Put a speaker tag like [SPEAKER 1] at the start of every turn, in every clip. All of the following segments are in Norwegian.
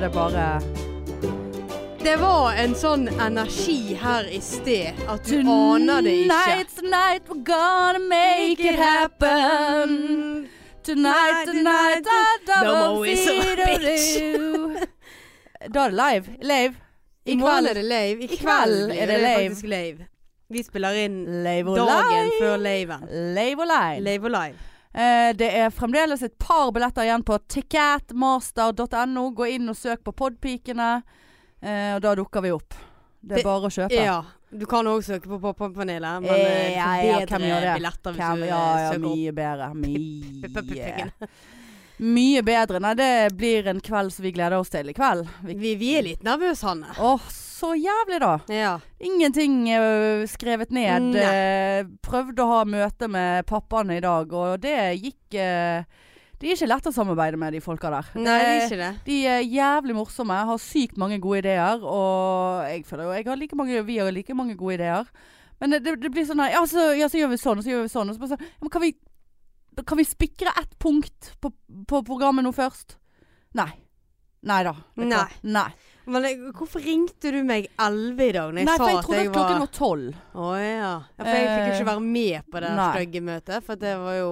[SPEAKER 1] det bare Det var en sånn energi her i sted at du aner det ikke.
[SPEAKER 2] Tonight, tonight, we're gonna make it happen. Tonight, tonight, I
[SPEAKER 1] No
[SPEAKER 2] double
[SPEAKER 1] more whistle,
[SPEAKER 2] feeder Da er det live. Lave.
[SPEAKER 1] I kveld er det lave. I kveld er det
[SPEAKER 2] lave.
[SPEAKER 1] faktisk lave. Vi spiller inn
[SPEAKER 2] Lave og
[SPEAKER 1] dagen
[SPEAKER 2] live.
[SPEAKER 1] før laven.
[SPEAKER 2] Lave og live.
[SPEAKER 1] Lave og live.
[SPEAKER 2] Eh, det er fremdeles et par billetter igjen på ticketmaster.no. Gå inn og søk på Podpikene, eh, og da dukker vi opp. Det
[SPEAKER 1] Det-
[SPEAKER 2] er bare å kjøpe.
[SPEAKER 1] Ja. Du kan òg søke på Popkornpanelet, men eh,
[SPEAKER 2] Ja,
[SPEAKER 1] du
[SPEAKER 2] ja, hvem
[SPEAKER 1] får
[SPEAKER 2] gjør
[SPEAKER 1] bedre
[SPEAKER 2] det?
[SPEAKER 1] billetter hvis
[SPEAKER 2] Hvem,
[SPEAKER 1] du eh,
[SPEAKER 2] ja, ja,
[SPEAKER 1] søker opp.
[SPEAKER 2] mye bedre.
[SPEAKER 1] p- p-
[SPEAKER 2] Mye.
[SPEAKER 1] p-
[SPEAKER 2] mye bedre. Nei, det blir en kveld som vi gleder oss til i kveld. Vi-
[SPEAKER 1] Vi, vi er litt nervøse, Hanne.
[SPEAKER 2] Åh, så jævlig da.
[SPEAKER 1] Ja.
[SPEAKER 2] Ingenting eh, skrevet ned.
[SPEAKER 1] Nei.
[SPEAKER 2] Eh, Prøvde å ha møte med pappaene i dag, og det gikk eh, Det er ikke lett å samarbeide med de folka der. Eh,
[SPEAKER 1] Nei, det er ikke det.
[SPEAKER 2] De er jævlig morsomme, har sykt mange gode ideer. Og jeg føler jo jeg har like mange, vi har like mange gode ideer. Men det, det blir sånn her ja så, ja, så gjør vi sånn, og så gjør vi sånn. Og så bare sånn ja, men kan, vi, kan vi spikre ett punkt på, på programmet nå først? Nei. Nei da. vet du hva. Nei.
[SPEAKER 1] Men eh, hvorfor ringte du meg 11 i dag? Når jeg
[SPEAKER 2] Nei,
[SPEAKER 1] sa
[SPEAKER 2] for jeg
[SPEAKER 1] at
[SPEAKER 2] trodde
[SPEAKER 1] jeg
[SPEAKER 2] at
[SPEAKER 1] var
[SPEAKER 2] klokken var tolv.
[SPEAKER 1] Å ja. ja. For jeg fikk jo
[SPEAKER 2] Eh,
[SPEAKER 1] ikke være med på det
[SPEAKER 2] nei.
[SPEAKER 1] stygge møtet, for det var jo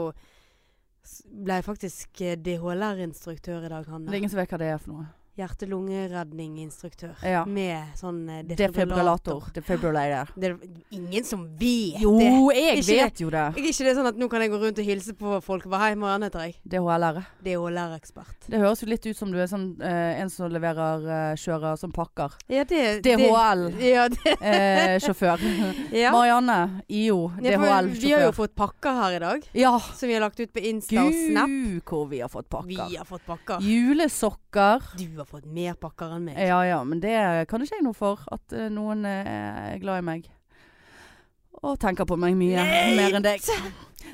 [SPEAKER 1] s- Ble jeg faktisk eh, DHLR-instruktør i dag,
[SPEAKER 2] Det er
[SPEAKER 1] Hanne.
[SPEAKER 2] ingen som vet hva det er for noe.
[SPEAKER 1] Hjerte-lungeredning-instruktør.
[SPEAKER 2] Ja.
[SPEAKER 1] Med sånn eh,
[SPEAKER 2] Defibrillator. Defibrillator.
[SPEAKER 1] defibrillator. Det er ingen som vet
[SPEAKER 2] Jo,
[SPEAKER 1] det.
[SPEAKER 2] jeg
[SPEAKER 1] Ikke
[SPEAKER 2] vet jo det.
[SPEAKER 1] Er ikke det sånn at nå kan jeg gå rundt og hilse på folk og bare Hei, Marianne heter jeg.
[SPEAKER 2] DHLR.
[SPEAKER 1] DHLR-ekspert.
[SPEAKER 2] Det høres jo litt ut som du er sånn, eh, en som leverer, eh, kjører som pakker.
[SPEAKER 1] Ja, det
[SPEAKER 2] DHL.
[SPEAKER 1] Ja, det,
[SPEAKER 2] eh, sjåfør.
[SPEAKER 1] ja.
[SPEAKER 2] Marianne, IO,
[SPEAKER 1] Ja, for Vi har jo
[SPEAKER 2] DHL-sjåfør.
[SPEAKER 1] fått pakker her i dag,
[SPEAKER 2] Ja,
[SPEAKER 1] som vi har lagt ut på Insta og Snap.
[SPEAKER 2] gud hvor vi har fått pakker.
[SPEAKER 1] Vi har fått pakker.
[SPEAKER 2] Julesokker.
[SPEAKER 1] Du har fått mer pakker enn meg.
[SPEAKER 2] Ja ja, men det kan ikke jeg noe for. At eh, noen eh, er glad i meg. Og tenker på meg mye
[SPEAKER 1] Nei!
[SPEAKER 2] mer enn deg.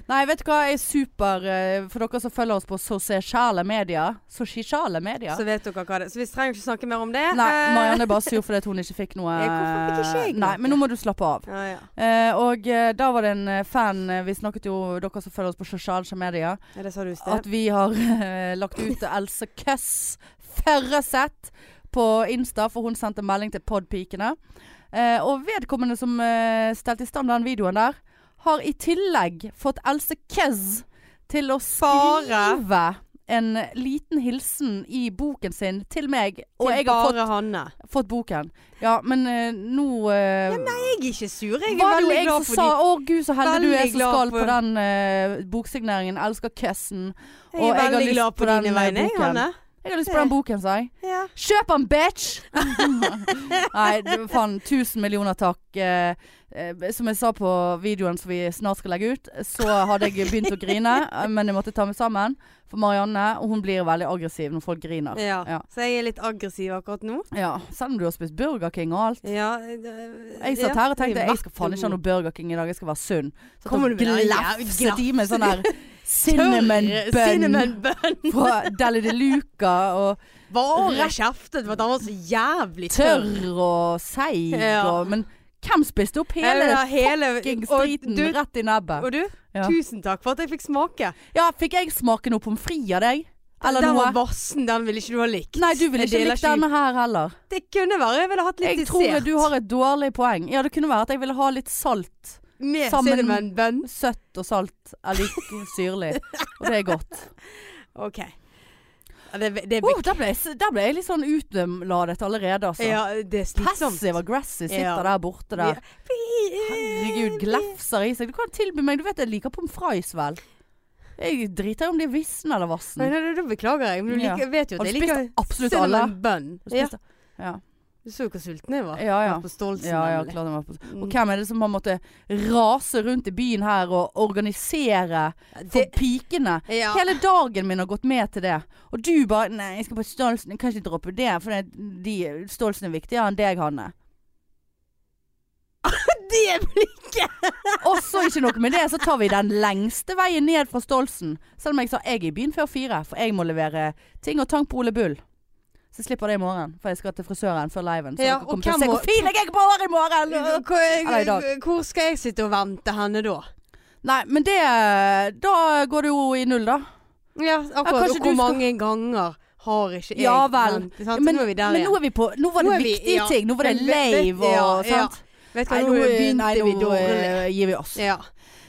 [SPEAKER 2] Nei, vet du hva. Jeg er super eh, For dere som følger oss på sosiale medier. Sosiale medier.
[SPEAKER 1] Så vet dere hva det Så vi trenger ikke snakke mer om det.
[SPEAKER 2] Nei,
[SPEAKER 1] Eh,
[SPEAKER 2] Marianne er bare sur fordi at hun ikke fikk noe eh,
[SPEAKER 1] Ja, hvorfor fikk ikke jeg
[SPEAKER 2] Nei,
[SPEAKER 1] noe?
[SPEAKER 2] men nå må du slappe av.
[SPEAKER 1] Ja, ja.
[SPEAKER 2] Eh, og eh, da var det en eh, fan eh, Vi snakket jo, dere som følger oss på sosiale medier,
[SPEAKER 1] ja, det sa du i sted.
[SPEAKER 2] at vi har eh, lagt ut Else Køss Førreseth på Insta, for hun sendte melding til Podpikene. Eh, og vedkommende som eh, stelte i stand den videoen der, har i tillegg fått Else Køss til å skrive en liten hilsen i boken sin til meg. Og
[SPEAKER 1] Til
[SPEAKER 2] jeg har fått,
[SPEAKER 1] bare Hanne.
[SPEAKER 2] fått boken. Ja, men eh, nå eh,
[SPEAKER 1] Jeg er ikke sur. Jeg er
[SPEAKER 2] var det jo
[SPEAKER 1] veldig
[SPEAKER 2] jeg som
[SPEAKER 1] glad for
[SPEAKER 2] sa
[SPEAKER 1] de
[SPEAKER 2] 'Å gud, så heldig du er
[SPEAKER 1] Veldig
[SPEAKER 2] som
[SPEAKER 1] glad
[SPEAKER 2] skal på
[SPEAKER 1] for-
[SPEAKER 2] den eh, boksigneringen'. Elsker køssen.
[SPEAKER 1] Jeg er
[SPEAKER 2] og jeg har
[SPEAKER 1] veldig
[SPEAKER 2] lyst
[SPEAKER 1] glad
[SPEAKER 2] på
[SPEAKER 1] på
[SPEAKER 2] den,
[SPEAKER 1] dine
[SPEAKER 2] eh,
[SPEAKER 1] vegne, jeg,
[SPEAKER 2] boken.
[SPEAKER 1] Hanne.
[SPEAKER 2] Jeg har lyst på den boken, sa jeg.
[SPEAKER 1] Ja.
[SPEAKER 2] Kjøp den, bitch! Nei, du, faen. Tusen millioner takk. Eh, eh, som jeg sa på videoen som vi snart skal legge ut, så hadde jeg begynt å grine, eh, men jeg måtte ta meg sammen. For Marianne og hun blir veldig aggressiv når folk griner.
[SPEAKER 1] Ja.
[SPEAKER 2] Ja.
[SPEAKER 1] Så jeg er litt aggressiv akkurat nå.
[SPEAKER 2] Ja, Selv om du har spist Burger King og alt.
[SPEAKER 1] Ja.
[SPEAKER 2] Jeg satt her og tenkte jeg skal faen ikke ha noe Burger King i dag, jeg skal være sunn. Så
[SPEAKER 1] Kommer du med den
[SPEAKER 2] glefset
[SPEAKER 1] jævla-
[SPEAKER 2] i meg sånn der cinnamon bun
[SPEAKER 1] eh, Cinnamon bun.
[SPEAKER 2] fra Deli de Luca og
[SPEAKER 1] Bare kjeftet for at han var så jævlig tørr.
[SPEAKER 2] tørr og seig
[SPEAKER 1] Ja.
[SPEAKER 2] og Men hvem spiste opp
[SPEAKER 1] Jeg
[SPEAKER 2] hele
[SPEAKER 1] vil ha hele
[SPEAKER 2] fucking
[SPEAKER 1] Og
[SPEAKER 2] striten
[SPEAKER 1] du,
[SPEAKER 2] rett i nebbet?
[SPEAKER 1] og du
[SPEAKER 2] Ja.
[SPEAKER 1] tusen takk for at jeg fikk smake.
[SPEAKER 2] Ja, fikk jeg smake noe pommes frites av deg? Eller
[SPEAKER 1] den
[SPEAKER 2] noe?
[SPEAKER 1] var vassen, den ville ikke du ha likt.
[SPEAKER 2] Nei, du ville
[SPEAKER 1] Jeg
[SPEAKER 2] ikke
[SPEAKER 1] deler
[SPEAKER 2] likt denne her heller.
[SPEAKER 1] Det kunne være jeg ville hatt litt
[SPEAKER 2] Jeg tror du har et dårlig poeng. Ja, det kunne være at jeg ville ha litt salt.
[SPEAKER 1] med
[SPEAKER 2] sammen-
[SPEAKER 1] cinnamon bun.
[SPEAKER 2] Søtt og salt er like syrlig. Og det er godt.
[SPEAKER 1] OK. Ja, Det, det er
[SPEAKER 2] Oh, der, ble jeg, s- der ble jeg litt sånn utladet allerede, altså.
[SPEAKER 1] ja, det er slitsomt.
[SPEAKER 2] Passive aggressive sitter
[SPEAKER 1] Ja.
[SPEAKER 2] der borte der. Herregud,
[SPEAKER 1] Herregud,
[SPEAKER 2] glefser i seg. Du kan tilby meg Du vet jeg liker pommes frites, vel. Jeg driter i om de er visne eller
[SPEAKER 1] Nei,
[SPEAKER 2] vassen.
[SPEAKER 1] nei, nei, da beklager jeg, men du
[SPEAKER 2] Ja.
[SPEAKER 1] liker, vet jo
[SPEAKER 2] Har
[SPEAKER 1] at
[SPEAKER 2] du
[SPEAKER 1] jeg
[SPEAKER 2] spist
[SPEAKER 1] liker
[SPEAKER 2] absolutt
[SPEAKER 1] cinnamon
[SPEAKER 2] alle?
[SPEAKER 1] bun. Ja,
[SPEAKER 2] Spiste- Ja.
[SPEAKER 1] du så jo hvor sulten jeg var.
[SPEAKER 2] ja, ja.
[SPEAKER 1] På Mm. Stolsen,
[SPEAKER 2] Ja, ja,
[SPEAKER 1] nemlig.
[SPEAKER 2] klart den var på Og hvem er det som har måttet rase rundt i byen her og organisere for
[SPEAKER 1] Det,
[SPEAKER 2] pikene?
[SPEAKER 1] ja.
[SPEAKER 2] Hele dagen min har gått med til det. Og du bare Nei, jeg skal på Stolsen. Jeg kan ikke droppe det, for det, de, Stolsen er viktigere enn deg, Hanne.
[SPEAKER 1] det blikket!
[SPEAKER 2] Og så ikke noe med det, så tar vi den lengste veien ned fra Stolsen. Selv om jeg sa jeg er i byen før fire, for jeg må levere ting og tank på Ole Bull. Så jeg slipper det i morgen, for jeg skal til frisøren før liven. Så
[SPEAKER 1] Ja,
[SPEAKER 2] dere
[SPEAKER 1] og
[SPEAKER 2] kommer til å
[SPEAKER 1] hvem
[SPEAKER 2] se
[SPEAKER 1] må-
[SPEAKER 2] hvor fin jeg er på håret i morgen! i dag.
[SPEAKER 1] Hvor, hvor skal jeg sitte og vente henne da?
[SPEAKER 2] Nei, men det Da går det jo i null, da.
[SPEAKER 1] Ja, akkurat.
[SPEAKER 2] kanskje du
[SPEAKER 1] og hvor
[SPEAKER 2] skal-
[SPEAKER 1] mange ganger har ikke jeg
[SPEAKER 2] Ja vel.
[SPEAKER 1] den. Ikke sant?
[SPEAKER 2] men,
[SPEAKER 1] nå er vi der
[SPEAKER 2] men nå
[SPEAKER 1] igjen.
[SPEAKER 2] er vi på Nå var
[SPEAKER 1] Nå
[SPEAKER 2] det
[SPEAKER 1] er vi-
[SPEAKER 2] viktige
[SPEAKER 1] ja.
[SPEAKER 2] ting. Nå var det
[SPEAKER 1] Men vet- vet-
[SPEAKER 2] lave og
[SPEAKER 1] ja, ja.
[SPEAKER 2] sant.
[SPEAKER 1] Vet du
[SPEAKER 2] Nei,
[SPEAKER 1] hva, nå
[SPEAKER 2] nå,
[SPEAKER 1] begynte
[SPEAKER 2] nei,
[SPEAKER 1] vi
[SPEAKER 2] nå
[SPEAKER 1] dårlig.
[SPEAKER 2] eh, gir vi oss.
[SPEAKER 1] Ja.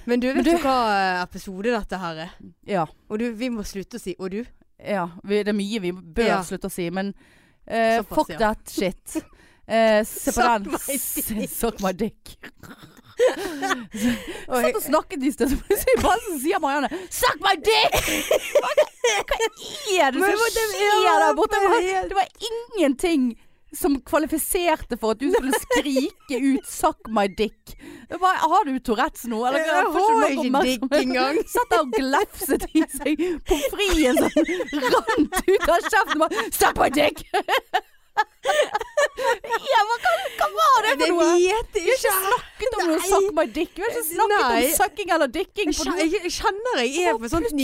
[SPEAKER 1] Men du,
[SPEAKER 2] Men
[SPEAKER 1] vet du hva eh, episode dette her er?
[SPEAKER 2] Ja.
[SPEAKER 1] Og du, vi må slutte å si 'og du'.
[SPEAKER 2] ja vi, det er mye vi bør
[SPEAKER 1] Ja.
[SPEAKER 2] slutte å si, men eh,
[SPEAKER 1] Såpass,
[SPEAKER 2] fuck
[SPEAKER 1] ja.
[SPEAKER 2] that shit. Eh, se på
[SPEAKER 1] Suck
[SPEAKER 2] den.
[SPEAKER 1] my dick.
[SPEAKER 2] Suck my dick.
[SPEAKER 1] Og
[SPEAKER 2] Satt og snakket i sted, så plutselig bare så sier Marianne 'Suck my dick!' Hva er det
[SPEAKER 1] Men
[SPEAKER 2] som
[SPEAKER 1] hva- det-
[SPEAKER 2] skjer
[SPEAKER 1] ja,
[SPEAKER 2] der borte? Det
[SPEAKER 1] det er
[SPEAKER 2] var,
[SPEAKER 1] helt-
[SPEAKER 2] det var ingenting som kvalifiserte for at du skulle skrike ut 'suck my dick'. Det var, har du Tourettes nå? Eller, får
[SPEAKER 1] jeg
[SPEAKER 2] ikke du
[SPEAKER 1] har
[SPEAKER 2] nok
[SPEAKER 1] ikke
[SPEAKER 2] oppmerksomhet?
[SPEAKER 1] dick engang.
[SPEAKER 2] Satt der og glefset i seg pommes frites som rant ut av kjeften. Bare, 'Suck my dick'! ja, hva, hva, hva var det for
[SPEAKER 1] Det
[SPEAKER 2] noe?
[SPEAKER 1] vet jeg ikke.
[SPEAKER 2] snakket om noe
[SPEAKER 1] Nei.
[SPEAKER 2] suck my dick. Vi har ikke snakket
[SPEAKER 1] Nei.
[SPEAKER 2] om sucking eller dicking. på
[SPEAKER 1] Jeg kjen-
[SPEAKER 2] noe.
[SPEAKER 1] Jeg kjenner jeg er på et sånt
[SPEAKER 2] Plutselig
[SPEAKER 1] nivå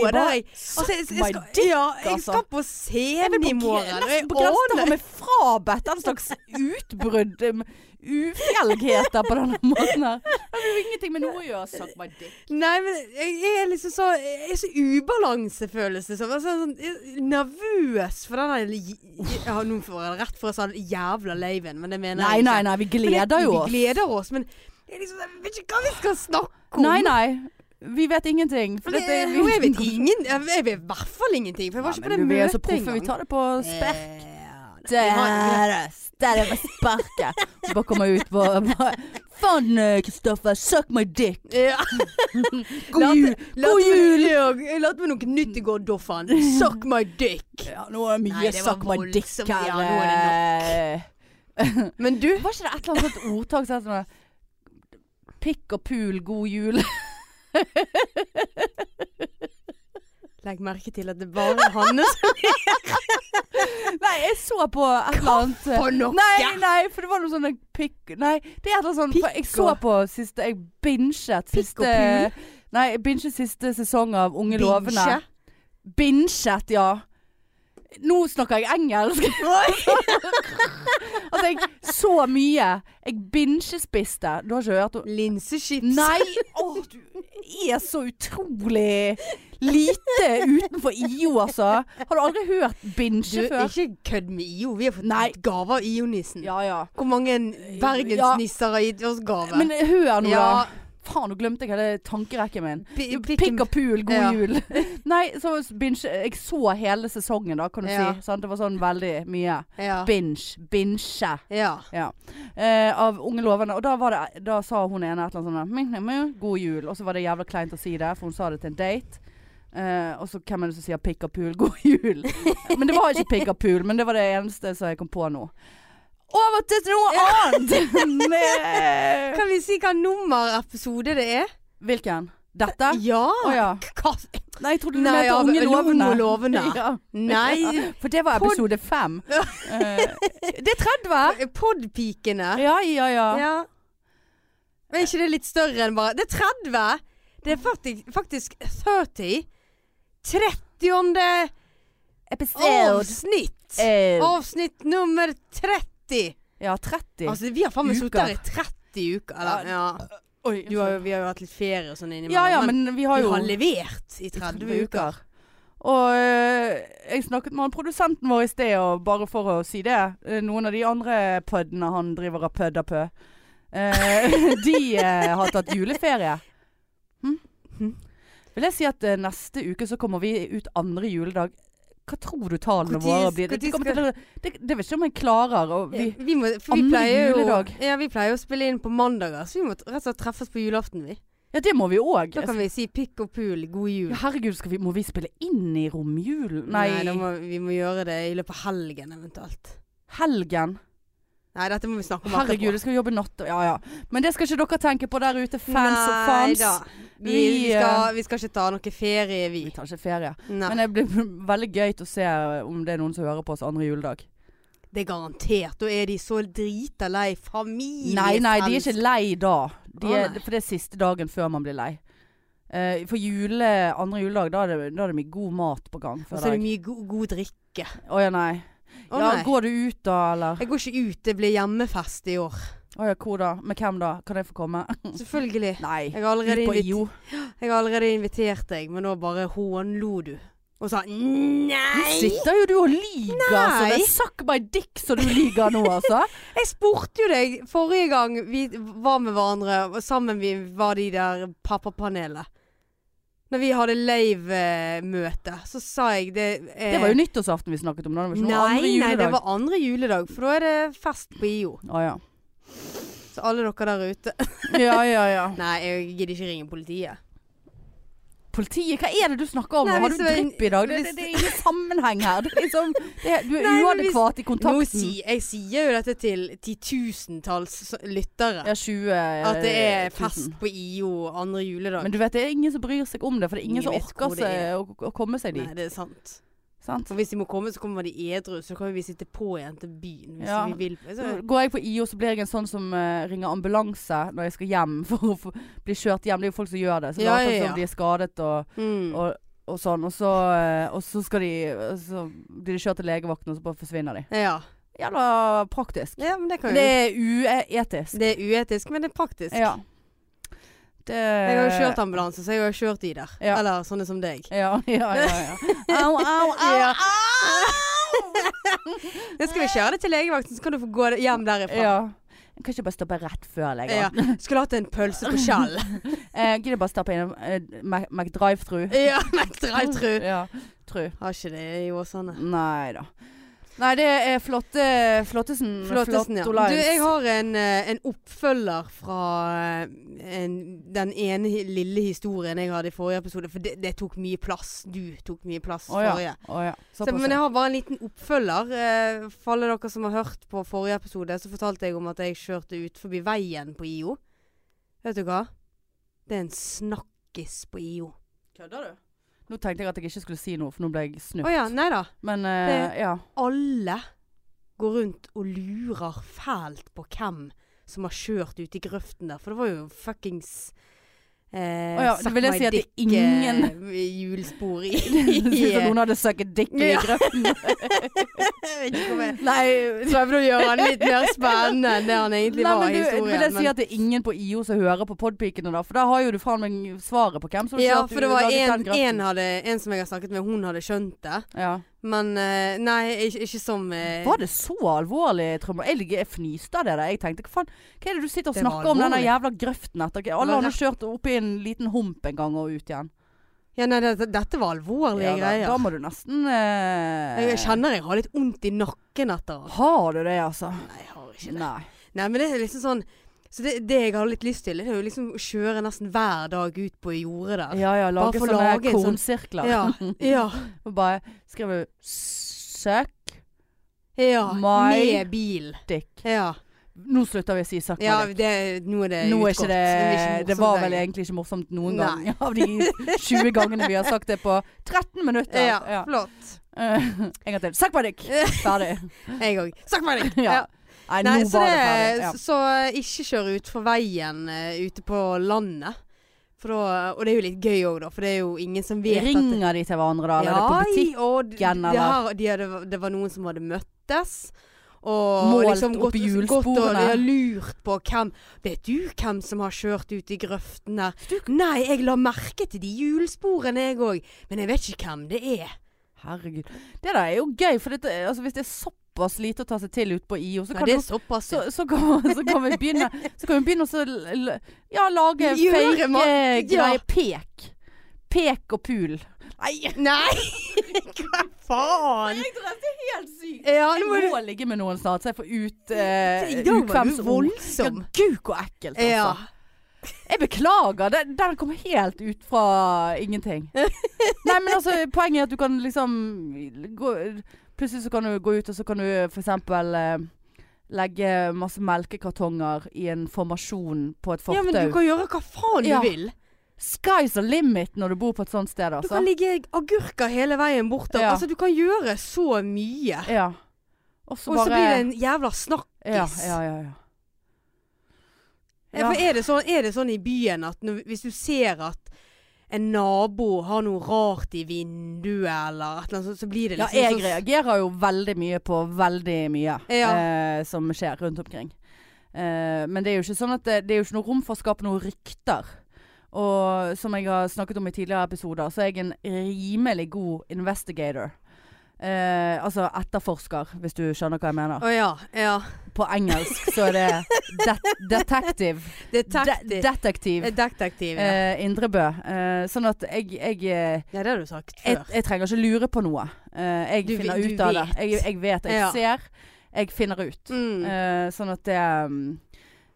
[SPEAKER 1] der
[SPEAKER 2] bare,
[SPEAKER 1] jeg Altså, jeg, jeg,
[SPEAKER 2] suck my
[SPEAKER 1] skal, ja, jeg
[SPEAKER 2] altså.
[SPEAKER 1] skal på
[SPEAKER 2] Jeg
[SPEAKER 1] scenen
[SPEAKER 2] vil
[SPEAKER 1] i
[SPEAKER 2] på
[SPEAKER 1] morgen.
[SPEAKER 2] gre-
[SPEAKER 1] og jeg
[SPEAKER 2] På grensen til å
[SPEAKER 1] aner-
[SPEAKER 2] ha meg frabedt en slags utbrudd um, ufjelgheter på denne måten her. Det har jo ingenting med noe å gjøre, suck my dick.
[SPEAKER 1] Nei, men jeg er liksom så Jeg er så ubalansefølelse. Sånn, altså, sånn, jeg er nervøs for den der li- ja, Nå får jeg det rett for å si den jævla laven, men det mener
[SPEAKER 2] Nei,
[SPEAKER 1] jeg ikke.
[SPEAKER 2] nei, nei, vi
[SPEAKER 1] Men jeg-
[SPEAKER 2] gleder jo
[SPEAKER 1] Vi
[SPEAKER 2] oss.
[SPEAKER 1] gleder oss, men jeg, liksom, jeg vet ikke hva vi skal snakke om.
[SPEAKER 2] Nei, nei. Vi vet ingenting. For
[SPEAKER 1] Det,
[SPEAKER 2] dette,
[SPEAKER 1] jo, jeg vet ingen Jeg jeg vet i hvert fall ingenting, for jeg var ikke på det
[SPEAKER 2] Vi er så
[SPEAKER 1] møtet
[SPEAKER 2] proffe. Vi tar det på sperk.
[SPEAKER 1] Ja,
[SPEAKER 2] Det
[SPEAKER 1] vi har-
[SPEAKER 2] er det med sparket. Så bare kommer jeg ut på bare, Faen, eh, Kristoffer. Suck my dick.
[SPEAKER 1] Ja.
[SPEAKER 2] God jul. God jul.
[SPEAKER 1] Jeg lærte meg noe nytt i går, Doffan. Suck my dick.
[SPEAKER 2] Ja, nå er det mye
[SPEAKER 1] Nei, det var
[SPEAKER 2] suck my dick
[SPEAKER 1] voldsomt.
[SPEAKER 2] her.
[SPEAKER 1] Ja, nå er Men du
[SPEAKER 2] eh. Var ikke det et eller annet sånt ordtak som het sånn Pikk og pul, god jul.
[SPEAKER 1] Legg merke til at det bare er Hanne som
[SPEAKER 2] Nei, jeg så på et eller annet eh,
[SPEAKER 1] får noe.
[SPEAKER 2] Nei, nei, for det var noe sånn eh, pikk Nei, det er et eller annet sånt for Jeg
[SPEAKER 1] Pikk
[SPEAKER 2] så
[SPEAKER 1] og-
[SPEAKER 2] på siste Jeg binget
[SPEAKER 1] Pikk og
[SPEAKER 2] siste Nei, jeg binget siste sesong av Unge lovende.
[SPEAKER 1] Binsje.
[SPEAKER 2] Binget, ja. Nå snakker jeg engelsk. altså, jeg så mye. Jeg bingesspiste. Du har ikke hørt om
[SPEAKER 1] Linsechips.
[SPEAKER 2] Nei, åh, du er så utrolig lite utenfor IO, altså. Har du aldri hørt
[SPEAKER 1] Du,
[SPEAKER 2] binge før?
[SPEAKER 1] ikke kødd med IO. Vi har fått
[SPEAKER 2] Nei.
[SPEAKER 1] gave av IO-nissen.
[SPEAKER 2] Ja, ja.
[SPEAKER 1] Hvor mange bergensnisser har gitt oss gave?
[SPEAKER 2] Men hør nå,
[SPEAKER 1] ja,
[SPEAKER 2] da. Faen, nå glemte jeg hele tankerekken min.
[SPEAKER 1] pi-
[SPEAKER 2] Pikk og pul, god
[SPEAKER 1] Ja.
[SPEAKER 2] jul. Nei, så binge Jeg så hele sesongen, da, kan du
[SPEAKER 1] Ja.
[SPEAKER 2] si. Sant? Det var sånn veldig mye.
[SPEAKER 1] ja.
[SPEAKER 2] Binge. Binge.
[SPEAKER 1] ja.
[SPEAKER 2] Ja. Eh, av Unge lovende. Og da, var det, da sa hun ene et eller annet sånn «Ming, ming, ming, God jul. Og så var det jævla kleint å si det, for hun sa det til en date. Eh, og så hvem er det som sier pikk og pul, god jul? Men det var ikke pikk og pul, men det var det eneste som jeg kom på nå. Over til noe annet! Med
[SPEAKER 1] Kan vi si hva nummerepisode det er?
[SPEAKER 2] Hvilken? Dette?
[SPEAKER 1] Ja.
[SPEAKER 2] Å ja.
[SPEAKER 1] Hva?
[SPEAKER 2] Nei, jeg trodde du
[SPEAKER 1] Nei,
[SPEAKER 2] mente
[SPEAKER 1] ja,
[SPEAKER 2] Unge lovende.
[SPEAKER 1] Unge lovende.
[SPEAKER 2] Ja.
[SPEAKER 1] Nei.
[SPEAKER 2] For det var
[SPEAKER 1] Pod-
[SPEAKER 2] episode fem.
[SPEAKER 1] Ja.
[SPEAKER 2] Eh, det er 30!
[SPEAKER 1] Podpikene.
[SPEAKER 2] Ja, ja, ja.
[SPEAKER 1] Ja. Men er ikke det litt større enn bare Det er 30! Det er faktisk, faktisk 30. 30. avsnitt.
[SPEAKER 2] Eh,
[SPEAKER 1] Avsnitt nummer 30.
[SPEAKER 2] ja, 30.
[SPEAKER 1] Altså, vi har faen meg sittet
[SPEAKER 2] Uker.
[SPEAKER 1] her i 30 uker. Eller, ja.
[SPEAKER 2] Oi,
[SPEAKER 1] Du har, jo- vi har jo hatt litt ferie og sånn innimellom.
[SPEAKER 2] Ja ja, men vi har
[SPEAKER 1] vi
[SPEAKER 2] jo
[SPEAKER 1] har levert i 30 uker.
[SPEAKER 2] Og eh, jeg snakket med han produsenten vår i sted, og bare for å si det eh, Noen av de andre puddene han driver av pødda pø, eh, de eh, har tatt juleferie. Hm?
[SPEAKER 1] Hm.
[SPEAKER 2] Vil jeg si at eh, neste uke så kommer vi ut andre juledag. Hva tror du tallene
[SPEAKER 1] Hvor tid-
[SPEAKER 2] våre blir?
[SPEAKER 1] hvor
[SPEAKER 2] Det, det,
[SPEAKER 1] tid
[SPEAKER 2] kommer til, å- det, det vet ikke om jeg klarer. Og vi,
[SPEAKER 1] Vi, vi, må, for vi,
[SPEAKER 2] andre
[SPEAKER 1] pleier jo,
[SPEAKER 2] juledag.
[SPEAKER 1] ja, vi pleier jo å spille inn på mandager, så vi må rett og slett treffes på julaften. vi
[SPEAKER 2] ja, det må vi òg.
[SPEAKER 1] Da kan vi si pikk og pul, god jul.
[SPEAKER 2] Ja, herregud, skal vi, må vi spille inn i romjulen? Nei,
[SPEAKER 1] da må, vi må gjøre det i løpet av helgen eventuelt.
[SPEAKER 2] helgen.
[SPEAKER 1] Nei, dette må vi snakke om
[SPEAKER 2] Herregud, jeg skal jobbe natt. Ja, ja. Men det skal ikke dere tenke på der ute, fans og fans.
[SPEAKER 1] da. Vi,
[SPEAKER 2] Vi, eh,
[SPEAKER 1] vi, skal, vi skal ikke ta noe ferie, vi.
[SPEAKER 2] Vi tar ikke ferie.
[SPEAKER 1] Nei,
[SPEAKER 2] Men eh, det blir veldig gøy å se eh, om det er noen som hører på oss andre juledag.
[SPEAKER 1] det er garantert. Da er de så drita lei familie.
[SPEAKER 2] Nei, nei, de er ikke lei da. De
[SPEAKER 1] Å,
[SPEAKER 2] er,
[SPEAKER 1] nei.
[SPEAKER 2] for det er siste dagen før man blir lei. Eh, for jule, andre juledag, da er, det, da er det mye god mat på gang.
[SPEAKER 1] Og
[SPEAKER 2] før
[SPEAKER 1] så er det
[SPEAKER 2] deg.
[SPEAKER 1] mye god, god drikke.
[SPEAKER 2] Å ja, nei.
[SPEAKER 1] Å
[SPEAKER 2] ja,
[SPEAKER 1] nei.
[SPEAKER 2] Går du ut da, eller?
[SPEAKER 1] Jeg går ikke ut. Det blir hjemmefest i år.
[SPEAKER 2] Å ja, hvor da? Med hvem da? Kan jeg få komme?
[SPEAKER 1] Selvfølgelig.
[SPEAKER 2] nei.
[SPEAKER 1] Jeg har
[SPEAKER 2] Mm. Ut
[SPEAKER 1] allerede,
[SPEAKER 2] på
[SPEAKER 1] invit
[SPEAKER 2] IO.
[SPEAKER 1] jeg har allerede invitert deg, men nå bare hånlo du. Og sa
[SPEAKER 2] Nå
[SPEAKER 1] nei!
[SPEAKER 2] sitter jo du og lyver, altså. Det er suck my dick som du lyver nå, altså.
[SPEAKER 1] Jeg spurte jo deg forrige gang vi var med hverandre, og sammen vi var de der pappapanelet. Når vi hadde live-møte, så sa jeg det eh,
[SPEAKER 2] Det var jo nyttårsaften vi snakket om. da, Det var ikke noe sånn andre
[SPEAKER 1] Nei, nei, det
[SPEAKER 2] juledag.
[SPEAKER 1] var andre juledag, for da er det fest på IO.
[SPEAKER 2] Å, ja.
[SPEAKER 1] Så alle dere der ute
[SPEAKER 2] ja, ja, ja.
[SPEAKER 1] Nei, jeg gidder ikke ringe politiet.
[SPEAKER 2] Politiet, hva er det du snakker om?
[SPEAKER 1] Nei,
[SPEAKER 2] nå? Har
[SPEAKER 1] hvis
[SPEAKER 2] du
[SPEAKER 1] det var-
[SPEAKER 2] drypp i dag? Det, det,
[SPEAKER 1] hvis-
[SPEAKER 2] det er ingen sammenheng her. Det er liksom, det, du er
[SPEAKER 1] Nei, men hvis-
[SPEAKER 2] uadekvat i
[SPEAKER 1] Nå
[SPEAKER 2] kontakten.
[SPEAKER 1] si, jeg sier jo dette til titusentalls s- lyttere.
[SPEAKER 2] ja, 20
[SPEAKER 1] At det er
[SPEAKER 2] tusen.
[SPEAKER 1] fest på IO andre juledag.
[SPEAKER 2] Men du vet, det er ingen som bryr seg om det, for det er ingen som
[SPEAKER 1] Ingen vet
[SPEAKER 2] orker
[SPEAKER 1] hvor det
[SPEAKER 2] seg å, å komme seg
[SPEAKER 1] Nei,
[SPEAKER 2] dit.
[SPEAKER 1] det er sant.
[SPEAKER 2] Sant?
[SPEAKER 1] For hvis de må komme, så kommer de edru. Så kan jo vi sitte på igjen til byen hvis
[SPEAKER 2] Ja.
[SPEAKER 1] vi vil. Så,
[SPEAKER 2] Så Går jeg på IO, så blir jeg en sånn som eh, ringer ambulanse når jeg skal hjem for å få- bli kjørt hjem. Det er jo folk som gjør det. Så
[SPEAKER 1] Ja,
[SPEAKER 2] later
[SPEAKER 1] ja,
[SPEAKER 2] de
[SPEAKER 1] ja.
[SPEAKER 2] som de er skadet og,
[SPEAKER 1] mm.
[SPEAKER 2] og, og sånn. Og så, eh, og så skal de Så blir de kjørt til legevakten, og så bare forsvinner de.
[SPEAKER 1] ja.
[SPEAKER 2] Jævla praktisk.
[SPEAKER 1] ja, men det kan jo
[SPEAKER 2] Det er uetisk.
[SPEAKER 1] Det er uetisk, men det er praktisk.
[SPEAKER 2] Ja. Det
[SPEAKER 1] Jeg har jo kjørt ambulanse, så jeg har jo kjørt de der.
[SPEAKER 2] Ja.
[SPEAKER 1] Eller sånne som deg.
[SPEAKER 2] Ja, ja, ja. ja. Au, au, au!
[SPEAKER 1] Ja. Nå skal vi kjøre det til legevakten, så kan du få gå hjem derifra.
[SPEAKER 2] Ja. Jeg kan ikke bare stoppe rett før
[SPEAKER 1] Ja.
[SPEAKER 2] lenger.
[SPEAKER 1] Skulle hatt en pølse på skjell.
[SPEAKER 2] Eh, gidder bare stappe inn eh, Mac- McDrive-thru.
[SPEAKER 1] ja, men jeg tror
[SPEAKER 2] Ja, tru.
[SPEAKER 1] Har ikke det i Åsane.
[SPEAKER 2] Nei da. Nei, det er flotte Flottesen.
[SPEAKER 1] Flottesen, ja. Du,
[SPEAKER 2] Flottolines.
[SPEAKER 1] jeg har en, eh, en oppfølger fra eh, en, den ene hi- lille historien jeg hadde i forrige episode. For det, det tok mye plass. Du tok mye plass
[SPEAKER 2] Å ja.
[SPEAKER 1] forrige.
[SPEAKER 2] Å, ja.
[SPEAKER 1] Så,
[SPEAKER 2] Såpass.
[SPEAKER 1] men jeg
[SPEAKER 2] ja.
[SPEAKER 1] har bare en liten oppfølger. Eh, For alle dere som har hørt på forrige episode, så fortalte jeg om at jeg kjørte ut forbi veien på IO. Vet du hva? Det er en snakkis på IO.
[SPEAKER 2] Kødder du? Nå tenkte jeg at jeg ikke skulle si noe, for nå ble jeg
[SPEAKER 1] Å
[SPEAKER 2] snurt.
[SPEAKER 1] ja, nei da.
[SPEAKER 2] Men eh, ja.
[SPEAKER 1] Alle går rundt og lurer fælt på hvem som har kjørt ute i grøften der. For det var jo fuckings eh,
[SPEAKER 2] Å ja, det
[SPEAKER 1] suck
[SPEAKER 2] vil jeg
[SPEAKER 1] my
[SPEAKER 2] si at det er
[SPEAKER 1] dick, eh,
[SPEAKER 2] ingen-
[SPEAKER 1] hjulspor i.
[SPEAKER 2] Det ser ut som noen hadde søket dick i
[SPEAKER 1] Ja.
[SPEAKER 2] grøften.
[SPEAKER 1] Jeg vet ikke om jeg
[SPEAKER 2] Nei,
[SPEAKER 1] prøvde å gjøre han litt mer spennende enn det han egentlig
[SPEAKER 2] Nei,
[SPEAKER 1] var.
[SPEAKER 2] men
[SPEAKER 1] i
[SPEAKER 2] du,
[SPEAKER 1] historien,
[SPEAKER 2] vil jeg
[SPEAKER 1] men-
[SPEAKER 2] si at det er ingen på IO som hører på podpikene da? For da har jo du faen meg svaret på hvem som
[SPEAKER 1] Ja,
[SPEAKER 2] kjørte
[SPEAKER 1] for det var
[SPEAKER 2] ulovlig
[SPEAKER 1] en,
[SPEAKER 2] den grøften.
[SPEAKER 1] en, hadde, en som jeg har snakket med, hun hadde skjønt det.
[SPEAKER 2] Ja.
[SPEAKER 1] Men eh, nei, ikke, ikke som eh,
[SPEAKER 2] Var det så alvorlig, Trømmer? Jeg, ligger- jeg fnyste av det der. Jeg tenkte, hva faen, hva er det du sitter og
[SPEAKER 1] Det var
[SPEAKER 2] snakker om denne
[SPEAKER 1] alvorlig.
[SPEAKER 2] jævla grøften etter? Ok, Alle
[SPEAKER 1] var
[SPEAKER 2] har nå kjørt opp i en liten hump en gang og ut igjen.
[SPEAKER 1] Ja, nei, dette, dette var alvorlige
[SPEAKER 2] Ja, da,
[SPEAKER 1] greier.
[SPEAKER 2] da må du nesten eh,
[SPEAKER 1] jeg, jeg kjenner jeg har litt vondt i nakken etter.
[SPEAKER 2] Har du det, altså?
[SPEAKER 1] Nei, jeg har ikke det.
[SPEAKER 2] Nei.
[SPEAKER 1] Nei, men det er liksom sånn Så det, det jeg har litt lyst til, det er jo liksom å kjøre nesten hver dag ut på jordet der.
[SPEAKER 2] Ja ja, lage
[SPEAKER 1] for å
[SPEAKER 2] sånne
[SPEAKER 1] lage en sånn-
[SPEAKER 2] kornsirkler.
[SPEAKER 1] ja. ja,
[SPEAKER 2] Og bare skrive 'søkk
[SPEAKER 1] ja.
[SPEAKER 2] My-
[SPEAKER 1] Med bil.
[SPEAKER 2] dick'.
[SPEAKER 1] Ja.
[SPEAKER 2] Nå slutter vi å si 'søkk
[SPEAKER 1] ja
[SPEAKER 2] meg dick'.
[SPEAKER 1] det, nå er det
[SPEAKER 2] Nå er ikke
[SPEAKER 1] utgått. Det blir ikke
[SPEAKER 2] det Det
[SPEAKER 1] morsomt
[SPEAKER 2] var
[SPEAKER 1] lenger.
[SPEAKER 2] vel egentlig ikke morsomt noen
[SPEAKER 1] Nei.
[SPEAKER 2] gang av de 20 gangene vi har sagt det på 13 minutter.
[SPEAKER 1] ja, flott.
[SPEAKER 2] Eh, en gang til. Søkk meg dick! Ferdig.
[SPEAKER 1] Jeg òg. Snakk med deg!
[SPEAKER 2] Ja. Nei,
[SPEAKER 1] Nei,
[SPEAKER 2] nå
[SPEAKER 1] så,
[SPEAKER 2] var
[SPEAKER 1] det,
[SPEAKER 2] det ferdig. Ja.
[SPEAKER 1] så ikke kjør utfor veien eh, ute på landet. For da, og det er jo litt gøy òg, da. For det er jo ingen som vet at
[SPEAKER 2] Ringer de til hverandre, da?
[SPEAKER 1] det,
[SPEAKER 2] Eller er det på butikk?
[SPEAKER 1] og d-
[SPEAKER 2] eller?
[SPEAKER 1] Det, her, de hadde, det var noen som hadde møttes. Og
[SPEAKER 2] Målt
[SPEAKER 1] liksom
[SPEAKER 2] opp
[SPEAKER 1] gått,
[SPEAKER 2] hjulsporene.
[SPEAKER 1] gått og de har lurt på hvem Vet du hvem som har kjørt ut i grøften der? Nei, jeg la merke til de hjulsporene, jeg òg. Men jeg vet ikke hvem det er.
[SPEAKER 2] Herregud. Det der er jo gøy, for dette, altså, hvis det er såpass lite å ta seg til ute på IO, så
[SPEAKER 1] Nei,
[SPEAKER 2] kan,
[SPEAKER 1] det
[SPEAKER 2] du,
[SPEAKER 1] er såpass.
[SPEAKER 2] så, så kan, så kan vi begynne Så kan vi begynne å så l- l- ja, lage
[SPEAKER 1] Gjøre
[SPEAKER 2] fake
[SPEAKER 1] ma-
[SPEAKER 2] eh,
[SPEAKER 1] ja.
[SPEAKER 2] greier. Pek. Pek og pul. Nei!
[SPEAKER 1] Nei, hva faen?
[SPEAKER 2] Det er helt sykt.
[SPEAKER 1] Ja,
[SPEAKER 2] Jeg
[SPEAKER 1] nå må du
[SPEAKER 2] må ligge med noen snart, så jeg får ut eh,
[SPEAKER 1] I dag var du
[SPEAKER 2] ukvemsord.
[SPEAKER 1] voldsom.
[SPEAKER 2] Ja, gud, hvor ekkelt, altså.
[SPEAKER 1] Ja.
[SPEAKER 2] Jeg beklager, den, den kom helt ut fra ingenting. Nei, men altså, poenget er at du kan liksom gå, Plutselig så kan du gå ut, og så kan du f.eks. Eh, legge masse melkekartonger i en formasjon på et
[SPEAKER 1] ja,
[SPEAKER 2] fortau.
[SPEAKER 1] men du kan gjøre hva faen
[SPEAKER 2] Ja.
[SPEAKER 1] du vil.
[SPEAKER 2] Sky's the limit når du bor på et sånt sted,
[SPEAKER 1] Du
[SPEAKER 2] altså.
[SPEAKER 1] kan ligge agurker hele veien bortover.
[SPEAKER 2] Ja.
[SPEAKER 1] Altså, du kan gjøre så mye.
[SPEAKER 2] ja. Og så
[SPEAKER 1] Og
[SPEAKER 2] bare
[SPEAKER 1] så blir det en jævla snakkis.
[SPEAKER 2] ja, ja, ja, ja.
[SPEAKER 1] Ja, For er det, sånn, er det sånn i byen at når, hvis du ser at en nabo har noe rart i vinduet eller et eller annet sånt, så blir det
[SPEAKER 2] Ja,
[SPEAKER 1] liksom
[SPEAKER 2] jeg
[SPEAKER 1] sånn-
[SPEAKER 2] reagerer jo veldig mye på veldig mye
[SPEAKER 1] Ja.
[SPEAKER 2] eh, som skjer rundt omkring. Eh, men det er jo ikke sånn at det, det er jo ikke noe rom for å skape noen rykter. Og som jeg har snakket om i tidligere episoder, så er jeg en rimelig god investigator. Eh, altså etterforsker, hvis du skjønner hva jeg mener.
[SPEAKER 1] Å ja. ja.
[SPEAKER 2] På engelsk så er det det detective. De
[SPEAKER 1] Detektiv.
[SPEAKER 2] detektiv.
[SPEAKER 1] Eh, Detektiv, ja.
[SPEAKER 2] Eh, Indrebø. Eh, sånn at jeg, jeg eh,
[SPEAKER 1] ja. Det har du sagt
[SPEAKER 2] jeg,
[SPEAKER 1] før.
[SPEAKER 2] jeg trenger ikke lure på noe. Eh, jeg
[SPEAKER 1] Du vi-
[SPEAKER 2] finner
[SPEAKER 1] du
[SPEAKER 2] ut av det.
[SPEAKER 1] vet.
[SPEAKER 2] Jeg, jeg vet, jeg
[SPEAKER 1] Ja.
[SPEAKER 2] ser. Jeg finner ut.
[SPEAKER 1] Mm.
[SPEAKER 2] Eh, sånn at det um,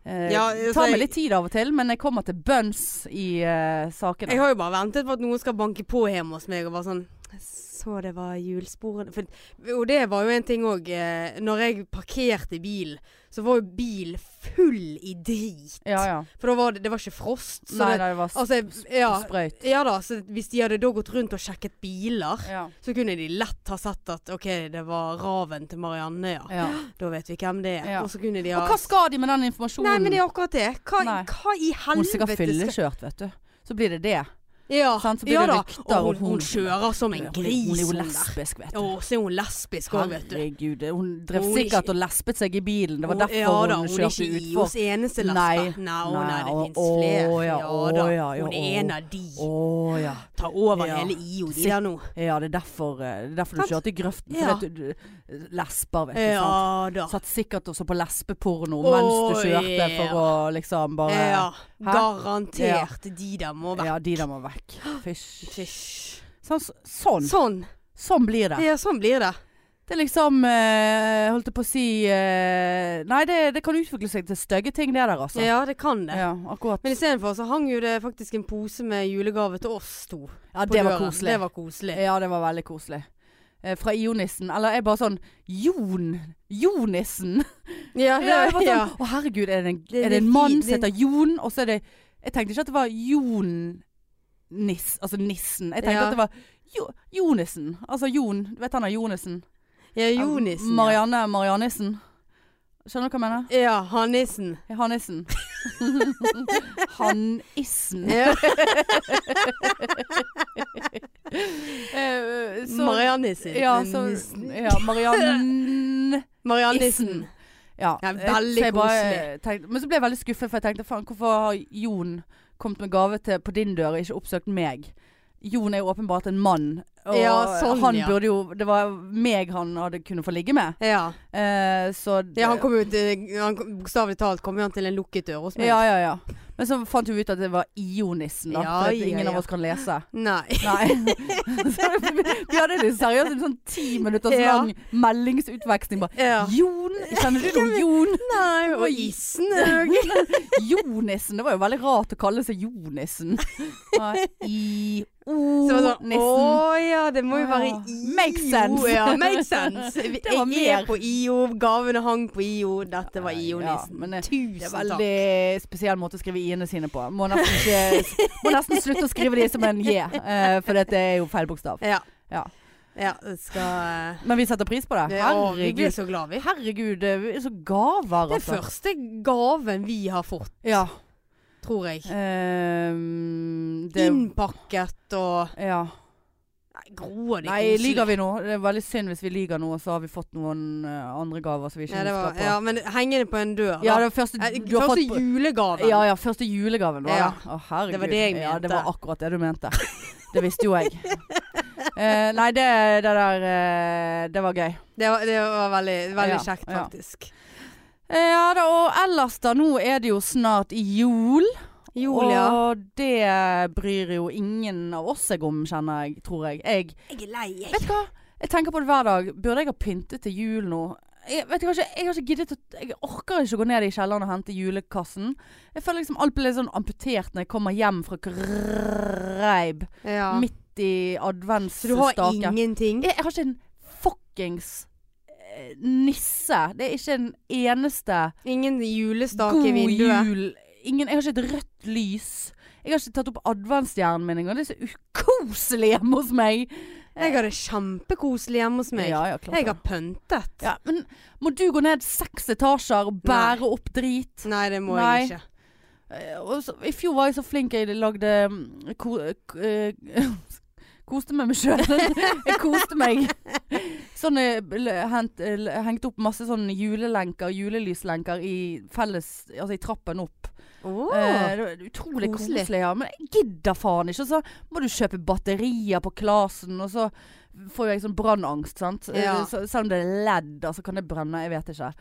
[SPEAKER 2] eh,
[SPEAKER 1] Ja, altså,
[SPEAKER 2] tar
[SPEAKER 1] jeg-
[SPEAKER 2] meg litt tid av og til, men jeg kommer til bunns i eh, sakene.
[SPEAKER 1] Jeg har jo bare ventet på at noen skal banke på hjemme hos meg og bare sånn «Jeg Så det var hjulsporene For, Og det var jo en ting òg. Eh, når jeg parkerte bilen, så var jo bilen full i drit.
[SPEAKER 2] Ja, ja.
[SPEAKER 1] For da var det, det var ikke frost. Så
[SPEAKER 2] Nei,
[SPEAKER 1] det,
[SPEAKER 2] nei, det var s-
[SPEAKER 1] altså, jeg- ja,
[SPEAKER 2] sprøyt.
[SPEAKER 1] ja da, så hvis de hadde da gått rundt og sjekket biler,
[SPEAKER 2] Ja.
[SPEAKER 1] så kunne de lett ha sett at OK, det var raven til Marianne, ja.
[SPEAKER 2] Ja.
[SPEAKER 1] Da vet vi hvem det er.
[SPEAKER 2] Ja.
[SPEAKER 1] Og så kunne de ha
[SPEAKER 2] Og hva skal de med den informasjonen?
[SPEAKER 1] Nei, men det er akkurat det. Hva,
[SPEAKER 2] Nei.
[SPEAKER 1] hva i
[SPEAKER 2] hun er sikkert
[SPEAKER 1] helvete skal
[SPEAKER 2] fyllekjørt, vet du. Så blir det det.
[SPEAKER 1] Ja,
[SPEAKER 2] Sant, så blir
[SPEAKER 1] ja
[SPEAKER 2] det
[SPEAKER 1] da.
[SPEAKER 2] rykter
[SPEAKER 1] Og
[SPEAKER 2] om
[SPEAKER 1] hun, hun
[SPEAKER 2] hun-
[SPEAKER 1] kjører som en gris.
[SPEAKER 2] hun er jo
[SPEAKER 1] hun der.
[SPEAKER 2] lesbisk, vet
[SPEAKER 1] Ja,
[SPEAKER 2] du.
[SPEAKER 1] Og så er hun lesbisk òg, vet du.
[SPEAKER 2] Herregud. Hun drev
[SPEAKER 1] Hun er
[SPEAKER 2] sikkert og lespet seg i bilen. Det var
[SPEAKER 1] Hun-
[SPEAKER 2] derfor
[SPEAKER 1] ja, da,
[SPEAKER 2] hun
[SPEAKER 1] Hun er
[SPEAKER 2] kjørte
[SPEAKER 1] ikke
[SPEAKER 2] utfor.
[SPEAKER 1] IOs eneste lesbe.
[SPEAKER 2] Nei.
[SPEAKER 1] Nei, å,
[SPEAKER 2] Nei,
[SPEAKER 1] nei, det
[SPEAKER 2] å,
[SPEAKER 1] fins flere.
[SPEAKER 2] å, ja,
[SPEAKER 1] ja,
[SPEAKER 2] å,
[SPEAKER 1] da.
[SPEAKER 2] ja, ja,
[SPEAKER 1] hun er
[SPEAKER 2] å.
[SPEAKER 1] en av de.
[SPEAKER 2] Å ja.
[SPEAKER 1] Ta over
[SPEAKER 2] Ja.
[SPEAKER 1] hele IO, de
[SPEAKER 2] Sitt-
[SPEAKER 1] der nå.
[SPEAKER 2] Ja, det er derfor, eh, det er derfor du
[SPEAKER 1] Sant?
[SPEAKER 2] kjørte i grøften.
[SPEAKER 1] Ja.
[SPEAKER 2] Fordi at du, du lesber, vet du. sant?
[SPEAKER 1] Ja da.
[SPEAKER 2] Satt sikkert også på lesbeporno mens du
[SPEAKER 1] Å,
[SPEAKER 2] kjørte for å liksom bare
[SPEAKER 1] Ja,
[SPEAKER 2] Hæ?
[SPEAKER 1] garantert. De der må være
[SPEAKER 2] Ja, de der må vekk. Fysj.
[SPEAKER 1] Fysj.
[SPEAKER 2] Sånn, sånn.
[SPEAKER 1] Sånn.
[SPEAKER 2] Sånn blir det.
[SPEAKER 1] Ja, sånn blir det.
[SPEAKER 2] Det er liksom eh, Holdt jeg på å si eh, Nei, det, det kan utvikle seg til stygge ting, det der, altså.
[SPEAKER 1] Ja, det kan det.
[SPEAKER 2] Ja, akkurat.
[SPEAKER 1] Men istedenfor så hang jo det faktisk en pose med julegave til oss to.
[SPEAKER 2] Ja,
[SPEAKER 1] på
[SPEAKER 2] det var
[SPEAKER 1] døren.
[SPEAKER 2] koselig.
[SPEAKER 1] Det var koselig.
[SPEAKER 2] Eh, Ja, det var veldig koselig. Eh, fra Ionissen. Eller jeg bare sånn Jon! Jonissen! Ja,
[SPEAKER 1] Ja, det,
[SPEAKER 2] jeg var sånn,
[SPEAKER 1] ja.
[SPEAKER 2] Å herregud, er det en,
[SPEAKER 1] Det-
[SPEAKER 2] er
[SPEAKER 1] det
[SPEAKER 2] det
[SPEAKER 1] er
[SPEAKER 2] en mann
[SPEAKER 1] fin-
[SPEAKER 2] som heter Jon? Og så er det Jeg tenkte ikke at det var Jon Niss, altså nissen. Jeg tenkte
[SPEAKER 1] Ja.
[SPEAKER 2] at det var jo, Jonissen. Altså Jon. Du vet han er Jonissen?
[SPEAKER 1] ja Jonissen. ja.
[SPEAKER 2] Marianne Marianissen. Skjønner du hva jeg mener?
[SPEAKER 1] Ja, Hannissen.
[SPEAKER 2] Hannissen. Hannissen.
[SPEAKER 1] Ja,
[SPEAKER 2] Eh, så-
[SPEAKER 1] Mariannissen.
[SPEAKER 2] Ja, så,
[SPEAKER 1] Nissen.
[SPEAKER 2] ja Marianne
[SPEAKER 1] Mariannissen.
[SPEAKER 2] Ja,
[SPEAKER 1] Ja,
[SPEAKER 2] eh,
[SPEAKER 1] veldig
[SPEAKER 2] så jeg eh, tenkte, men så ble jeg veldig skuffet, for jeg tenkte faen, hvorfor har Jon kommet med gave til, på din dør og ikke oppsøkt meg? Jon er jo åpenbart en mann, og
[SPEAKER 1] Ja, sånn,
[SPEAKER 2] han
[SPEAKER 1] ja.
[SPEAKER 2] burde jo Det var meg han hadde kunne få ligge med.
[SPEAKER 1] Ja.
[SPEAKER 2] Eh, så
[SPEAKER 1] ja, han kom jo til han kom- Bokstavelig talt kom jo han til en lukket dør hos meg.
[SPEAKER 2] ja, ja, ja. Men så fant vi ut at det var Ionissen, da.
[SPEAKER 1] Ja,
[SPEAKER 2] for at
[SPEAKER 1] ja,
[SPEAKER 2] ingen
[SPEAKER 1] ja.
[SPEAKER 2] av oss kan lese.
[SPEAKER 1] Nei.
[SPEAKER 2] Nei. så vi, vi hadde det seriøst en sånn ti minutters
[SPEAKER 1] Ja.
[SPEAKER 2] lang meldingsutveksling. Bare
[SPEAKER 1] Ja.
[SPEAKER 2] Jon! Kjenner du noe Jon?
[SPEAKER 1] Nei, og isen òg.
[SPEAKER 2] Jonissen. Det var jo veldig rart å kalle seg Jonissen. Ja,
[SPEAKER 1] Så var det sånn,
[SPEAKER 2] I-O-nissen.
[SPEAKER 1] Å ja, det må jo
[SPEAKER 2] Å,
[SPEAKER 1] være
[SPEAKER 2] ja.
[SPEAKER 1] IO.
[SPEAKER 2] Makes sense.
[SPEAKER 1] Ja, make sense. Jeg
[SPEAKER 2] var mer.
[SPEAKER 1] er på IO, gavene hang på IO, dette var
[SPEAKER 2] Ja,
[SPEAKER 1] IO-nissen.
[SPEAKER 2] men det- Det er
[SPEAKER 1] Tusen takk.
[SPEAKER 2] veldig spesiell måte å skrive i-ene sine på. Må nesten, ikke, må nesten slutte å skrive de som en j, eh, for det er jo feil bokstav.
[SPEAKER 1] Ja.
[SPEAKER 2] Ja.
[SPEAKER 1] ja det skal
[SPEAKER 2] Men vi setter pris på det.
[SPEAKER 1] det, Å, vi blir
[SPEAKER 2] Herregud,
[SPEAKER 1] så glad vi.
[SPEAKER 2] herregud eh, vi er så gaver,
[SPEAKER 1] Det er
[SPEAKER 2] altså.
[SPEAKER 1] første gaven vi har fått,
[SPEAKER 2] Ja.
[SPEAKER 1] tror jeg.
[SPEAKER 2] ehm, det,
[SPEAKER 1] Innpakket og
[SPEAKER 2] ja.
[SPEAKER 1] Nei, groer de
[SPEAKER 2] Nei, lyver vi nå? Det er veldig synd hvis vi lyver nå, og så har vi fått noen eh, andre gaver som vi ikke
[SPEAKER 1] Ja, det var,
[SPEAKER 2] husker på.
[SPEAKER 1] ja, men hengende på en dør. da.
[SPEAKER 2] Ja, det var første,
[SPEAKER 1] Eh,
[SPEAKER 2] du har
[SPEAKER 1] Første
[SPEAKER 2] fått på-
[SPEAKER 1] julegaven.
[SPEAKER 2] Ja, ja, første julegaven var
[SPEAKER 1] Ja.
[SPEAKER 2] det. Å, herregud.
[SPEAKER 1] Det var det jeg
[SPEAKER 2] Ja, det
[SPEAKER 1] mente.
[SPEAKER 2] var akkurat det du mente. Det visste jo jeg. Eh, nei, det, det der eh, Det var gøy.
[SPEAKER 1] Det, var, det var veldig,
[SPEAKER 2] Ja,
[SPEAKER 1] veldig kjekt,
[SPEAKER 2] ja.
[SPEAKER 1] faktisk.
[SPEAKER 2] Eh, Ja da, og ellers da, nå er det jo snart jul.
[SPEAKER 1] Jul, ja.
[SPEAKER 2] Og det bryr jo ingen av oss seg om, kjenner jeg, tror jeg. Jeg
[SPEAKER 1] Jeg er lei, jeg.
[SPEAKER 2] Vet du hva? Jeg tenker på det hver dag. Burde jeg ha pyntet til jul nå? Jeg, vet du, hva, jeg har ikke giddet å Jeg orker ikke å gå ned i kjelleren og hente julekassen. Jeg føler liksom alt blir litt sånn amputert når jeg kommer hjem fra Kreib
[SPEAKER 1] Ja.
[SPEAKER 2] midt i
[SPEAKER 1] Så du har
[SPEAKER 2] adventsstaken.
[SPEAKER 1] ingenting?
[SPEAKER 2] Jeg, jeg har ikke en fuckings eh, nisse. Det er ikke en eneste
[SPEAKER 1] Ingen julestake i
[SPEAKER 2] god
[SPEAKER 1] vinduet?
[SPEAKER 2] jul. Ingen, jeg har ikke et rødt lys. Jeg har ikke tatt opp adventsstjernen min engang. Det er så ukoselig hjemme hos meg.
[SPEAKER 1] Jeg har det kjempekoselig hjemme hos meg.
[SPEAKER 2] Ja, ja, klart
[SPEAKER 1] Jeg
[SPEAKER 2] det.
[SPEAKER 1] har pyntet.
[SPEAKER 2] Ja, men må du gå ned seks etasjer og bære opp drit?
[SPEAKER 1] Nei, det må
[SPEAKER 2] Nei.
[SPEAKER 1] jeg ikke.
[SPEAKER 2] Eh, og så, I fjor var jeg så flink jeg lagde mm, ko, eh, k- eh, Koste meg med meg sjøl. jeg koste meg Sånn, eh, l- hent, eh, l- hengt opp masse sånne julelenker, julelyslenker i felles Altså i trappen opp.
[SPEAKER 1] Åh.
[SPEAKER 2] Eh, det var utrolig
[SPEAKER 1] koselig.
[SPEAKER 2] koselig. ja. Men jeg gidder faen ikke. Så må du kjøpe batterier på Klasen, og så får jeg sånn brannangst, sant. Eh,
[SPEAKER 1] Ja.
[SPEAKER 2] Så, selv om det er ledd, altså kan det brenne, jeg vet ikke.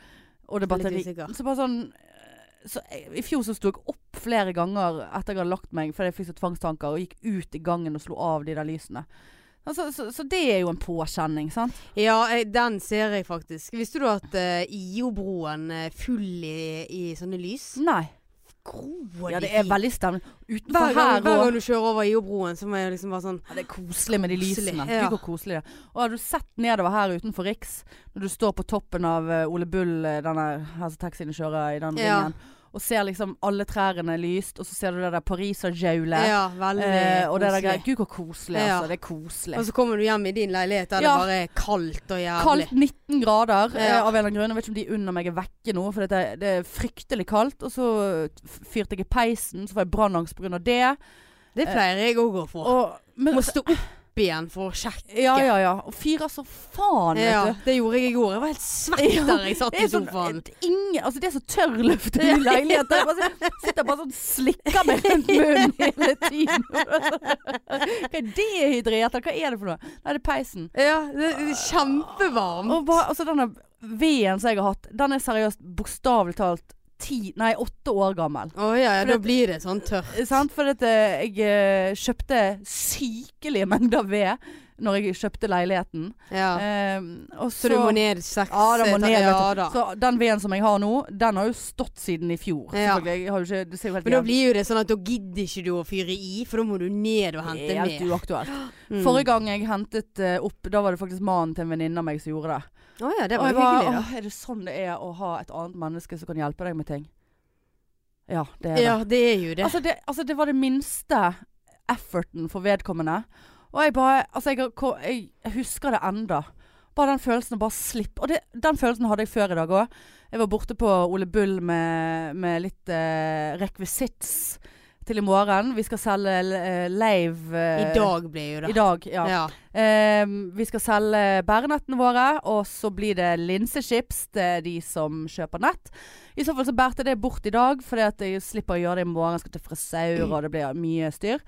[SPEAKER 2] Og det er
[SPEAKER 1] Jeg er
[SPEAKER 2] batteri.
[SPEAKER 1] litt usikker.
[SPEAKER 2] Så bare sånn eh, så jeg, I fjor så sto jeg opp flere ganger etter jeg hadde lagt meg fordi jeg fikk så tvangstanker, og gikk ut i gangen og slo av de der lysene. Altså, så, så det er jo en påkjenning, sant.
[SPEAKER 1] Ja, eh, den ser jeg faktisk. Visste du at eh, IO-broen er full i, i sånne lys?
[SPEAKER 2] Nei.
[SPEAKER 1] Gro,
[SPEAKER 2] Ja, det er veldig stemning.
[SPEAKER 1] Hver
[SPEAKER 2] Utenfor
[SPEAKER 1] gang,
[SPEAKER 2] her
[SPEAKER 1] hver
[SPEAKER 2] òg.
[SPEAKER 1] gang du kjører over IO-broen, så må jeg liksom bare sånn
[SPEAKER 2] Ja, det er koselig med de
[SPEAKER 1] Koselig,
[SPEAKER 2] lysene.
[SPEAKER 1] ja.
[SPEAKER 2] Gud, hvor koselig det er. Og har du sett nedover her utenfor Riks, når du står på toppen av eh, Ole Bull, eh, denne her som taxiene kjører i den
[SPEAKER 1] Ja.
[SPEAKER 2] ringen, og ser liksom alle trærne lyst, og så ser du det der pariserhjulet.
[SPEAKER 1] Ja, veldig
[SPEAKER 2] Eh, og det der
[SPEAKER 1] koselig.
[SPEAKER 2] greia. Gud, hvor koselig,
[SPEAKER 1] Ja.
[SPEAKER 2] altså. Det er koselig.
[SPEAKER 1] Og så kommer du hjem i din leilighet der
[SPEAKER 2] Ja.
[SPEAKER 1] det bare er kaldt og jævlig.
[SPEAKER 2] Kaldt 19 grader eh,
[SPEAKER 1] Ja.
[SPEAKER 2] av en eller annen grunn. Jeg vet ikke om de under meg er vekke nå, for det er, det er fryktelig kaldt. Og så f- fyrte jeg i peisen, så får jeg brannangst pga. det.
[SPEAKER 1] Det pleier jeg òg å gå for.
[SPEAKER 2] Og, men,
[SPEAKER 1] Må stå opp igjen for å sjekke.
[SPEAKER 2] ja, ja, ja. Og fyrer så faen, vet
[SPEAKER 1] Ja,
[SPEAKER 2] du.
[SPEAKER 1] det gjorde jeg i går. Jeg var helt svett
[SPEAKER 2] Ja,
[SPEAKER 1] der jeg satt
[SPEAKER 2] Det
[SPEAKER 1] i
[SPEAKER 2] er, sånn,
[SPEAKER 1] sofaen.
[SPEAKER 2] et- ingen, altså det er så tørrluft i min leilighet. Jeg bare sit- sitter bare sånn og slikker meg rundt munnen hele tiden. Hva er dehydrert? eller Hva er det for noe? Nei, det er peisen.
[SPEAKER 1] Ja, det det er kjempevarmt.
[SPEAKER 2] Og bare, altså denne veden som jeg har hatt, den er seriøst bokstavelig talt ti, nei, åtte år gammel.
[SPEAKER 1] Å ja, ja,
[SPEAKER 2] For
[SPEAKER 1] da
[SPEAKER 2] det-
[SPEAKER 1] blir det sånn tørt.
[SPEAKER 2] Eh, Sant? For at eh, jeg eh, kjøpte sykelige mengder ved når jeg kjøpte leiligheten.
[SPEAKER 1] Ja.
[SPEAKER 2] Eh, og
[SPEAKER 1] Så, du må ned seks
[SPEAKER 2] Ja, den må
[SPEAKER 1] eh,
[SPEAKER 2] ned. vet
[SPEAKER 1] ta- ja,
[SPEAKER 2] du.
[SPEAKER 1] da.
[SPEAKER 2] Så den veden som jeg har nå, den har jo stått siden i fjor.
[SPEAKER 1] Ja.
[SPEAKER 2] selvfølgelig. Jeg har jo ikke, det ser jo helt
[SPEAKER 1] Men da
[SPEAKER 2] jævlig-
[SPEAKER 1] blir jo det sånn at da gidder ikke du å fyre i, for da må du ned og hente
[SPEAKER 2] helt
[SPEAKER 1] mer.
[SPEAKER 2] uaktuelt.
[SPEAKER 1] Mm.
[SPEAKER 2] Forrige gang jeg hentet eh, opp, da var det faktisk mannen til en venninne av meg som gjorde det.
[SPEAKER 1] Å ja,
[SPEAKER 2] Og
[SPEAKER 1] det var
[SPEAKER 2] jeg
[SPEAKER 1] jo
[SPEAKER 2] bare,
[SPEAKER 1] hyggelig, da.
[SPEAKER 2] «Åh, Er det sånn det er å ha et annet menneske som kan hjelpe deg med ting? Ja, det er det.
[SPEAKER 1] Ja, det er jo det.
[SPEAKER 2] Altså, det. Altså, det var det minste efforten for vedkommende. Og jeg bare Altså, jeg, har ko- jeg husker det enda. Bare den følelsen å bare slippe Og det, den følelsen hadde jeg før i dag òg. Jeg var borte på Ole Bull med, med litt eh, rekvisits til i morgen. Vi skal selge eh, leiv eh,
[SPEAKER 1] I dag ble jo det.
[SPEAKER 2] I dag, ja.
[SPEAKER 1] Ja.
[SPEAKER 2] Eh, vi skal selge bærenettene våre, og så blir det linsechips til de som kjøper nett. I så fall så bærte jeg det bort i dag, fordi at jeg slipper å gjøre det i morgen. Jeg skal til frisør, og det blir mye styr.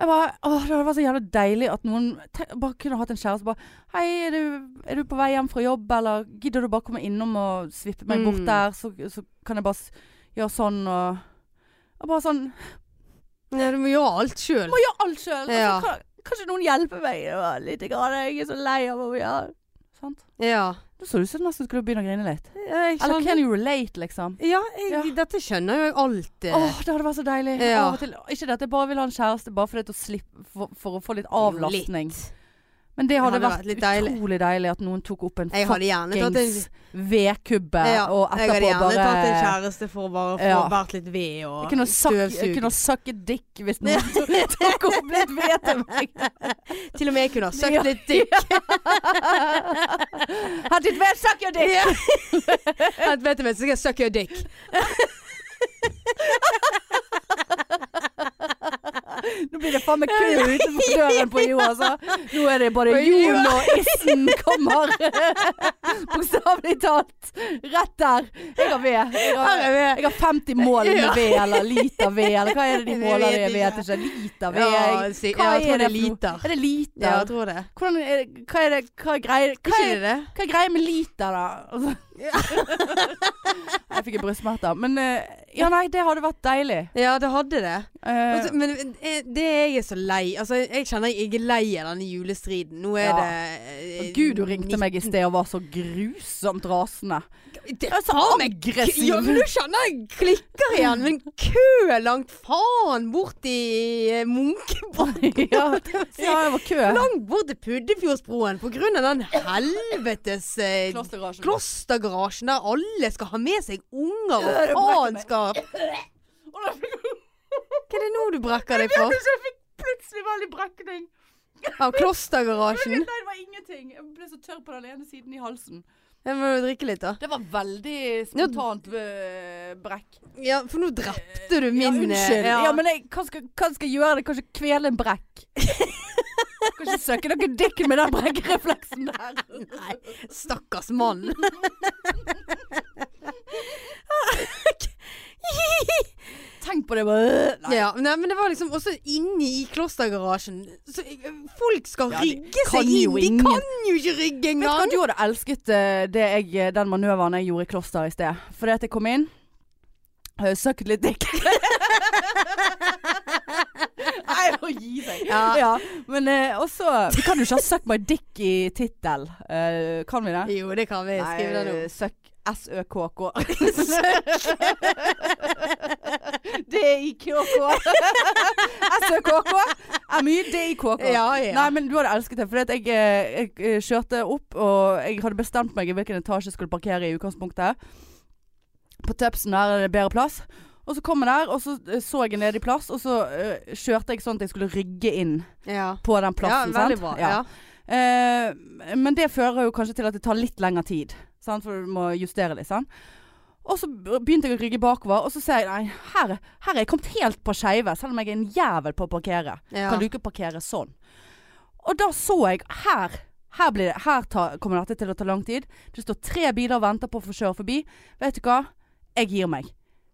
[SPEAKER 2] Jeg bare, åh, det var så jævlig deilig at noen te- bare kunne hatt en kjæreste bare Hei, er du, er du på vei hjem fra jobb, eller gidder du bare komme innom og svippe meg bort
[SPEAKER 1] Mm.
[SPEAKER 2] der, så, så kan jeg bare s- gjøre sånn og, og Bare sånn
[SPEAKER 1] ja, du må gjøre alt sjøl.
[SPEAKER 2] må gjøre alt sjøl. Altså,
[SPEAKER 1] Ja.
[SPEAKER 2] kan, kanskje noen hjelper meg ja, litt? Grann. Jeg er så lei av å gjøre Sant?
[SPEAKER 1] Ja.
[SPEAKER 2] Nå så du ut som nesten skulle begynne å grine litt.
[SPEAKER 1] Ja, Eh, jeg
[SPEAKER 2] Eller
[SPEAKER 1] skjønner.
[SPEAKER 2] can you relate, liksom?
[SPEAKER 1] Ja, jeg, dette skjønner jo jeg alt. eh.
[SPEAKER 2] Åh, det hadde vært så deilig.
[SPEAKER 1] Ja.
[SPEAKER 2] Av og til. Ikke det at jeg bare vil ha en kjæreste bare for, det å slippe, for, for å få litt avlastning.
[SPEAKER 1] Litt.
[SPEAKER 2] Men det hadde,
[SPEAKER 1] Det hadde vært
[SPEAKER 2] vært,
[SPEAKER 1] litt deilig.
[SPEAKER 2] utrolig deilig at noen tok opp en
[SPEAKER 1] Jeg hadde gjerne tatt en
[SPEAKER 2] fuckings vedkubbe
[SPEAKER 1] Ja,
[SPEAKER 2] og
[SPEAKER 1] Jeg hadde
[SPEAKER 2] etterpå
[SPEAKER 1] gjerne
[SPEAKER 2] bare
[SPEAKER 1] tatt en kjæreste for å bare få
[SPEAKER 2] Ja.
[SPEAKER 1] vært litt ved og
[SPEAKER 2] Jeg kunne suck- jeg kunne
[SPEAKER 1] støvsugd.
[SPEAKER 2] sucke dick hvis noen tok- tok opp litt ved til meg.
[SPEAKER 1] Til og med jeg kunne ha
[SPEAKER 2] Ja.
[SPEAKER 1] søkt litt dick.
[SPEAKER 2] Had it been suck your dick!
[SPEAKER 1] At, Vet du hva, så skal jeg suck your dick.
[SPEAKER 2] Nå blir det faen meg kø utenfor døren på Jo, altså. Nå er det bare
[SPEAKER 1] På Jo.
[SPEAKER 2] Jon og issen kommer. Bokstavelig talt. Rett der. Jeg har ved. Jeg har, jeg har 50 mål med
[SPEAKER 1] Ja.
[SPEAKER 2] ved, eller liter ved, eller hva er det de
[SPEAKER 1] Jeg
[SPEAKER 2] måler det
[SPEAKER 1] vet
[SPEAKER 2] Jeg vet ikke. Liter ved.
[SPEAKER 1] Ja,
[SPEAKER 2] Jeg-
[SPEAKER 1] si-
[SPEAKER 2] Hva
[SPEAKER 1] ja, jeg tror
[SPEAKER 2] er det for
[SPEAKER 1] det er
[SPEAKER 2] noe?
[SPEAKER 1] liter.
[SPEAKER 2] Er det liter?
[SPEAKER 1] Ja, jeg tror det.
[SPEAKER 2] Hvordan er det, hva er det Hva er greier hva
[SPEAKER 1] Ikke
[SPEAKER 2] er,
[SPEAKER 1] det det?
[SPEAKER 2] hva er greia med liter, da? Altså. jeg fikk jo brystsmerter. Men eh, ja, nei, det hadde vært deilig.
[SPEAKER 1] Ja, det hadde det.
[SPEAKER 2] Eh,
[SPEAKER 1] Og så- men eh, det jeg er så lei Altså, jeg kjenner jeg er lei av denne julestriden. Nå er
[SPEAKER 2] Ja.
[SPEAKER 1] det eh,
[SPEAKER 2] Gud, hun ringte meg i
[SPEAKER 1] 19
[SPEAKER 2] sted og var så grusomt rasende.
[SPEAKER 1] Det
[SPEAKER 2] Jeg er så aggressiv.
[SPEAKER 1] Altså, Ja, men du skjønner, jeg klikker igjen. Men kø langt faen bort i eh, Munkebotn.
[SPEAKER 2] Ja,
[SPEAKER 1] si.
[SPEAKER 2] ja, jeg var kø.
[SPEAKER 1] Langt bort til Puddefjordsbroen på grunn av den helvetes eh, klostergarasjen der alle skal ha med seg unger
[SPEAKER 2] Øh, jeg brekker
[SPEAKER 1] og
[SPEAKER 2] meg.
[SPEAKER 1] faenskap. Hva er det nå du brekker deg for?
[SPEAKER 2] Jeg fikk plutselig veldig brekning.
[SPEAKER 1] Av klostergarasjen?
[SPEAKER 2] det var ingenting. Jeg ble så tørr på den ene siden i halsen.
[SPEAKER 1] Jeg må jo drikke litt, da.
[SPEAKER 2] Det var veldig spontant øh, brekk.
[SPEAKER 1] Ja, for nå drepte du min
[SPEAKER 2] ja, unnskyld.
[SPEAKER 1] eh,
[SPEAKER 2] Ja, men jeg, hva, skal, hva skal jeg gjøre? Det kan ikke kvele en brekk. Kan ikke søke noe dick med den brekkerefleksen der.
[SPEAKER 1] Nei, stakkars mann.
[SPEAKER 2] Tenk på det bare Nei.
[SPEAKER 1] Ja, nei, men det var liksom også inne i klostergarasjen. Så, eh, folk skal
[SPEAKER 2] Ja, de
[SPEAKER 1] rygge
[SPEAKER 2] kan
[SPEAKER 1] seg inn.
[SPEAKER 2] jo
[SPEAKER 1] De
[SPEAKER 2] ingen-
[SPEAKER 1] kan jo ikke rygge
[SPEAKER 2] Vet du hva,
[SPEAKER 1] engang.
[SPEAKER 2] du hadde elsket eh, det jeg, eh, den manøveren jeg gjorde i kloster i sted. Fordi at jeg kom inn, eh, søkket litt dick. Nei, jeg må gi seg. Ja.
[SPEAKER 1] Ja.
[SPEAKER 2] Men eh, også Vi kan jo ikke ha 'suck my dick' i tittel. Eh, kan vi det?
[SPEAKER 1] Jo, det kan vi. Skriv det nå.
[SPEAKER 2] Nei, Søkk S-Ø-K-K. D-I-K-K. S-Ø-K-K. M-Y-D-I-K-K.
[SPEAKER 1] Ja, ja.
[SPEAKER 2] Nei, men du hadde elsket det. Fordi at jeg, eh, jeg eh, kjørte opp, og jeg hadde bestemt meg i hvilken etasje jeg skulle parkere i utgangspunktet. På Tøpsen der er det bedre plass. Og så kom jeg der, og så eh, så jeg en ledig plass, og så eh, kjørte jeg sånn at jeg skulle rygge inn
[SPEAKER 1] ja.
[SPEAKER 2] på den plassen.
[SPEAKER 1] ja, veldig
[SPEAKER 2] sant?
[SPEAKER 1] bra.
[SPEAKER 2] Ja.
[SPEAKER 1] Ja.
[SPEAKER 2] Eh, men det fører jo kanskje til at det tar litt lengre tid. Sant? For du må justere litt. Sant? Og så begynte jeg å rygge bakover, og så ser jeg nei, her, her er jeg kommet helt på skeive, selv om jeg er en jævel på å parkere.
[SPEAKER 1] Ja.
[SPEAKER 2] Kan du ikke parkere sånn? Og da så jeg her. Her, blir det, her ta, kommer dette til å ta lang tid. Det står tre biler og venter på å få kjøre forbi. Vet du hva? Jeg gir meg.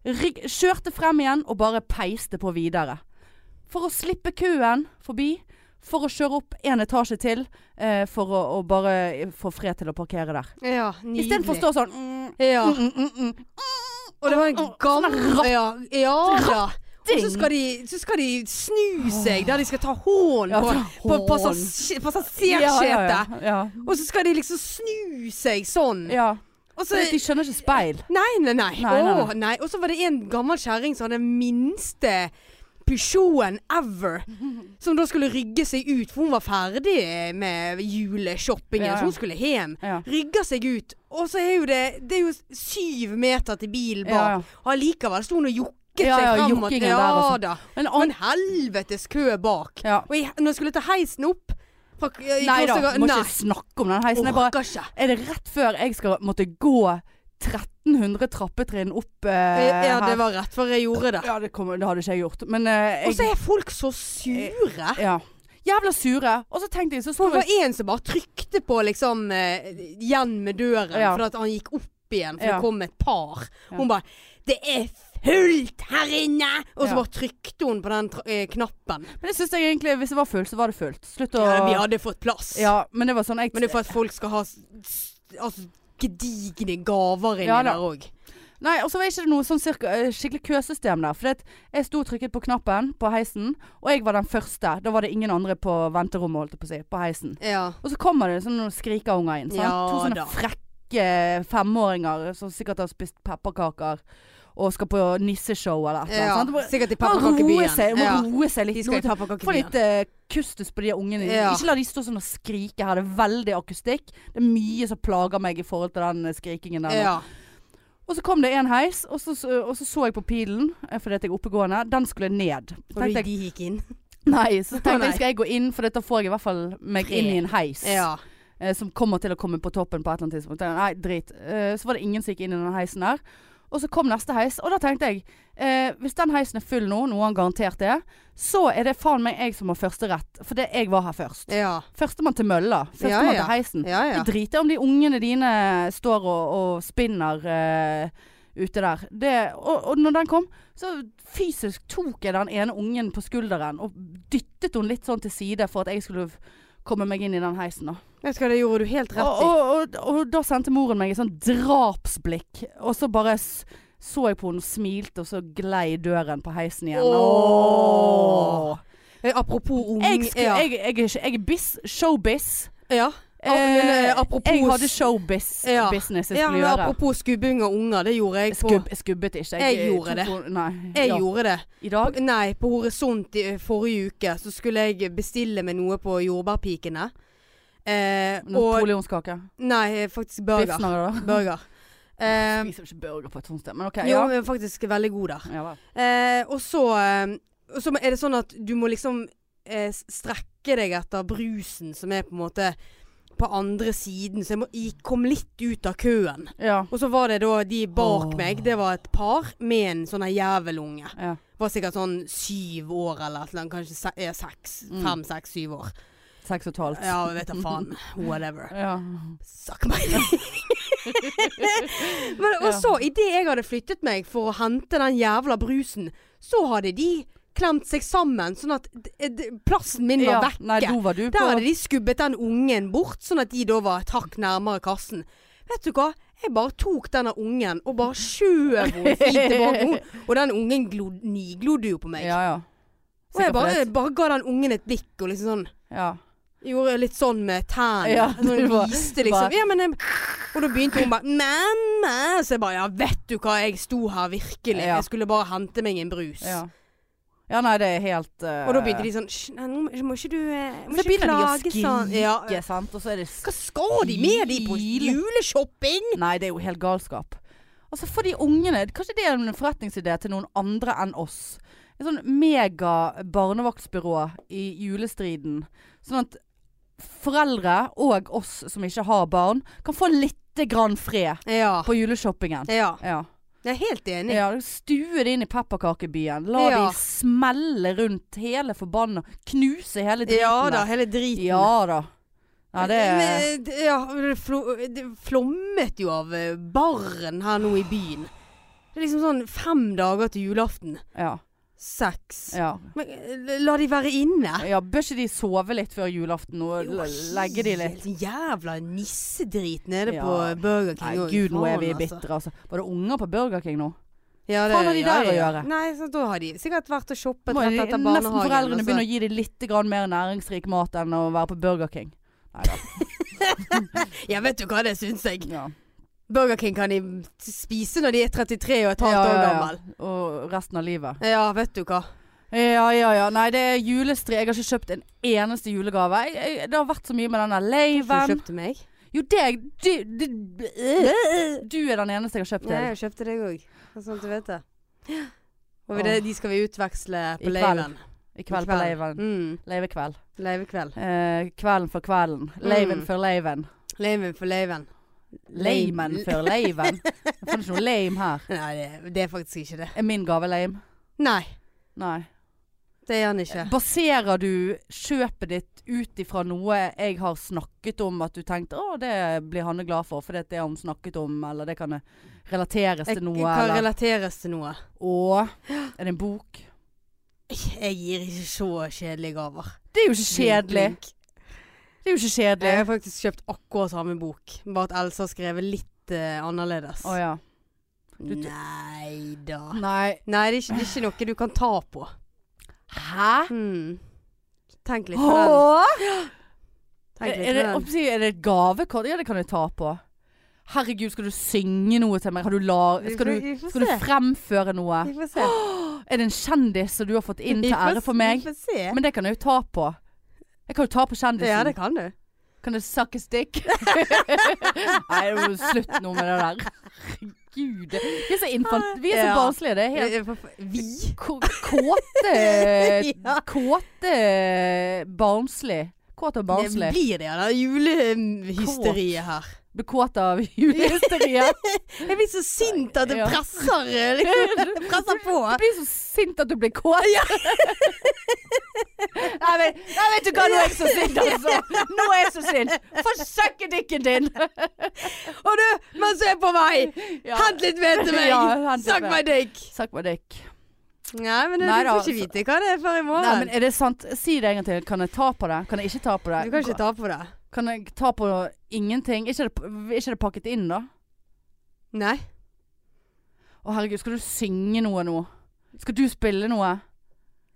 [SPEAKER 2] Rygg, kjørte frem igjen og bare peiste på videre. For å slippe køen forbi. For å kjøre opp en etasje til. Eh, for å, å bare få fred til å parkere der.
[SPEAKER 1] ja, nydelig.
[SPEAKER 2] Istedenfor å stå sånn mm,
[SPEAKER 1] Ja.
[SPEAKER 2] mm, mm, mm, mm.
[SPEAKER 1] Og det var en
[SPEAKER 2] Åh,
[SPEAKER 1] gammel ja, ja, ja. Og så
[SPEAKER 2] sånn ratting.
[SPEAKER 1] skal, de, så skal de snu seg der de skal ta hånd
[SPEAKER 2] Ja,
[SPEAKER 1] på,
[SPEAKER 2] ta
[SPEAKER 1] på
[SPEAKER 2] hånd.
[SPEAKER 1] passasj-
[SPEAKER 2] Ja,
[SPEAKER 1] passasjersetet.
[SPEAKER 2] ja, ja, ja.
[SPEAKER 1] Og så skal de liksom snu seg sånn.
[SPEAKER 2] ja.
[SPEAKER 1] Og så,
[SPEAKER 2] Så de skjønner ikke speil.
[SPEAKER 1] nei, nei, nei.
[SPEAKER 2] Nei, nei, nei.
[SPEAKER 1] Åh, nei. Og så var det en gammel kjerring som hadde den minste Peugeoten ever. Som da skulle rygge seg ut, for hun var ferdig med juleshoppingen.
[SPEAKER 2] Ja, ja.
[SPEAKER 1] Så hun skulle hjem.
[SPEAKER 2] Ja.
[SPEAKER 1] Rygger seg ut, og så er jo det Det er jo syv meter til bilen bak.
[SPEAKER 2] Ja, ja.
[SPEAKER 1] Og allikevel sto hun og jokket
[SPEAKER 2] Ja, ja,
[SPEAKER 1] seg frem. og-
[SPEAKER 2] jokkingen
[SPEAKER 1] ja,
[SPEAKER 2] der, altså.
[SPEAKER 1] da.
[SPEAKER 2] En
[SPEAKER 1] Og
[SPEAKER 2] annen
[SPEAKER 1] en helvetes kø bak.
[SPEAKER 2] ja.
[SPEAKER 1] Og jeg, når jeg skulle ta heisen opp fra, eh, i
[SPEAKER 2] Nei da,
[SPEAKER 1] Klosterga-
[SPEAKER 2] må
[SPEAKER 1] nei,
[SPEAKER 2] ikke snakke om den heisen. Jeg bare,
[SPEAKER 1] orker ikke.
[SPEAKER 2] er det rett før jeg skal måtte gå 1300 trappetrinn opp eh,
[SPEAKER 1] Ja, det
[SPEAKER 2] her?
[SPEAKER 1] var rett før jeg gjorde det.
[SPEAKER 2] Ja, det, kommer- det hadde ikke jeg gjort. Men eh,
[SPEAKER 1] Og så
[SPEAKER 2] jeg Eh,
[SPEAKER 1] er folk så sure.
[SPEAKER 2] ja. Jævla sure. Og så tenkte jeg, så sto
[SPEAKER 1] For det
[SPEAKER 2] jeg
[SPEAKER 1] var en som bare trykte på liksom eh, igjen med døren,
[SPEAKER 2] Ja.
[SPEAKER 1] for at han gikk opp igjen, for
[SPEAKER 2] Ja.
[SPEAKER 1] det kom et par.
[SPEAKER 2] Ja.
[SPEAKER 1] Hun bare 'Det er fullt her inne!' Og så
[SPEAKER 2] Ja.
[SPEAKER 1] bare trykte hun på den tra eh, knappen.
[SPEAKER 2] Men det syns jeg egentlig, hvis det var fullt, så var det fullt. Slutt å
[SPEAKER 1] Ja, vi hadde fått plass.
[SPEAKER 2] Ja, men det var sånn jeg,
[SPEAKER 1] Men det er for at folk skal ha s- s- altså, gedigne gaver inni
[SPEAKER 2] Ja da.
[SPEAKER 1] der òg.
[SPEAKER 2] Nei, og så var ikke det noe sånn cirka, eh, skikkelig køsystem der. For jeg sto og trykket på knappen på heisen, og jeg var den første. Da var det ingen andre på venterommet, holdt jeg på å si, på heisen.
[SPEAKER 1] Ja.
[SPEAKER 2] Og så kommer det sånne skrikerunger inn. Sant?
[SPEAKER 1] Ja
[SPEAKER 2] to sånne
[SPEAKER 1] da.
[SPEAKER 2] frekke femåringer som sikkert har spist pepperkaker og skal på nisseshow eller et eller
[SPEAKER 1] ja.
[SPEAKER 2] annet. sant?
[SPEAKER 1] Sikkert i
[SPEAKER 2] Bare roe
[SPEAKER 1] pepperkakebyen.
[SPEAKER 2] seg, må
[SPEAKER 1] Ja.
[SPEAKER 2] roe seg litt.
[SPEAKER 1] De skal i
[SPEAKER 2] Roe- Få
[SPEAKER 1] pepperkakebyen.
[SPEAKER 2] litt eh, kustus på de ungene.
[SPEAKER 1] Ja.
[SPEAKER 2] Ikke la de stå sånn og skrike her. Det er veldig akustikk. Det er mye som plager meg i forhold til den eh, skrikingen der. nå.
[SPEAKER 1] Ja.
[SPEAKER 2] Og så kom det en heis, og så, og så så jeg på pilen eh, fordi at jeg er oppegående. Den skulle ned.
[SPEAKER 1] Og
[SPEAKER 2] Tenkte jeg,
[SPEAKER 1] de gikk inn.
[SPEAKER 2] nei, så
[SPEAKER 1] Å,
[SPEAKER 2] tenkte
[SPEAKER 1] nei.
[SPEAKER 2] jeg skal jeg gå inn, for da får jeg i hvert fall meg
[SPEAKER 1] Tre.
[SPEAKER 2] inn i en heis
[SPEAKER 1] Ja.
[SPEAKER 2] eh, som kommer til å komme på toppen på et eller annet tidspunkt. Tenkte jeg, Nei, drit. Eh, så var det ingen som gikk inn i den heisen der. Og så kom neste heis, og da tenkte jeg eh, hvis den heisen er full nå, noe han garantert er, så er det faen meg jeg som har førsterett, fordi jeg var her først.
[SPEAKER 1] Ja.
[SPEAKER 2] Førstemann til mølla. Førstemann til heisen.
[SPEAKER 1] Ja, ja.
[SPEAKER 2] Det driter om de ungene dine står og, og spinner eh, ute der. Det, og, og når den kom, så fysisk tok jeg den ene ungen på skulderen og dyttet hun litt sånn til side for at jeg skulle komme meg inn i den heisen. Da.
[SPEAKER 1] Vet du hva, det gjorde du helt rett
[SPEAKER 2] Og,
[SPEAKER 1] i.
[SPEAKER 2] og, og, og da sendte moren meg et sånn drapsblikk, og så bare s så jeg på henne og smilte, og så glei døren på heisen igjen.
[SPEAKER 1] Åh.
[SPEAKER 2] Åh.
[SPEAKER 1] Eh, Apropos ung
[SPEAKER 2] Jeg, sku,
[SPEAKER 1] ja.
[SPEAKER 2] jeg, jeg, er ikke- jeg er bis, showbiz.
[SPEAKER 1] ja. Ah, men, eh, apropos-
[SPEAKER 2] Jeg hadde showbiz
[SPEAKER 1] Ja.
[SPEAKER 2] business jeg
[SPEAKER 1] Ja,
[SPEAKER 2] skulle
[SPEAKER 1] men
[SPEAKER 2] gjøre.
[SPEAKER 1] apropos skubbing av unger, det gjorde jeg på
[SPEAKER 2] Skubb, skubbet ikke.
[SPEAKER 1] Jeg gjorde
[SPEAKER 2] tok på- Nei.
[SPEAKER 1] Jeg
[SPEAKER 2] ja.
[SPEAKER 1] gjorde det.
[SPEAKER 2] I dag?
[SPEAKER 1] Nei, på Horisont i eh, forrige uke så skulle jeg bestille meg noe på Jordbærpikene. Eh, og
[SPEAKER 2] Napoleonskake.
[SPEAKER 1] Nei, eh, faktisk burger.
[SPEAKER 2] Biffsnarrer. da.
[SPEAKER 1] burger. Eh,
[SPEAKER 2] Spiser ikke burger på et sånt sted, men OK.
[SPEAKER 1] jo,
[SPEAKER 2] Ja.
[SPEAKER 1] men faktisk veldig god der.
[SPEAKER 2] ja vel.
[SPEAKER 1] Eh, og så eh, og så er det sånn at du må liksom eh, strekke deg etter brusen som er på en måte på andre siden, så jeg, må, jeg kom litt ut av køen.
[SPEAKER 2] Ja.
[SPEAKER 1] Og så var det da de bak
[SPEAKER 2] Åh.
[SPEAKER 1] meg, det var et par med en sånn her jævelunge.
[SPEAKER 2] ja.
[SPEAKER 1] Var sikkert sånn syv år eller et eller annet, kanskje se, eh, seks,
[SPEAKER 2] Mm.
[SPEAKER 1] fem, seks, syv år.
[SPEAKER 2] Seks og et halvt.
[SPEAKER 1] Ja, vet da faen. Whatever.
[SPEAKER 2] Ja.
[SPEAKER 1] Suck my dick. Men, og
[SPEAKER 2] Ja.
[SPEAKER 1] så, idet jeg hadde flyttet meg for å hente den jævla brusen, så hadde de klemt seg sammen, sånn at d- d- plassen min var
[SPEAKER 2] Ja,
[SPEAKER 1] vekke.
[SPEAKER 2] Nei, da var du på
[SPEAKER 1] Der hadde de skubbet den ungen bort, sånn at de da var et hakk nærmere kassen. Vet du hva? Jeg bare tok denne ungen og bare skjøv henne fint tilbake. Hun- Og den ungen glod, niglodde jo på meg.
[SPEAKER 2] Ja, ja.
[SPEAKER 1] og jeg
[SPEAKER 2] Sikker på
[SPEAKER 1] bare,
[SPEAKER 2] det.
[SPEAKER 1] bare ga den ungen et blikk og liksom sånn
[SPEAKER 2] Ja.
[SPEAKER 1] Gjorde litt sånn med tærne.
[SPEAKER 2] Ja,
[SPEAKER 1] sånn
[SPEAKER 2] du var-
[SPEAKER 1] viste liksom.
[SPEAKER 2] bare-
[SPEAKER 1] Ja, men jeg, og da begynte hun bare Mamma! Så jeg bare Ja, vet du hva, jeg sto her virkelig.
[SPEAKER 2] Ja.
[SPEAKER 1] Jeg skulle bare hente meg en brus.
[SPEAKER 2] ja. Ja, nei, det er helt eh,
[SPEAKER 1] Og da begynte de sånn «Hysj, nei, nå må- Må ikke du eh, Må
[SPEAKER 2] Så begynner
[SPEAKER 1] ikke
[SPEAKER 2] de å
[SPEAKER 1] klage sånn.
[SPEAKER 2] skrike,
[SPEAKER 1] Ja,
[SPEAKER 2] sant. Og så er det
[SPEAKER 1] Hva skal de med de på
[SPEAKER 2] Stil.
[SPEAKER 1] juleshopping?
[SPEAKER 2] Nei, det er jo helt galskap. Altså for de ungene, kanskje det er en forretningsidé til noen andre enn oss. Et sånn mega barnevaktsbyrå i julestriden. Sånn at foreldre og oss som ikke har barn, kan få litt grann fred
[SPEAKER 1] Ja.
[SPEAKER 2] på juleshoppingen.
[SPEAKER 1] ja.
[SPEAKER 2] Ja.
[SPEAKER 1] Jeg er helt enig.
[SPEAKER 2] ja stue det inn i pepperkakebyen. La
[SPEAKER 1] Ja.
[SPEAKER 2] de smelle rundt hele forbanna. Knuse hele driten.
[SPEAKER 1] Ja
[SPEAKER 2] der.
[SPEAKER 1] da, hele driten.
[SPEAKER 2] Ja da. Nei, det er
[SPEAKER 1] Men, eh, ja, det, flo det flommet jo av eh, barren her nå i byen. Det er liksom sånn fem dager til julaften.
[SPEAKER 2] Ja.
[SPEAKER 1] Seks.
[SPEAKER 2] ja.
[SPEAKER 1] Men eh, la de være inne.
[SPEAKER 2] Ja, Bør ikke de sove litt før julaften og
[SPEAKER 1] Jo,
[SPEAKER 2] le- legge de litt?
[SPEAKER 1] helt Jævla nissedrit nede
[SPEAKER 2] Ja.
[SPEAKER 1] på Burger
[SPEAKER 2] Nei,
[SPEAKER 1] King. og-
[SPEAKER 2] gud, nå er
[SPEAKER 1] faen,
[SPEAKER 2] vi
[SPEAKER 1] altså.
[SPEAKER 2] bitre, altså. Var det unger på Burger King nå?
[SPEAKER 1] Ja,
[SPEAKER 2] Faen har de der å gjøre?
[SPEAKER 1] Nei, så da har de sikkert vært og shoppet
[SPEAKER 2] Må
[SPEAKER 1] rett
[SPEAKER 2] de,
[SPEAKER 1] etter
[SPEAKER 2] nesten
[SPEAKER 1] barnehagen. altså.
[SPEAKER 2] foreldrene
[SPEAKER 1] og så-
[SPEAKER 2] begynner å gi dem litt grann mer næringsrik mat enn å være på Burger King. Nei da.
[SPEAKER 1] Ja, vet du hva, det syns jeg.
[SPEAKER 2] Ja.
[SPEAKER 1] Burger King kan de spise når de er 33 og et halvt
[SPEAKER 2] Ja,
[SPEAKER 1] år
[SPEAKER 2] ja, ja.
[SPEAKER 1] gammel.
[SPEAKER 2] Og resten av livet.
[SPEAKER 1] Ja, vet du hva.
[SPEAKER 2] Ja, ja, ja. Nei, det er julestri. Jeg har ikke kjøpt en eneste julegave. Jeg, jeg, det har vært så mye med denne
[SPEAKER 1] Du
[SPEAKER 2] laven.
[SPEAKER 1] kjøpte meg?
[SPEAKER 2] Jo, deg du, du, du er den eneste jeg har kjøpt
[SPEAKER 1] Ja,
[SPEAKER 2] til.
[SPEAKER 1] jeg kjøpte deg òg. Sånn at du vet det. Og det, de skal vi utveksle på
[SPEAKER 2] I kveld.
[SPEAKER 1] leiven.
[SPEAKER 2] I kveld på laven.
[SPEAKER 1] Mm,
[SPEAKER 2] Lavekveld.
[SPEAKER 1] leivekveld.
[SPEAKER 2] Eh, kvelden for kvelden. Laven
[SPEAKER 1] Mm.
[SPEAKER 2] for laven.
[SPEAKER 1] Leiven for leiven.
[SPEAKER 2] Lamen
[SPEAKER 1] Lame.
[SPEAKER 2] før laven. Jeg fant ikke noe lame her.
[SPEAKER 1] Nei, det, det er faktisk ikke det.
[SPEAKER 2] Er min gave lame?
[SPEAKER 1] Nei,
[SPEAKER 2] Nei.
[SPEAKER 1] det er han ikke.
[SPEAKER 2] Baserer du kjøpet ditt ut ifra noe jeg har snakket om, at du tenkte å, det blir Hanne glad for, for det er det hun snakket om, eller det kan relateres
[SPEAKER 1] Jeg
[SPEAKER 2] til noe,
[SPEAKER 1] kan
[SPEAKER 2] eller
[SPEAKER 1] relateres til noe.
[SPEAKER 2] Å, er det en bok?
[SPEAKER 1] Jeg gir ikke så kjedelige gaver.
[SPEAKER 2] Det er jo ikke kjedelig.
[SPEAKER 1] Blink, blink.
[SPEAKER 2] Det er jo ikke kjedelig.
[SPEAKER 1] Jeg har faktisk kjøpt akkurat samme bok, bare at Else har skrevet litt eh, annerledes.
[SPEAKER 2] Å ja. Du-
[SPEAKER 1] Nei da.
[SPEAKER 2] Nei.
[SPEAKER 1] Nei, det er, ikke, det er ikke noe du kan ta på.
[SPEAKER 2] Hæ?
[SPEAKER 1] Hmm. Tenk litt på den.
[SPEAKER 2] Åh!
[SPEAKER 1] Tenk
[SPEAKER 2] Er-
[SPEAKER 1] litt
[SPEAKER 2] Er det,
[SPEAKER 1] på den.
[SPEAKER 2] oppsi- er det et gavekort? Ja, det kan jeg ta på. Herregud, skal du synge noe til meg? Har du la,
[SPEAKER 1] Vi
[SPEAKER 2] skal,
[SPEAKER 1] får-
[SPEAKER 2] du,
[SPEAKER 1] vi får
[SPEAKER 2] skal du
[SPEAKER 1] se.
[SPEAKER 2] fremføre noe?
[SPEAKER 1] Vi får se.
[SPEAKER 2] Er det en kjendis som du har fått inn til
[SPEAKER 1] Vi får-
[SPEAKER 2] ære for meg?
[SPEAKER 1] Vi får se.
[SPEAKER 2] Men det kan jeg jo ta på. Jeg kan jo ta på kjendisen.
[SPEAKER 1] Ja, det kan du.
[SPEAKER 2] Kan det suckes dick? Nei, det må jo slutt nå med det der. Herregud. Vi er så, infant, vi er så
[SPEAKER 1] Ja.
[SPEAKER 2] barnslige. Det er helt
[SPEAKER 1] Eh, Vi?
[SPEAKER 2] K- kåte
[SPEAKER 1] Ja.
[SPEAKER 2] Kåte barnslig. Kåt og
[SPEAKER 1] Det
[SPEAKER 2] barnslig.
[SPEAKER 1] blir det av det julehysteriet her.
[SPEAKER 2] Blir kåt av julehysteriet.
[SPEAKER 1] Jeg blir så sint at det
[SPEAKER 2] Ja.
[SPEAKER 1] presser, liksom. det presser på.
[SPEAKER 2] Du blir så sint at du blir kåt. nei, men, nei, vet du hva, nå er jeg så sint, altså. Nå er jeg så sint. Få søkkedikken din.
[SPEAKER 1] Og du, mens jeg er på vei, hent litt ved til meg.
[SPEAKER 2] Ja, hent litt
[SPEAKER 1] Suck
[SPEAKER 2] ved.
[SPEAKER 1] my dick.
[SPEAKER 2] Suck my dick.
[SPEAKER 1] Nei, men
[SPEAKER 2] Nei
[SPEAKER 1] du
[SPEAKER 2] da, altså.
[SPEAKER 1] får ikke vite hva det er før i
[SPEAKER 2] Nei, men
[SPEAKER 1] morgen.
[SPEAKER 2] er det sant? Si det en gang til. Kan jeg ta på det? Kan jeg ikke ta på det?
[SPEAKER 1] Du kan ikke ta på det.
[SPEAKER 2] Kan jeg ta på ingenting? Er ikke det, er ikke det pakket inn, da?
[SPEAKER 1] Nei.
[SPEAKER 2] Å herregud, skal du synge noe nå? Skal du spille noe?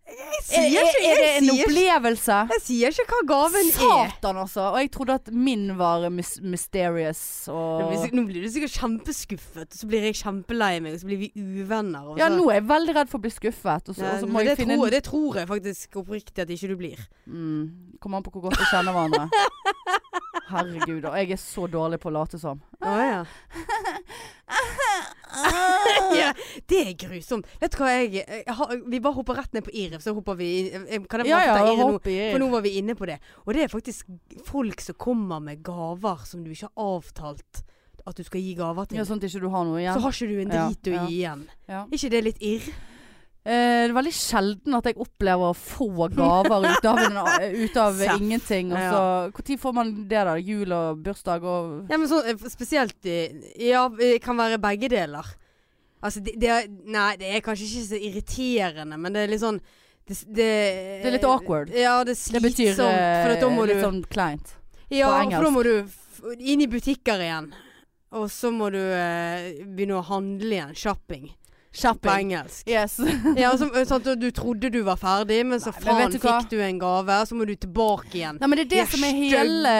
[SPEAKER 1] Jeg
[SPEAKER 2] Er,
[SPEAKER 1] sier
[SPEAKER 2] er, er
[SPEAKER 1] ikke,
[SPEAKER 2] det
[SPEAKER 1] jeg
[SPEAKER 2] en
[SPEAKER 1] sier ikke,
[SPEAKER 2] opplevelse?
[SPEAKER 1] jeg sier ikke hva gaven er.
[SPEAKER 2] Satan, altså. Og jeg trodde at min var mys mysterious
[SPEAKER 1] Nå blir
[SPEAKER 2] og
[SPEAKER 1] sik- Nå blir du sikkert kjempeskuffet, og så blir jeg kjempelei meg, og så blir vi uvenner. Og så.
[SPEAKER 2] Ja, nå er jeg veldig redd for å bli skuffet. Og så,
[SPEAKER 1] Nei,
[SPEAKER 2] og så må
[SPEAKER 1] sånn. men det,
[SPEAKER 2] jeg finne
[SPEAKER 1] tror,
[SPEAKER 2] en
[SPEAKER 1] det tror jeg faktisk oppriktig at ikke du blir.
[SPEAKER 2] mm, Kommer an på hvor godt vi kjenner hverandre. Herregud, og jeg er så dårlig på å late som.
[SPEAKER 1] ja. Ah, det er grusomt. Vet du hva jeg, jeg har, Vi bare hopper rett ned på IRF, så hopper vi jeg- Kan jeg
[SPEAKER 2] Ja,
[SPEAKER 1] bare
[SPEAKER 2] ja,
[SPEAKER 1] ta IRF nå?
[SPEAKER 2] hopp i.
[SPEAKER 1] For nå var vi inne på det. Og det er faktisk folk som kommer med gaver som du ikke har avtalt at du skal gi gaver til.
[SPEAKER 2] Ja, sånn at ikke du har noe
[SPEAKER 1] så
[SPEAKER 2] igjen.
[SPEAKER 1] har ikke du en
[SPEAKER 2] Ja,
[SPEAKER 1] drit å
[SPEAKER 2] ja.
[SPEAKER 1] gi igjen.
[SPEAKER 2] Ja.
[SPEAKER 1] Er ikke det litt irr?
[SPEAKER 2] Eh, det er veldig sjelden at jeg opplever å få gaver ut av, en, ut av
[SPEAKER 1] Seff.
[SPEAKER 2] ingenting. Og så, Når får man det, da? Jul og bursdag og
[SPEAKER 1] Ja, men sånn eh, spesielt i- Ja, det kan være begge deler. Altså, det, det er Nei, det er kanskje ikke så irriterende, men det er litt sånn Det, det,
[SPEAKER 2] Det er litt awkward.
[SPEAKER 1] Ja, det er
[SPEAKER 2] Det
[SPEAKER 1] slitsomt.
[SPEAKER 2] betyr eh,
[SPEAKER 1] for da må du
[SPEAKER 2] litt sånn kleint.
[SPEAKER 1] Ja,
[SPEAKER 2] på
[SPEAKER 1] for da må du f- inn i butikker igjen. Og så må du eh, begynne å handle igjen. Shopping. På
[SPEAKER 2] Shopping.
[SPEAKER 1] engelsk.
[SPEAKER 2] Yes.
[SPEAKER 1] Ja, så, sånn at du trodde du var ferdig, men så
[SPEAKER 2] Nei, men
[SPEAKER 1] faen
[SPEAKER 2] vet du hva?
[SPEAKER 1] fikk du en gave, så må du tilbake igjen.
[SPEAKER 2] Nei, men det er det,
[SPEAKER 1] De er
[SPEAKER 2] som er
[SPEAKER 1] stygge.
[SPEAKER 2] hele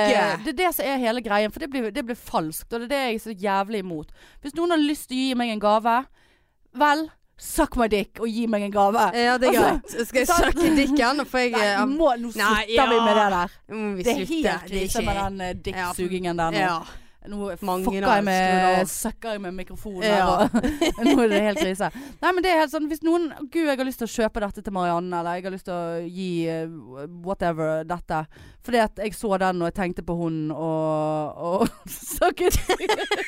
[SPEAKER 2] Det er det som er hele greien, for det blir, det blir falskt. Og det er det jeg er så jævlig imot. Hvis noen har lyst til å gi meg en gave, vel, suck my dick og gi meg en gave.
[SPEAKER 1] Ja, det er
[SPEAKER 2] Altså,
[SPEAKER 1] greit. Skal jeg
[SPEAKER 2] sant?
[SPEAKER 1] søke dikken? Nå får jeg
[SPEAKER 2] Nei,
[SPEAKER 1] eh,
[SPEAKER 2] må, nå slutter
[SPEAKER 1] Nei, ja.
[SPEAKER 2] vi med det der.
[SPEAKER 1] Nå må vi
[SPEAKER 2] Det er
[SPEAKER 1] slutte.
[SPEAKER 2] helt krise med den eh, dikksugingen der nå.
[SPEAKER 1] Ja.
[SPEAKER 2] Nå
[SPEAKER 1] Mange
[SPEAKER 2] fucker
[SPEAKER 1] navn
[SPEAKER 2] jeg
[SPEAKER 1] skrur
[SPEAKER 2] med
[SPEAKER 1] av.
[SPEAKER 2] Søkker jeg med mikrofonen
[SPEAKER 1] Ja.
[SPEAKER 2] her, og Nå er det helt krise Nei, men det er helt sånn Hvis noen Gud, jeg har lyst til å kjøpe dette til Marianne Eller jeg har lyst til å gi eh, Whatever dette Fordi at jeg så den Og jeg tenkte på hun Og, og Så gud Så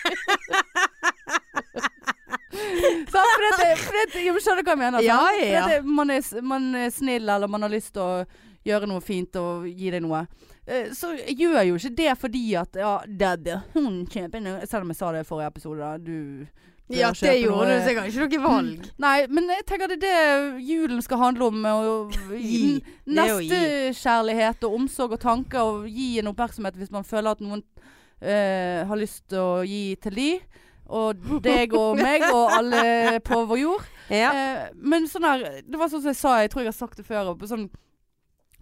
[SPEAKER 2] Sånn, fordi at det- fordi at- Jeg skjønner hva jeg mener sant?
[SPEAKER 1] Ja,
[SPEAKER 2] Fordi
[SPEAKER 1] ja.
[SPEAKER 2] at det- man, er, s- man er snill Eller man har lyst til å Gjøre noe fint Og gi deg noe Eh, så jeg gjør jo ikke det fordi at ja, daddy, hun kjøper noe Selv om jeg sa det i forrige episode, da. Du
[SPEAKER 1] ja,
[SPEAKER 2] kjøper
[SPEAKER 1] det
[SPEAKER 2] noe-
[SPEAKER 1] gjorde du, så jeg har ikke noe valg.
[SPEAKER 2] Nei, men jeg tenker det er det julen skal handle om. Og,
[SPEAKER 1] Gi. Det er å gi.
[SPEAKER 2] Nestekjærlighet og omsorg og tanker, og gi en oppmerksomhet hvis man føler at noen eh, har lyst til å gi til de. Og deg og meg og alle på vår jord.
[SPEAKER 1] Ja.
[SPEAKER 2] Eh, men sånn her Det var sånn som jeg sa, jeg tror jeg har sagt det før. og på Sånn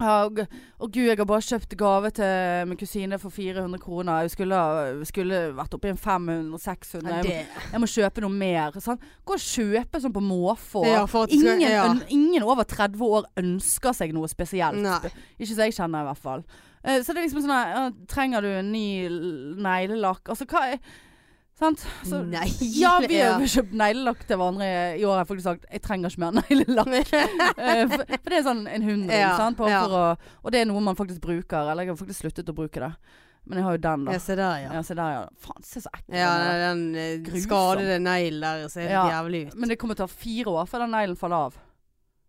[SPEAKER 2] ja, og, og gud, jeg har bare kjøpt gave til min kusine for 400 kroner. Jeg skulle, skulle vært oppe i en 500-600.
[SPEAKER 1] Ja,
[SPEAKER 2] Jeg,
[SPEAKER 1] det.
[SPEAKER 2] må- jeg må kjøpe noe mer. Sant? Gå og kjøpe sånn på måfå.
[SPEAKER 1] Ja, for at det skal-
[SPEAKER 2] ingen,
[SPEAKER 1] ja.
[SPEAKER 2] øn- ingen over 30 år ønsker seg noe spesielt.
[SPEAKER 1] Nei.
[SPEAKER 2] Ikke som jeg kjenner, i hvert fall. Eh, så det er liksom sånn her, ja, Trenger du en ny l- neglelakk? Altså hva er Sant? Så,
[SPEAKER 1] Nei.
[SPEAKER 2] ja, vi har jo kjøpt neglelakk til hverandre i år. Jeg har faktisk sagt jeg trenger ikke mer neglelakk. Eh, for, for det er sånn en hundring,
[SPEAKER 1] Ja,
[SPEAKER 2] sant? På,
[SPEAKER 1] ja.
[SPEAKER 2] for å, og det er noe man faktisk bruker. Eller jeg har faktisk sluttet å bruke det. Men jeg har jo den, da.
[SPEAKER 1] Ja, se der, ja.
[SPEAKER 2] Ja, se der, ja. Faen, se så ekkel
[SPEAKER 1] Ja,
[SPEAKER 2] den er.
[SPEAKER 1] den eh,
[SPEAKER 2] Grusom.
[SPEAKER 1] skadede neglen der ser helt
[SPEAKER 2] Ja.
[SPEAKER 1] jævlig ut.
[SPEAKER 2] Men det kommer til å ta fire år før den neglen faller av.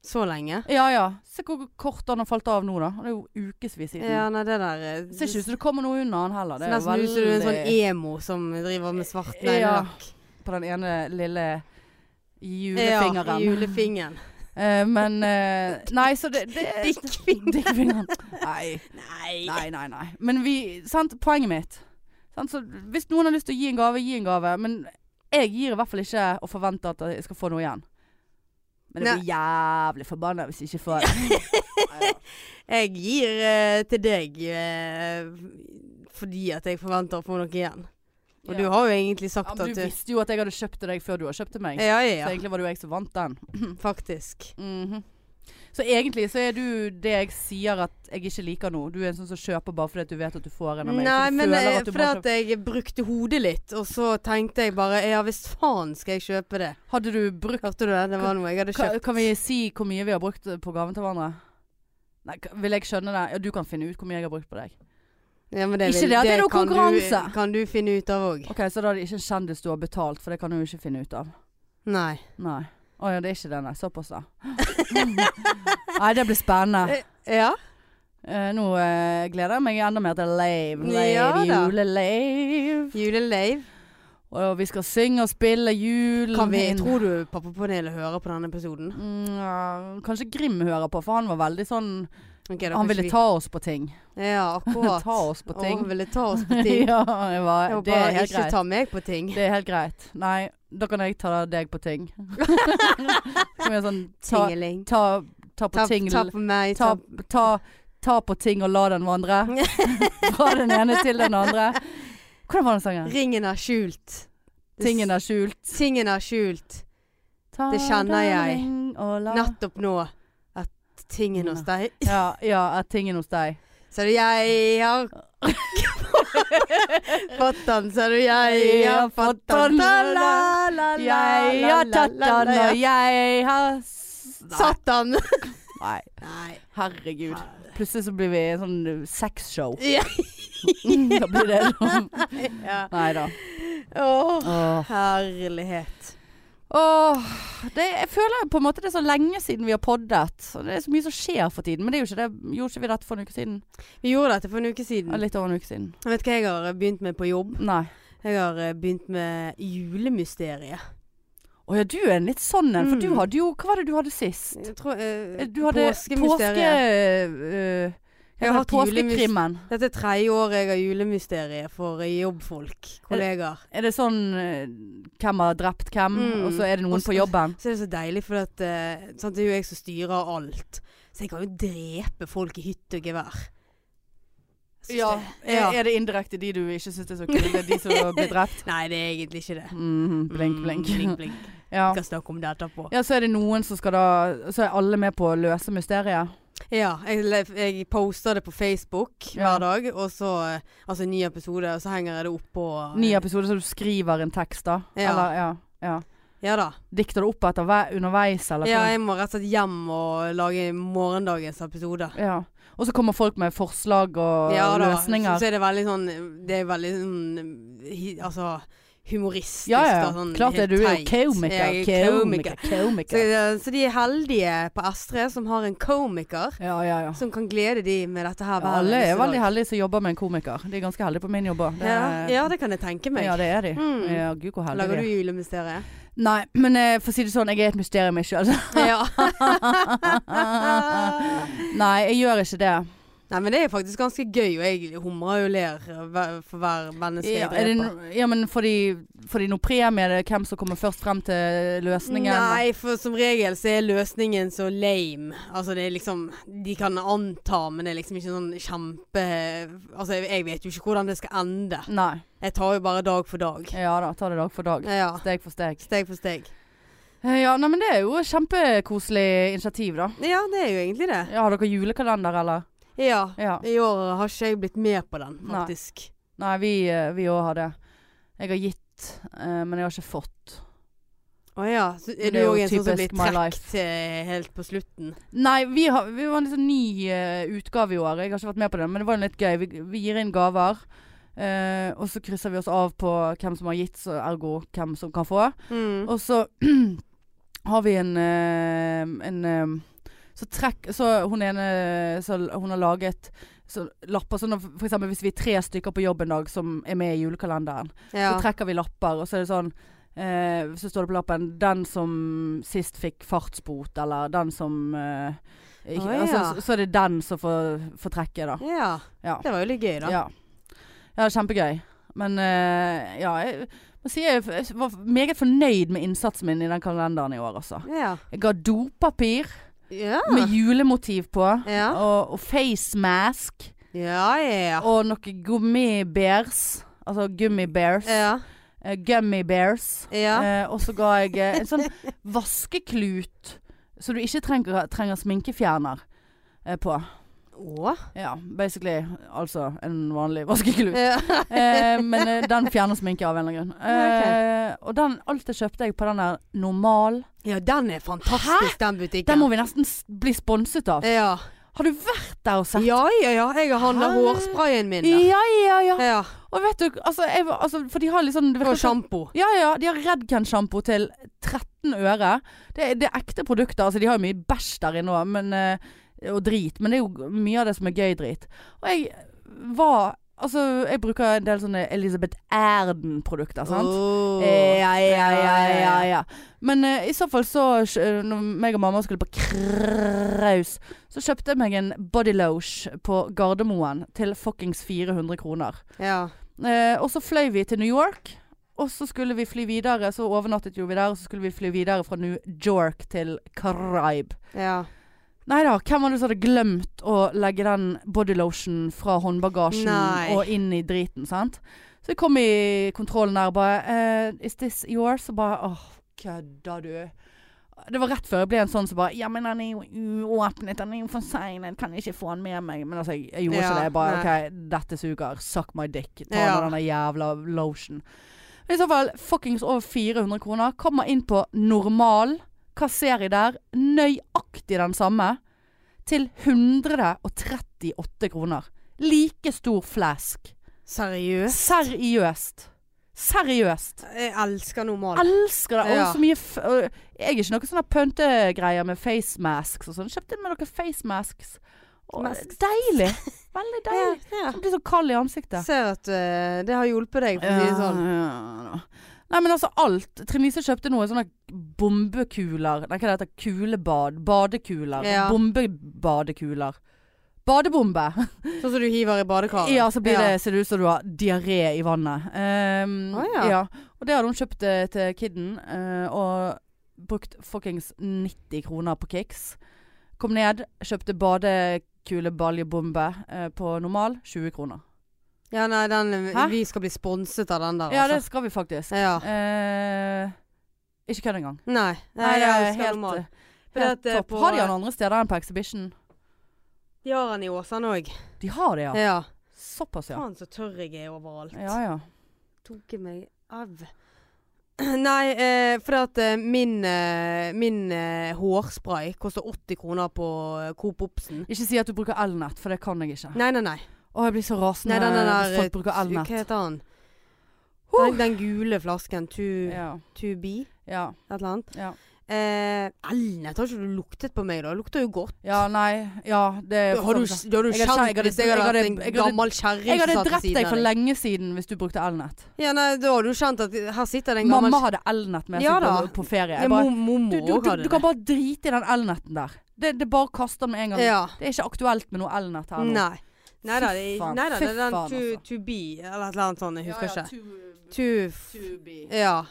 [SPEAKER 1] Så lenge?
[SPEAKER 2] Ja ja. Se hvor kort den har falt av nå, da. Det er jo ukevis siden.
[SPEAKER 1] Ja, nei, det der eh,
[SPEAKER 2] Det Ser ikke ut som det kommer noe unna den heller.
[SPEAKER 1] Så
[SPEAKER 2] Det er jo
[SPEAKER 1] nesten ut som du er en sånn
[SPEAKER 2] veldig
[SPEAKER 1] emo som driver med svart
[SPEAKER 2] Ja,
[SPEAKER 1] neglelakk.
[SPEAKER 2] på den ene lille
[SPEAKER 1] Ja,
[SPEAKER 2] julefingeren.
[SPEAKER 1] julefingeren.
[SPEAKER 2] Eh, men eh, Nei, så det, det
[SPEAKER 1] Dickfingeren.
[SPEAKER 2] Dickfingeren. Nei.
[SPEAKER 1] Nei.
[SPEAKER 2] Nei, nei, nei. Men vi Sant, poenget mitt. Sant? Så hvis noen har lyst til å gi en gave, gi en gave. Men jeg gir i hvert fall ikke og forventer at jeg skal få noe igjen. Men jeg blir jævlig forbanna hvis jeg ikke får det.
[SPEAKER 1] Jeg gir eh, til deg eh, fordi at jeg forventer å få noe igjen. Og du har jo egentlig
[SPEAKER 2] ja,
[SPEAKER 1] sagt
[SPEAKER 2] men
[SPEAKER 1] at
[SPEAKER 2] du
[SPEAKER 1] du
[SPEAKER 2] visste jo at jeg hadde kjøpt til deg før du har kjøpt til meg.
[SPEAKER 1] Ja,
[SPEAKER 2] Så
[SPEAKER 1] ja, ja.
[SPEAKER 2] egentlig var det jo jeg som vant den.
[SPEAKER 1] Faktisk.
[SPEAKER 2] Mhm. Så egentlig så er du det jeg sier at jeg ikke liker nå. Du er en sånn som kjøper bare fordi at du vet at du får en av meg.
[SPEAKER 1] Nei,
[SPEAKER 2] så du
[SPEAKER 1] men
[SPEAKER 2] føler
[SPEAKER 1] eh,
[SPEAKER 2] at du må
[SPEAKER 1] fordi
[SPEAKER 2] kjøpe-
[SPEAKER 1] at jeg brukte hodet litt, og så tenkte jeg bare Ja visst faen skal jeg kjøpe det.
[SPEAKER 2] Hadde du brukt
[SPEAKER 1] Hørte du det? Det var noe jeg hadde
[SPEAKER 2] Kan,
[SPEAKER 1] kjøpt.
[SPEAKER 2] kan vi si hvor mye vi har brukt på gaven til hverandre? Nei, k- vil jeg skjønne det? Ja, du kan finne ut hvor mye jeg har brukt på deg.
[SPEAKER 1] Ja, men det
[SPEAKER 2] Ikke
[SPEAKER 1] vil-
[SPEAKER 2] det at det er noe
[SPEAKER 1] kan du-
[SPEAKER 2] konkurranse.
[SPEAKER 1] Kan du finne ut av òg?
[SPEAKER 2] Ok, Så da er det ikke en kjendis du har betalt, for det kan du jo ikke finne ut av.
[SPEAKER 1] Nei.
[SPEAKER 2] Nei. Å ja, det er ikke det, nei. Såpass, da. nei, det blir spennende.
[SPEAKER 1] Ja.
[SPEAKER 2] Eh, nå eh, gleder jeg meg enda mer til lave, lave,
[SPEAKER 1] Ja da.
[SPEAKER 2] julelave.
[SPEAKER 1] Julelave.
[SPEAKER 2] Og vi skal synge og spille jul.
[SPEAKER 1] Kan vi, tror du pappa Pernille hører på denne episoden?
[SPEAKER 2] Mm, ja, kanskje Grim hører på, for han var veldig sånn
[SPEAKER 1] Ok,
[SPEAKER 2] Han
[SPEAKER 1] da kanskje
[SPEAKER 2] ville
[SPEAKER 1] vi-
[SPEAKER 2] ta oss på ting.
[SPEAKER 1] Ja, akkurat.
[SPEAKER 2] ta oss på ting.
[SPEAKER 1] Å, han ville ta oss på ting.
[SPEAKER 2] ja, jeg var,
[SPEAKER 1] Jeg må
[SPEAKER 2] det er
[SPEAKER 1] bare
[SPEAKER 2] helt
[SPEAKER 1] ikke
[SPEAKER 2] greit.
[SPEAKER 1] ta meg på ting.
[SPEAKER 2] Det er helt greit. Nei, da kan jeg ta deg på ting. Som er sånn ta,
[SPEAKER 1] Tingeling.
[SPEAKER 2] ta, ta på
[SPEAKER 1] Ta,
[SPEAKER 2] ting
[SPEAKER 1] ta på meg.
[SPEAKER 2] ta,
[SPEAKER 1] Ta,
[SPEAKER 2] ta, ta på ting og la den vandre. Fra den ene til den andre. Hvordan var den sangen?
[SPEAKER 1] ringen er skjult. Det s-
[SPEAKER 2] Tingen er skjult.
[SPEAKER 1] Tingen er skjult.
[SPEAKER 2] Ta
[SPEAKER 1] Det kjenner
[SPEAKER 2] den
[SPEAKER 1] jeg.
[SPEAKER 2] ring og la-
[SPEAKER 1] Nettopp nå at tingen hos deg
[SPEAKER 2] Ja, ja, er tingen hos deg.
[SPEAKER 1] Så du, jeg har fått den, så du, jeg har fått den. Ta-la.
[SPEAKER 2] Jeg har tatt den, og jeg har s-
[SPEAKER 1] Satt den.
[SPEAKER 2] Nei,
[SPEAKER 1] Nei.
[SPEAKER 2] herregud. Plutselig så blir vi en sånn sexshow.
[SPEAKER 1] Ja.
[SPEAKER 2] da blir det sånn.
[SPEAKER 1] Ja.
[SPEAKER 2] Nei da.
[SPEAKER 1] Åh, herlighet.
[SPEAKER 2] Åh, det, jeg føler på en måte det er så lenge siden vi har poddet. Og Det er så mye som skjer for tiden. Men det er jo ikke det. gjorde ikke vi dette for en uke siden?
[SPEAKER 1] Vi gjorde dette for en uke
[SPEAKER 2] Ja,
[SPEAKER 1] siden.
[SPEAKER 2] litt over en uke siden.
[SPEAKER 1] Jeg vet hva jeg har eh, begynt med på jobb?
[SPEAKER 2] Nei.
[SPEAKER 1] Jeg har eh, begynt med julemysteriet.
[SPEAKER 2] Å ja, du er en litt sånn en. For
[SPEAKER 1] Mm.
[SPEAKER 2] du hadde jo Hva var det du hadde sist?
[SPEAKER 1] Jeg tror, eh,
[SPEAKER 2] Du hadde
[SPEAKER 1] påskemysteriet. eh,
[SPEAKER 2] Påske... øh,
[SPEAKER 1] Jeg har hatt
[SPEAKER 2] påskekrimmen.
[SPEAKER 1] Dette er tredje året jeg har julemysteriet for eh, jobbfolk, kollegaer.
[SPEAKER 2] Er det sånn øh, hvem har drept hvem,
[SPEAKER 1] Mm.
[SPEAKER 2] og så er det noen
[SPEAKER 1] Og så-
[SPEAKER 2] på jobben?
[SPEAKER 1] Så er det så deilig, for at, eh, sant, det er jo jeg som styrer alt. Så jeg kan jo drepe folk i hytt og gevær. Jeg synes det-
[SPEAKER 2] Er, er det indirekte de du ikke syns er så kule? Det er de som blir drept?
[SPEAKER 1] Nei, det er egentlig ikke det.
[SPEAKER 2] Mhm, blink,
[SPEAKER 1] Mm,
[SPEAKER 2] blink.
[SPEAKER 1] blink, blink.
[SPEAKER 2] Ja.
[SPEAKER 1] Vi kan snakke om det etterpå.
[SPEAKER 2] ja, så er det noen som skal da Så er alle med på å løse mysteriet.
[SPEAKER 1] Ja, jeg, le- jeg poster det på Facebook
[SPEAKER 2] Ja.
[SPEAKER 1] hver dag, og så eh, Altså en ny episode, og så henger jeg det opp på eh,
[SPEAKER 2] Ny episode, så du skriver en tekst, da?
[SPEAKER 1] Ja.
[SPEAKER 2] Eller, ja, ja.
[SPEAKER 1] Ja da.
[SPEAKER 2] Dikter du opp etter hver, underveis, eller?
[SPEAKER 1] Ja,
[SPEAKER 2] hva?
[SPEAKER 1] jeg må rett og slett hjem og lage morgendagens episode.
[SPEAKER 2] ja. Og så kommer folk med forslag og
[SPEAKER 1] Ja da. Så,
[SPEAKER 2] løsninger.
[SPEAKER 1] så er det veldig sånn Det er veldig sånn hi- Altså humoristisk.
[SPEAKER 2] ja, ja.
[SPEAKER 1] da, sånn
[SPEAKER 2] Klart det.
[SPEAKER 1] helt
[SPEAKER 2] Du er jo
[SPEAKER 1] teit.
[SPEAKER 2] komiker.
[SPEAKER 1] Jeg er
[SPEAKER 2] Komiker.
[SPEAKER 1] Så,
[SPEAKER 2] komiker.
[SPEAKER 1] eh, så de er heldige på S3 som har en komiker
[SPEAKER 2] Ja, ja, ja.
[SPEAKER 1] som kan glede de med dette her.
[SPEAKER 2] Ja,
[SPEAKER 1] hver
[SPEAKER 2] alle er
[SPEAKER 1] eneste
[SPEAKER 2] veldig
[SPEAKER 1] dag.
[SPEAKER 2] heldige som jobber med en komiker. De er ganske heldige på min jobb òg.
[SPEAKER 1] Ja, ja, det kan jeg tenke meg.
[SPEAKER 2] ja, det er de.
[SPEAKER 1] Mm.
[SPEAKER 2] Ja, gud hvor heldige de
[SPEAKER 1] Lager du
[SPEAKER 2] er.
[SPEAKER 1] julemysteriet?
[SPEAKER 2] Nei, men eh, for å si det sånn, jeg er et mysterium ikke. Altså.
[SPEAKER 1] ja.
[SPEAKER 2] Nei, jeg gjør ikke det.
[SPEAKER 1] Nei, men det er faktisk ganske gøy, og jeg humrer og ler hver- for hver menneske
[SPEAKER 2] Ja,
[SPEAKER 1] jeg
[SPEAKER 2] er det
[SPEAKER 1] dreper.
[SPEAKER 2] no, ja, men får de, får de noe premie? Det er Hvem som kommer først frem til løsningen?
[SPEAKER 1] Nei, for som regel så er løsningen så lame. Altså det er liksom De kan anta, men det er liksom ikke sånn kjempe Altså jeg, jeg vet jo ikke hvordan det skal ende.
[SPEAKER 2] Nei.
[SPEAKER 1] Jeg tar jo bare dag for dag.
[SPEAKER 2] Ja da, ta det dag for dag.
[SPEAKER 1] Ja.
[SPEAKER 2] Steg for steg.
[SPEAKER 1] Steg for steg.
[SPEAKER 2] Eh, Ja, nei, men det er jo et kjempekoselig initiativ, da.
[SPEAKER 1] Ja, det er jo egentlig det.
[SPEAKER 2] Ja, Har dere julekalender, eller?
[SPEAKER 1] Ja.
[SPEAKER 2] Ja.
[SPEAKER 1] I år har ikke jeg blitt med på den,
[SPEAKER 2] Nei.
[SPEAKER 1] faktisk.
[SPEAKER 2] Nei, vi eh, vi òg har det. Jeg har gitt, eh, men jeg har ikke fått.
[SPEAKER 1] Å ja. Så
[SPEAKER 2] Men
[SPEAKER 1] er du
[SPEAKER 2] det er jo
[SPEAKER 1] òg en sånn som blir
[SPEAKER 2] typisk my life.
[SPEAKER 1] trukket eh, helt på slutten?
[SPEAKER 2] Nei, vi, har, vi var en litt sånn ny eh, utgave i år. Jeg har ikke vært med på den, men det var jo litt gøy. Vi, vi gir inn gaver. eh, og så krysser vi oss av på hvem som har gitt, så ergo hvem som kan få.
[SPEAKER 1] Mm.
[SPEAKER 2] Og så har vi en, eh, en eh, Så trekk Så hun ene så Hun har laget så lapper sånn at For eksempel hvis vi er tre stykker på jobb en dag som er med i julekalenderen,
[SPEAKER 1] Ja.
[SPEAKER 2] så trekker vi lapper, og så er det sånn eh, Så står det på lappen 'Den som sist fikk fartsbot', eller 'Den som eh, ikke,
[SPEAKER 1] Å,
[SPEAKER 2] altså,
[SPEAKER 1] ja.
[SPEAKER 2] så, så er det den som får, får trekke, da.
[SPEAKER 1] ja.
[SPEAKER 2] Ja.
[SPEAKER 1] Det var jo litt gøy, da.
[SPEAKER 2] Ja. ja, kjempegøy. Men eh, ja, jeg må si jeg jeg var meget fornøyd med innsatsen min i den kalenderen i år, altså.
[SPEAKER 1] Ja.
[SPEAKER 2] Jeg ga dopapir
[SPEAKER 1] Ja.
[SPEAKER 2] med julemotiv på.
[SPEAKER 1] Ah. Ja.
[SPEAKER 2] Og, og facemask.
[SPEAKER 1] Ja, ja.
[SPEAKER 2] Og noen gummibears. Altså gummibears.
[SPEAKER 1] Ja.
[SPEAKER 2] Eh, gummibears.
[SPEAKER 1] ja.
[SPEAKER 2] Eh, og så ga jeg eh, en sånn vaskeklut, så du ikke trenger, trenger sminkefjerner eh, på.
[SPEAKER 1] Å?
[SPEAKER 2] Ja, basically altså en vanlig vaskeklut.
[SPEAKER 1] Ja.
[SPEAKER 2] Eh, men eh, den fjerner sminke av en eller annen grunn. Eh, Og den, alt det kjøpte jeg på den der normal.
[SPEAKER 1] Ja, den er fantastisk, den butikken.
[SPEAKER 2] Den må vi nesten s- bli sponset av.
[SPEAKER 1] ja.
[SPEAKER 2] Har du vært der og sett?
[SPEAKER 1] ja, ja, ja. Jeg har handla
[SPEAKER 2] Hæ?
[SPEAKER 1] hårsprayen min der.
[SPEAKER 2] ja, ja. ja.
[SPEAKER 1] Ja.
[SPEAKER 2] Og vet du, altså, jeg, var- altså For de har liksom det
[SPEAKER 1] Og
[SPEAKER 2] virker som-
[SPEAKER 1] sjampo.
[SPEAKER 2] Ja, ja. De har Redken-sjampo til 13 øre. Det, er- det er ekte produkter. Altså, de har jo mye bæsj der inne òg, men eh, Og drit. Men det er jo mye av det som er gøy drit. Og jeg var Altså, jeg bruker en del sånne Elisabeth Erden-produkter, sant.
[SPEAKER 1] Åh.
[SPEAKER 2] Ja, ja, ja, ja, ja. Men eh, i så fall så eh, Når meg og mamma skulle på kraus, så kjøpte jeg meg en bodyloge på Gardermoen til fuckings 400 kroner.
[SPEAKER 1] ja.
[SPEAKER 2] Eh, og så fløy vi til New York. Og så skulle vi fly videre, så overnattet jo vi der, og så skulle vi fly videre fra New York til Caraib.
[SPEAKER 1] ja.
[SPEAKER 2] Nei da, hvem var det som hadde glemt å legge den bodylotionen fra håndbagasjen
[SPEAKER 1] Nei.
[SPEAKER 2] og inn i driten, sant? Så jeg kom i kontrollen der og bare eh, Is this yours? Og bare åh, kødda du? Det var rett før jeg ble en sånn som bare Ja, men den er jo uåpnet, den er jo forseglet, kan jeg ikke få den med meg? Men altså, jeg, jeg gjorde
[SPEAKER 1] Ja,
[SPEAKER 2] ikke det. Jeg bare
[SPEAKER 1] nei.
[SPEAKER 2] OK, dette suger. Suck my dick. Ta
[SPEAKER 1] Ja.
[SPEAKER 2] nå denne jævla lotion. Men i så fall fuckings over 400 kroner. Kommer inn på normal. Hva ser jeg der? Nøyaktig den samme. Til 138 kroner. Like stor flask.
[SPEAKER 1] Seriøst?
[SPEAKER 2] Seriøst. Seriøst.
[SPEAKER 1] Jeg elsker normal.
[SPEAKER 2] Elsker det. Og
[SPEAKER 1] Ja.
[SPEAKER 2] så mye f og Jeg er ikke noen sånne pøntegreier med face masks og sånn. Kjøpte meg noen face masks. Og
[SPEAKER 1] Masks.
[SPEAKER 2] Deilig. Veldig
[SPEAKER 1] Ja,
[SPEAKER 2] deilig.
[SPEAKER 1] ja.
[SPEAKER 2] Jeg blir så kald i ansiktet.
[SPEAKER 1] Ser at eh, det har hjulpet deg, for å si det sånn.
[SPEAKER 2] Ja, ja. Nei, men altså alt. Trine Lise kjøpte noen sånne bombekuler. Nei, hva det heter Kulebad. Badekuler.
[SPEAKER 1] Ja.
[SPEAKER 2] Bombebadekuler. Badebombe.
[SPEAKER 1] Sånn som du hiver i badekaret.
[SPEAKER 2] Ja, så blir det, ser det ut som du har diaré i vannet. Ehm,
[SPEAKER 1] Å, ja.
[SPEAKER 2] Og det hadde hun kjøpt eh, til kiden, eh, og brukt fuckings 90 kroner på Kicks. Kom ned, kjøpte badekulebaljebombe eh, på normal, 20 kroner.
[SPEAKER 1] Ja, nei, den,
[SPEAKER 2] Hæ?
[SPEAKER 1] vi skal bli sponset av den der, altså.
[SPEAKER 2] Ja, det skal vi faktisk.
[SPEAKER 1] Ja.
[SPEAKER 2] Eh, ikke kødd engang.
[SPEAKER 1] Nei, nei,
[SPEAKER 2] Nei, det
[SPEAKER 1] jeg
[SPEAKER 2] er
[SPEAKER 1] elsker
[SPEAKER 2] helt,
[SPEAKER 1] normal. For
[SPEAKER 2] helt
[SPEAKER 1] det at, eh,
[SPEAKER 2] topp.
[SPEAKER 1] på-
[SPEAKER 2] Har de den andre steder enn på Exhibition?
[SPEAKER 1] De har den i Åsane òg.
[SPEAKER 2] De har det,
[SPEAKER 1] Ja.
[SPEAKER 2] ja. Såpass, ja.
[SPEAKER 1] Faen så tørr jeg er overalt.
[SPEAKER 2] Ja, ja.
[SPEAKER 1] Tok jeg meg av. Nei, eh, for at eh, min, eh, min eh, hårspray koster 80 kroner på eh, Coop Obsen.
[SPEAKER 2] Ikke si at du bruker elnett, for det kan jeg ikke.
[SPEAKER 1] Nei, nei, nei.
[SPEAKER 2] Å, jeg blir så rasende
[SPEAKER 1] Nei, den er
[SPEAKER 2] hvis
[SPEAKER 1] der, eh,
[SPEAKER 2] folk bruker
[SPEAKER 1] Hva
[SPEAKER 2] elnett.
[SPEAKER 1] heter den?
[SPEAKER 2] Huh.
[SPEAKER 1] Den, den gule flasken. To,
[SPEAKER 2] Ja,
[SPEAKER 1] to be?
[SPEAKER 2] ja,
[SPEAKER 1] Et eller annet.
[SPEAKER 2] ja.
[SPEAKER 1] Eh, Elnett har ikke du luktet på meg, da? Det lukter jo godt.
[SPEAKER 2] ja nei, ja, det er
[SPEAKER 1] Har du,
[SPEAKER 2] jeg,
[SPEAKER 1] har du
[SPEAKER 2] Jeg hadde kjent-
[SPEAKER 1] kjent
[SPEAKER 2] jeg hadde-
[SPEAKER 1] hvis jeg hadde
[SPEAKER 2] jeg
[SPEAKER 1] vært en
[SPEAKER 2] hadde- jeg hadde-
[SPEAKER 1] gammel kjerring
[SPEAKER 2] hadde
[SPEAKER 1] som satt ved
[SPEAKER 2] drept deg
[SPEAKER 1] siden
[SPEAKER 2] for
[SPEAKER 1] av deg?
[SPEAKER 2] lenge siden hvis du brukte elnett.
[SPEAKER 1] Ja, nei, da hadde du kjent at her sitter det en gammel
[SPEAKER 2] Mamma hadde elnett med seg
[SPEAKER 1] Ja da.
[SPEAKER 2] på, på ferie.
[SPEAKER 1] Ja,
[SPEAKER 2] Jeg bare,
[SPEAKER 1] mom- Mormor
[SPEAKER 2] du, du, du,
[SPEAKER 1] hadde
[SPEAKER 2] du kan bare drite i den elnetten der. Det, det bare kaster den med en gang.
[SPEAKER 1] Ja.
[SPEAKER 2] Det er ikke aktuelt med noe elnett her nå.
[SPEAKER 1] Nei. Nei da, det,
[SPEAKER 2] faen,
[SPEAKER 1] nei da, det er
[SPEAKER 2] fy
[SPEAKER 1] den
[SPEAKER 2] faen,
[SPEAKER 1] to,
[SPEAKER 2] altså.
[SPEAKER 1] to be eller et eller annet sånt. Jeg husker ikke. To, f-
[SPEAKER 2] Tubi.
[SPEAKER 1] ja.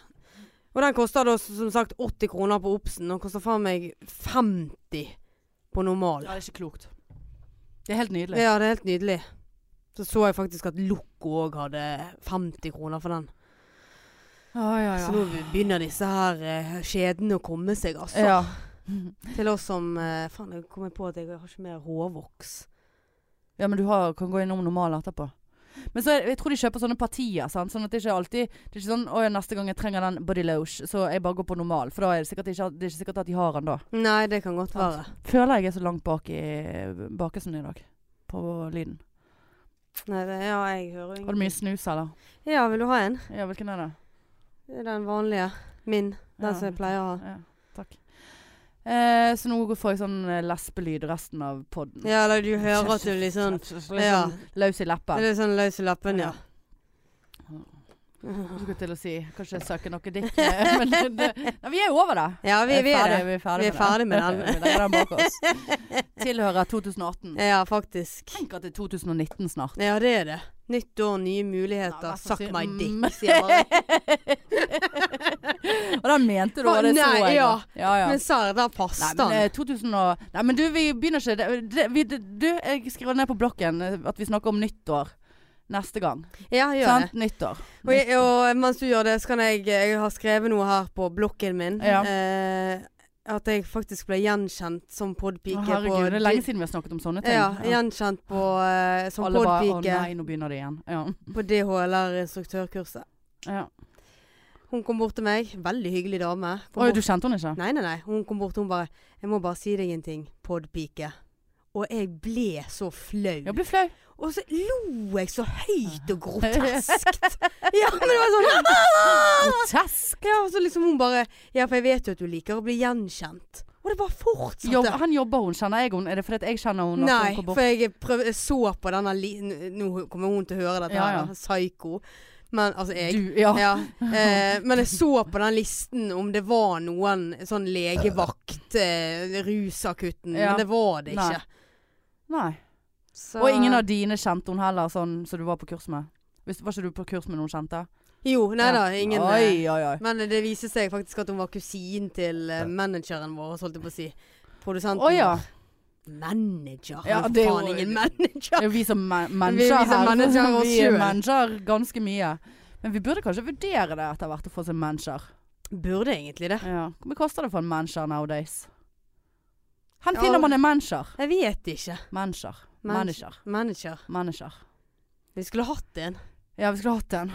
[SPEAKER 1] Og den koster da som sagt 80 kroner på Obsen. Den koster faen meg 50 på normal.
[SPEAKER 2] Ja, det er ikke klokt. Det er helt nydelig.
[SPEAKER 1] Ja, det er helt nydelig. Så så jeg faktisk at Loco òg hadde 50 kroner for den.
[SPEAKER 2] Ja, ja,
[SPEAKER 1] Så nå begynner disse her eh, skjedene å komme seg, altså.
[SPEAKER 2] ja.
[SPEAKER 1] Til oss som eh, Faen, jeg kom på at jeg har ikke mer hårvoks.
[SPEAKER 2] ja men du har, kan gå innom normal etterpå. Men så er, jeg tror de kjøper sånne partier, sant? sånn at det ikke er alltid Det er ikke sånn 'Å ja, neste gang jeg trenger den body lotion, så jeg bare går på normal'. For da er det sikkert ikke, det er ikke sikkert at de har den da.
[SPEAKER 1] Nei, det kan godt være.
[SPEAKER 2] Sant. Føler jeg er så langt bak i bakelsen i dag. På lyden.
[SPEAKER 1] Nei, det, ja, jeg hører
[SPEAKER 2] Har du mye snus, eller?
[SPEAKER 1] Ja, vil du ha en?
[SPEAKER 2] Ja, hvilken er det?
[SPEAKER 1] Det er Den vanlige. Min. Den
[SPEAKER 2] Ja.
[SPEAKER 1] som jeg pleier å ha.
[SPEAKER 2] Ja, takk. Eh, så nå får jeg sånn eh, lespelyd resten av poden.
[SPEAKER 1] Ja, eller du hører at du er litt sånn ja.
[SPEAKER 2] ja. Løs i
[SPEAKER 1] det er
[SPEAKER 2] leppen.
[SPEAKER 1] Litt sånn løs i leppen, ja.
[SPEAKER 2] Jeg Skulle til å si kanskje søke noe dikt, men det, det, nei, vi er jo over det.
[SPEAKER 1] Ja, vi, vi er det.
[SPEAKER 2] Vi er
[SPEAKER 1] Vi
[SPEAKER 2] ferdig,
[SPEAKER 1] er ferdig med den.
[SPEAKER 2] Vi legger den bak oss. Tilhører 2018.
[SPEAKER 1] Ja, faktisk.
[SPEAKER 2] Tenk at det er 2019 snart.
[SPEAKER 1] Ja, det er det. Nytt år, nye
[SPEAKER 2] Ja,
[SPEAKER 1] muligheter.
[SPEAKER 2] vær så
[SPEAKER 1] Suck
[SPEAKER 2] snill.
[SPEAKER 1] my
[SPEAKER 2] Mm.
[SPEAKER 1] dick, sier jeg bare.
[SPEAKER 2] Og den mente du, og det så
[SPEAKER 1] Nei,
[SPEAKER 2] jeg.
[SPEAKER 1] ja.
[SPEAKER 2] Ja, ja.
[SPEAKER 1] Men Sara, der
[SPEAKER 2] Nei,
[SPEAKER 1] passet
[SPEAKER 2] men,
[SPEAKER 1] han.
[SPEAKER 2] eh, 2000 og, nei, men du, vi begynner ikke det, det, vi, det, Du, jeg skriver ned på blokken eh, at vi snakker om nyttår neste gang.
[SPEAKER 1] Ja, gjør det.
[SPEAKER 2] Sant? Nyttår.
[SPEAKER 1] Og, jeg, og mens du gjør det, så kan jeg Jeg har skrevet noe her på blokken min.
[SPEAKER 2] Ja.
[SPEAKER 1] Eh, at jeg faktisk ble gjenkjent som podpike.
[SPEAKER 2] Å,
[SPEAKER 1] på
[SPEAKER 2] herregud, det er
[SPEAKER 1] di-
[SPEAKER 2] lenge siden vi har snakket om sånne ting.
[SPEAKER 1] Ja, gjenkjent på, eh, som
[SPEAKER 2] Alle bare Å
[SPEAKER 1] podpike
[SPEAKER 2] nei, nå begynner det igjen. Ja.
[SPEAKER 1] på DHLR-instruktørkurset.
[SPEAKER 2] Ja.
[SPEAKER 1] Hun kom bort til meg, veldig hyggelig dame. Kom
[SPEAKER 2] Oi,
[SPEAKER 1] bort-
[SPEAKER 2] du kjente henne ikke?
[SPEAKER 1] Nei, nei, nei. Hun kom bort og hun bare 'Jeg må bare si deg en ting, podpike'. Og jeg ble så flau.
[SPEAKER 2] Jeg blir flau.
[SPEAKER 1] Og så lo jeg så høyt og groteskt. ja, men det var sånn
[SPEAKER 2] Grotesk!
[SPEAKER 1] Ja, og så liksom hun bare 'Ja, for jeg vet jo at du liker å bli gjenkjent'. Og det bare fortsatte.
[SPEAKER 2] Jobb, han jobber hun, kjenner jeg hun? Er det fordi at jeg kjenner hun? at
[SPEAKER 1] Nei,
[SPEAKER 2] hun kom
[SPEAKER 1] for
[SPEAKER 2] bort?
[SPEAKER 1] jeg, prøv, jeg så på denne li... n- Nå kommer hun til å høre dette
[SPEAKER 2] Ja,
[SPEAKER 1] her,
[SPEAKER 2] ja.
[SPEAKER 1] da. psyko. Men altså, jeg
[SPEAKER 2] Du, ja.
[SPEAKER 1] Ja, eh, men jeg så på den listen om det var noen sånn legevakt, eh, rusakutten,
[SPEAKER 2] Ja.
[SPEAKER 1] men det var det
[SPEAKER 2] Nei.
[SPEAKER 1] ikke.
[SPEAKER 2] Nei.
[SPEAKER 1] Så-
[SPEAKER 2] Og ingen av dine kjente hun heller, sånn som du var på kurs med? Hvis, var ikke du på kurs med noen kjente?
[SPEAKER 1] Jo, nei da, ingen. eh,
[SPEAKER 2] Oi, oi, oi.
[SPEAKER 1] Men det viste seg faktisk at hun var kusin til eh, manageren vår, holdt jeg på å si. Produsenten.
[SPEAKER 2] Å ja.
[SPEAKER 1] Manager?
[SPEAKER 2] Ja,
[SPEAKER 1] Ja,
[SPEAKER 2] det er
[SPEAKER 1] faen
[SPEAKER 2] jo-
[SPEAKER 1] ingen
[SPEAKER 2] Det
[SPEAKER 1] manager.
[SPEAKER 2] er jo vi som ma-
[SPEAKER 1] Vi- vi
[SPEAKER 2] manager
[SPEAKER 1] som
[SPEAKER 2] her.
[SPEAKER 1] manager oss
[SPEAKER 2] vi
[SPEAKER 1] selv.
[SPEAKER 2] manager ganske mye. Men vi burde kanskje vurdere det etter hvert å få oss en manager.
[SPEAKER 1] Burde egentlig det.
[SPEAKER 2] Ja. Hvor mye koster det for en manager nowadays? Hvor
[SPEAKER 1] Ja.
[SPEAKER 2] finner man en manager?
[SPEAKER 1] Jeg vet ikke.
[SPEAKER 2] Manager.
[SPEAKER 1] Man-
[SPEAKER 2] Manager.
[SPEAKER 1] Manager.
[SPEAKER 2] Manager.
[SPEAKER 1] Vi skulle hatt en.
[SPEAKER 2] Ja, vi skulle hatt en.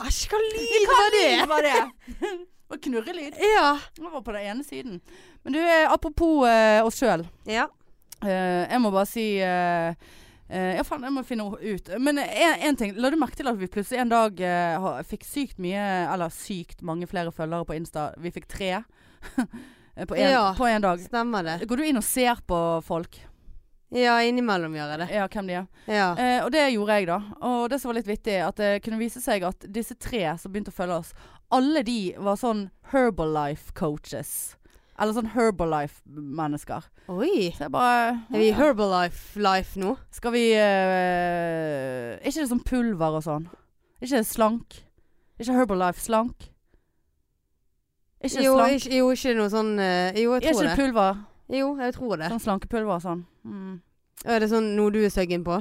[SPEAKER 1] Æsj, hva lyd var det?
[SPEAKER 2] var det? Og knurrelyd.
[SPEAKER 1] Ja.
[SPEAKER 2] Det var på den ene siden. Men du, eh, apropos eh, oss sjøl.
[SPEAKER 1] Ja.
[SPEAKER 2] Eh, jeg må bare si eh, Eh, ja, faen, jeg må finne ut. Men én ting. La du merke til at vi plutselig en dag eh, ha- fikk sykt mye Eller sykt mange flere følgere på Insta. Vi fikk tre Eh, på én
[SPEAKER 1] Ja.
[SPEAKER 2] ja. dag.
[SPEAKER 1] Stemmer det?
[SPEAKER 2] Går du inn og ser på folk?
[SPEAKER 1] Ja, innimellom gjør jeg det.
[SPEAKER 2] Ja, hvem de er?
[SPEAKER 1] Ja.
[SPEAKER 2] Eh, og det gjorde jeg, da. Og det som var litt vittig, at det kunne vise seg at disse tre som begynte å følge oss, alle de var sånn Herbalife-coaches. Eller sånn Herbalife-mennesker.
[SPEAKER 1] Oi.
[SPEAKER 2] Så jeg bare "Hm,
[SPEAKER 1] Er vi Herbalife-life nå?
[SPEAKER 2] Skal vi eh, Er ikke det sånn pulver og sånn? Er ikke det slank? Er ikke Herbalife slank? Er ikke det
[SPEAKER 1] Jo,
[SPEAKER 2] slank?
[SPEAKER 1] ikke, jo, ikke noe sånn eh, Jo,
[SPEAKER 2] Er
[SPEAKER 1] jeg
[SPEAKER 2] ikke
[SPEAKER 1] tror
[SPEAKER 2] det
[SPEAKER 1] det.
[SPEAKER 2] pulver?
[SPEAKER 1] Jo, jeg tror det.
[SPEAKER 2] Sånn slankepulver og sånn. Mm.
[SPEAKER 1] Er det sånn noe du er søggen på?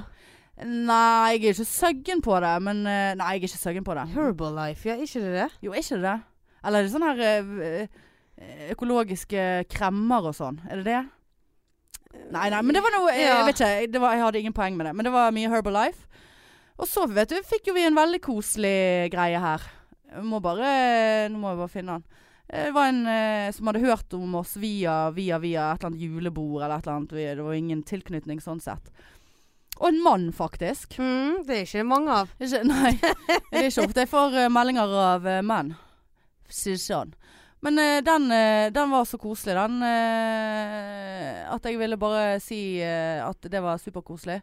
[SPEAKER 2] Nei, jeg er ikke søggen på det, men eh, Nei, jeg er ikke søggen på det.
[SPEAKER 1] Herbalife, ja, ikke det det?
[SPEAKER 2] Jo, er ikke det det? Eller er det sånne her eh, eh, økologiske kremmer og sånn? Er det det? Nei, nei, men det var noe Jeg,
[SPEAKER 1] Ja.
[SPEAKER 2] jeg vet ikke, det var, jeg hadde ingen poeng med det. Men det var mye Herbalife. Og så, vet du, fikk jo vi en veldig koselig greie her. Jeg Må bare Nå må jeg bare finne den. Det var en eh, som hadde hørt om oss via, via, via et eller annet julebord eller et eller annet. Vi- Det var jo ingen tilknytning sånn sett. Og en mann, faktisk.
[SPEAKER 1] Mm, det er ikke mange av.
[SPEAKER 2] Ikke, nei, det er ikke ofte jeg får eh, meldinger av eh, menn. Si det sånn. Men eh, den, eh, den var så koselig, den. eh, at jeg ville bare si eh, at det var superkoselig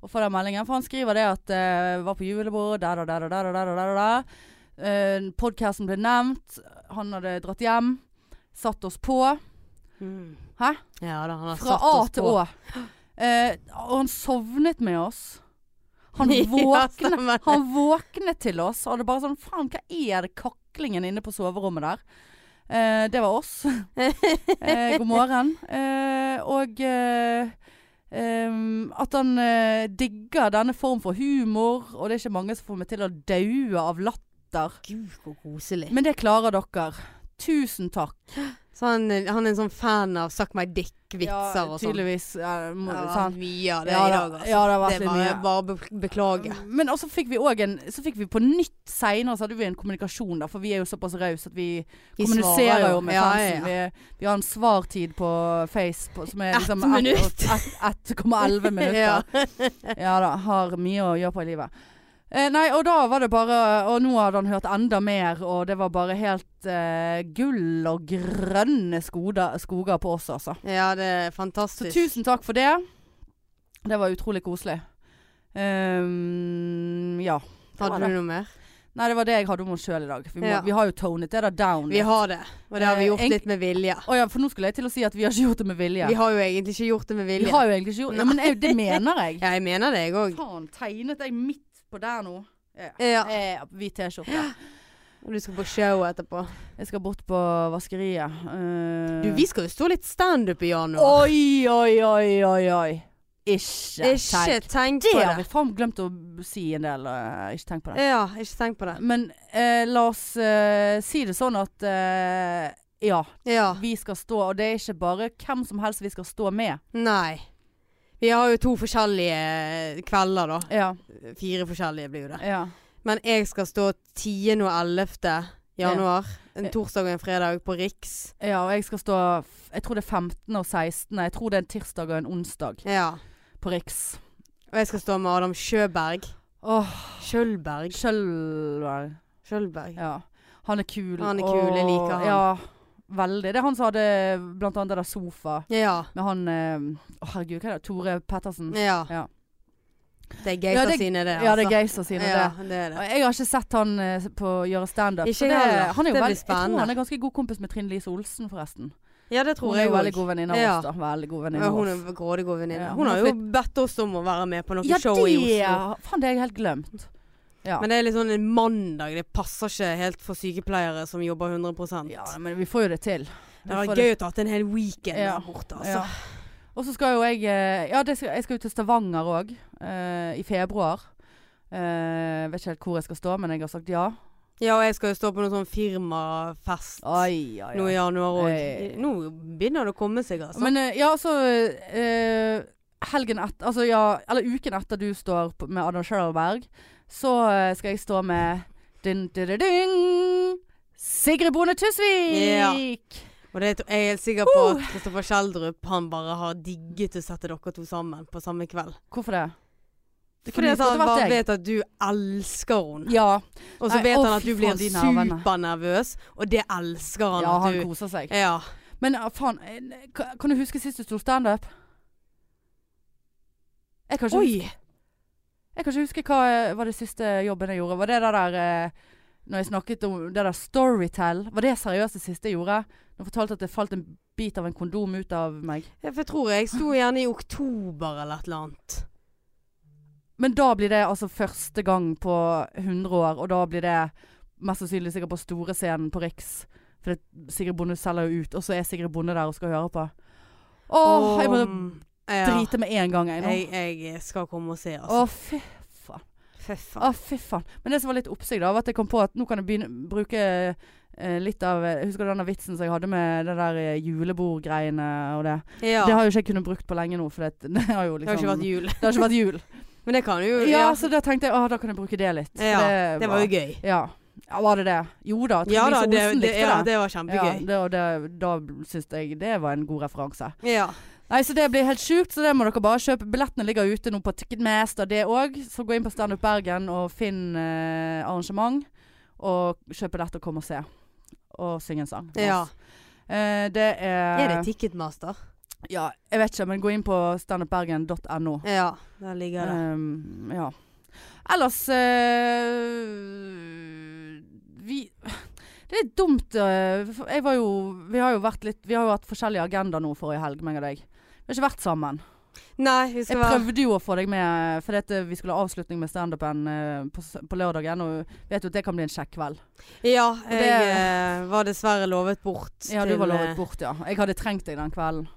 [SPEAKER 2] å få den meldingen. For han skriver det at eh, var på julebord, der og der og der og der. og der, og der. Eh, Podkasten ble nevnt. Han hadde dratt hjem. Satt oss på. Hæ?
[SPEAKER 1] Hmm. Ja da, han har
[SPEAKER 2] Fra
[SPEAKER 1] satt
[SPEAKER 2] A
[SPEAKER 1] oss
[SPEAKER 2] til
[SPEAKER 1] på.
[SPEAKER 2] Å. Eh, og han sovnet med oss. Han
[SPEAKER 1] ja,
[SPEAKER 2] våknet
[SPEAKER 1] stemmer det.
[SPEAKER 2] han våknet til oss, og det bare sånn Faen, hva er det kaklingen inne på soverommet der? Eh, det var oss. eh, god morgen. Eh, og eh, em, at han eh, digger denne form for humor, og det er ikke mange som får meg til å daue av latter.
[SPEAKER 1] Gud, hvor koselig.
[SPEAKER 2] Men det klarer dere. Tusen takk.
[SPEAKER 1] Så han, han er en sånn fan av suck my dick-vitser og sånn.
[SPEAKER 2] tydeligvis. Ja, må,
[SPEAKER 1] Ja, det var
[SPEAKER 2] sant?
[SPEAKER 1] mye av det
[SPEAKER 2] Ja,
[SPEAKER 1] i
[SPEAKER 2] da-
[SPEAKER 1] dag, altså.
[SPEAKER 2] ja, det har vært
[SPEAKER 1] det Mm.
[SPEAKER 2] litt
[SPEAKER 1] var
[SPEAKER 2] mye.
[SPEAKER 1] bare be beklage.
[SPEAKER 2] Men også fikk vi òg en Så fikk vi på nytt seinere, så hadde vi en kommunikasjon, da. For vi er jo såpass rause at vi
[SPEAKER 1] Vi
[SPEAKER 2] kommuniserer
[SPEAKER 1] svarer
[SPEAKER 2] jo med
[SPEAKER 1] ja,
[SPEAKER 2] fansen.
[SPEAKER 1] ja, ja.
[SPEAKER 2] Vi, vi har en svartid på Face på, som er
[SPEAKER 1] Ett
[SPEAKER 2] liksom
[SPEAKER 1] minutt.
[SPEAKER 2] 1,11 minutter.
[SPEAKER 1] Ja.
[SPEAKER 2] ja. da. Har mye å gjøre på i livet. Eh, nei, og da var det bare Og nå hadde han hørt enda mer, og det var bare helt eh, gull og grønne skoda, skoger på oss, altså.
[SPEAKER 1] ja, det er
[SPEAKER 2] Så
[SPEAKER 1] fantastisk.
[SPEAKER 2] tusen takk for det. Det var utrolig koselig. Ehm, ja. var
[SPEAKER 1] Hadde
[SPEAKER 2] det.
[SPEAKER 1] du noe mer?
[SPEAKER 2] Nei, det var det jeg hadde om oss sjøl i dag. Vi, må,
[SPEAKER 1] Ja.
[SPEAKER 2] vi har jo tonet det da down.
[SPEAKER 1] Vi har det, og det har vi
[SPEAKER 2] Eh,
[SPEAKER 1] gjort
[SPEAKER 2] en-
[SPEAKER 1] litt med vilje.
[SPEAKER 2] Å ja, for nå skulle jeg til å si at vi har ikke gjort det med vilje.
[SPEAKER 1] Vi har jo egentlig ikke gjort det med
[SPEAKER 2] Vi
[SPEAKER 1] vilje.
[SPEAKER 2] har jo egentlig ikke gjort det. Ja, men jeg, det mener jeg.
[SPEAKER 1] Ja, jeg mener det, jeg òg.
[SPEAKER 2] Faen, tegnet jeg midt på der nå? Ja.
[SPEAKER 1] Ja.
[SPEAKER 2] Eh, Hvit T-skjorte.
[SPEAKER 1] Eh, Og du skal på show etterpå.
[SPEAKER 2] Jeg skal bort på vaskeriet. Eh,
[SPEAKER 1] Du, vi skal jo stå litt standup i januar.
[SPEAKER 2] Oi, oi, oi, oi, oi. Ikke
[SPEAKER 1] Ikke
[SPEAKER 2] tenk
[SPEAKER 1] tenk
[SPEAKER 2] Det
[SPEAKER 1] på
[SPEAKER 2] har
[SPEAKER 1] det.
[SPEAKER 2] vi faen glemt å si en del. eh, ikke tenk på det.
[SPEAKER 1] Ja, ikke tenk på det.
[SPEAKER 2] Men eh, la oss eh, si det sånn at eh, ja,
[SPEAKER 1] Ja.
[SPEAKER 2] vi skal stå, og det er ikke bare hvem som helst vi skal stå med.
[SPEAKER 1] Nei. Vi har jo to forskjellige eh, kvelder, da.
[SPEAKER 2] Ja,
[SPEAKER 1] Fire forskjellige blir jo det.
[SPEAKER 2] ja.
[SPEAKER 1] Men jeg skal stå 10. og 11. januar.
[SPEAKER 2] Ja.
[SPEAKER 1] En torsdag og en fredag på Riks.
[SPEAKER 2] ja, og jeg skal stå f- Jeg tror det er 15. og 16. Jeg tror det er en tirsdag og en onsdag
[SPEAKER 1] Ja.
[SPEAKER 2] på Riks.
[SPEAKER 1] Og jeg skal stå med Adam Sjøberg.
[SPEAKER 2] Åh,
[SPEAKER 1] Kjølberg.
[SPEAKER 2] Kjølberg.
[SPEAKER 1] Kjølberg.
[SPEAKER 2] Ja. Han er kul.
[SPEAKER 1] Han er kul, jeg
[SPEAKER 2] og-
[SPEAKER 1] liker han.
[SPEAKER 2] Ja, veldig. Det er han som hadde blant annet det der sofa
[SPEAKER 1] Ja.
[SPEAKER 2] med han eh, Å, herregud, hva er det? Tore Pettersen.
[SPEAKER 1] ja.
[SPEAKER 2] Ja.
[SPEAKER 1] Det er
[SPEAKER 2] Ja,
[SPEAKER 1] geita
[SPEAKER 2] det-
[SPEAKER 1] sine, det. altså.
[SPEAKER 2] Ja, det er Geisers sine, det.
[SPEAKER 1] Ja, det er det.
[SPEAKER 2] Og Jeg har ikke sett han eh, på å gjøre standup.
[SPEAKER 1] Ikke
[SPEAKER 2] så
[SPEAKER 1] jeg heller.
[SPEAKER 2] Han er jo
[SPEAKER 1] Det
[SPEAKER 2] veldig-
[SPEAKER 1] blir
[SPEAKER 2] Jeg
[SPEAKER 1] spennende.
[SPEAKER 2] tror han er ganske god kompis med Trine Lise Olsen, forresten.
[SPEAKER 1] Ja, det tror
[SPEAKER 2] Hun er
[SPEAKER 1] jeg
[SPEAKER 2] jo veldig
[SPEAKER 1] òg.
[SPEAKER 2] god venninne av
[SPEAKER 1] Ja.
[SPEAKER 2] oss, da. Veldig god venninne
[SPEAKER 1] Ja,
[SPEAKER 2] av
[SPEAKER 1] hun
[SPEAKER 2] oss.
[SPEAKER 1] er grådig god venninne.
[SPEAKER 2] Ja,
[SPEAKER 1] hun
[SPEAKER 2] hun
[SPEAKER 1] har
[SPEAKER 2] har
[SPEAKER 1] jo bedt oss om å være med på noe
[SPEAKER 2] Ja,
[SPEAKER 1] show i Oslo.
[SPEAKER 2] det Faen, det har jeg helt glemt. Ja.
[SPEAKER 1] Men det er litt sånn en mandag. Det passer ikke helt for sykepleiere som jobber 100
[SPEAKER 2] ja, men vi får jo det til.
[SPEAKER 1] Det hadde vært gøy å tatt en hel weekend
[SPEAKER 2] Ja.
[SPEAKER 1] der borte, altså.
[SPEAKER 2] Ja. Og så skal jo jeg eh, Ja, det skal, jeg skal jo til Stavanger òg. I februar. Eh, vet ikke helt hvor jeg skal stå, men jeg har sagt ja.
[SPEAKER 1] Ja. og jeg skal jo stå på noen sånn firmafest
[SPEAKER 2] Ai, ai,
[SPEAKER 1] nå i
[SPEAKER 2] ai.
[SPEAKER 1] januar òg.
[SPEAKER 2] Ei.
[SPEAKER 1] Nå begynner det å komme seg, altså.
[SPEAKER 2] Men eh, ja, altså eh, Helgen etter Altså ja, eller uken etter du står på- med Adam Schjølberg, så eh, skal jeg stå med din, din, din, din, Sigrid Bonde Tusvik!
[SPEAKER 1] og det, tror- jeg er helt sikker på at Kristoffer Schjelderup han bare har digget å sette dere to sammen på samme kveld.
[SPEAKER 2] Hvorfor det? Det
[SPEAKER 1] Fordi
[SPEAKER 2] kunne
[SPEAKER 1] at han
[SPEAKER 2] godt vært
[SPEAKER 1] bare
[SPEAKER 2] jeg.
[SPEAKER 1] vet at du elsker henne.
[SPEAKER 2] Ja,
[SPEAKER 1] Og så
[SPEAKER 2] Nei,
[SPEAKER 1] vet
[SPEAKER 2] å,
[SPEAKER 1] han at
[SPEAKER 2] fy
[SPEAKER 1] du blir
[SPEAKER 2] faen, de nervene.
[SPEAKER 1] supernervøs, og det elsker han.
[SPEAKER 2] ja,
[SPEAKER 1] at
[SPEAKER 2] han
[SPEAKER 1] du,
[SPEAKER 2] koser seg.
[SPEAKER 1] ja.
[SPEAKER 2] Men ah, faen, eh, ka- kan du huske sist du sto standup? Jeg kan ikke huske
[SPEAKER 1] Oi!
[SPEAKER 2] Jeg kan ikke huske hva eh, var det siste jobben jeg gjorde. Var det det der eh, Når jeg snakket om det der Storytell, var det seriøst det siste jeg gjorde? Når jeg fortalte at det falt en bit av en kondom ut av meg.
[SPEAKER 1] Ja, for Jeg tror jeg sto gjerne i oktober eller et eller annet.
[SPEAKER 2] Men da blir det altså første gang på 100 år, og da blir det mest sannsynlig sikkert på store scenen på Riks. For det, Sigrid Bonde selger jo ut, og så er Sigrid Bonde der og skal høre på. Åh, jeg må
[SPEAKER 1] mm, ja.
[SPEAKER 2] drite med en gang, jeg nå.
[SPEAKER 1] Jeg, jeg skal komme og se, altså.
[SPEAKER 2] Å, fy faen.
[SPEAKER 1] Fy faen.
[SPEAKER 2] Å, fy faen. Men det som var litt oppsikt, da, var at jeg kom på at nå kan jeg begynne bruke eh, litt av eh, Husker du den der vitsen som jeg hadde med det der eh, julebordgreiene og det? Det
[SPEAKER 1] ja. Det har,
[SPEAKER 2] har jo ikke jeg kunnet brukt på lenge nå, for det, det har jo liksom
[SPEAKER 1] ikke vært jul.
[SPEAKER 2] det har ikke vært jul.
[SPEAKER 1] Men det kan jo
[SPEAKER 2] Ja, så da tenkte jeg å, da kan jeg bruke det litt. For
[SPEAKER 1] Ja, Det var jo gøy.
[SPEAKER 2] Ja. ja. Var det det? Jo da, Trine
[SPEAKER 1] Ja da, det,
[SPEAKER 2] Olsen
[SPEAKER 1] det,
[SPEAKER 2] liksom likte
[SPEAKER 1] ja,
[SPEAKER 2] det.
[SPEAKER 1] det var
[SPEAKER 2] Ja,
[SPEAKER 1] kjempegøy.
[SPEAKER 2] det, og det, da syns jeg det var en god referanse.
[SPEAKER 1] Ja.
[SPEAKER 2] Nei, så det blir helt sjukt, så det må dere bare kjøpe. Billettene ligger ute nå på Ticketmaster, det òg. Så gå inn på Standup Bergen og finn eh, arrangement, og kjøp billett og kom og se. Og syng en sang. med
[SPEAKER 1] ja.
[SPEAKER 2] oss. Eh, det er
[SPEAKER 1] Er det Ticketmaster?
[SPEAKER 2] Ja, jeg vet ikke, men gå inn på standupbergen.no.
[SPEAKER 1] Ja, der ligger det.
[SPEAKER 2] Ehm, ja. Ellers eh, Vi Det er dumt eh, for Jeg var jo Vi har jo vært litt Vi har jo hatt forskjellige agendaer nå forrige helg, meg og deg. Vi har ikke vært sammen.
[SPEAKER 1] Nei, vi skal
[SPEAKER 2] Jeg
[SPEAKER 1] være
[SPEAKER 2] prøvde jo å få deg med, fordi at eh, vi skulle ha avslutning med standupen eh, på, s- på lørdagen. Og vet jo at det kan bli en kjekk kveld.
[SPEAKER 1] Ja,
[SPEAKER 2] det-
[SPEAKER 1] jeg eh, var dessverre lovet bort
[SPEAKER 2] Ja, du
[SPEAKER 1] til,
[SPEAKER 2] var
[SPEAKER 1] eh,
[SPEAKER 2] lovet bort, ja. Jeg hadde trengt deg den kvelden.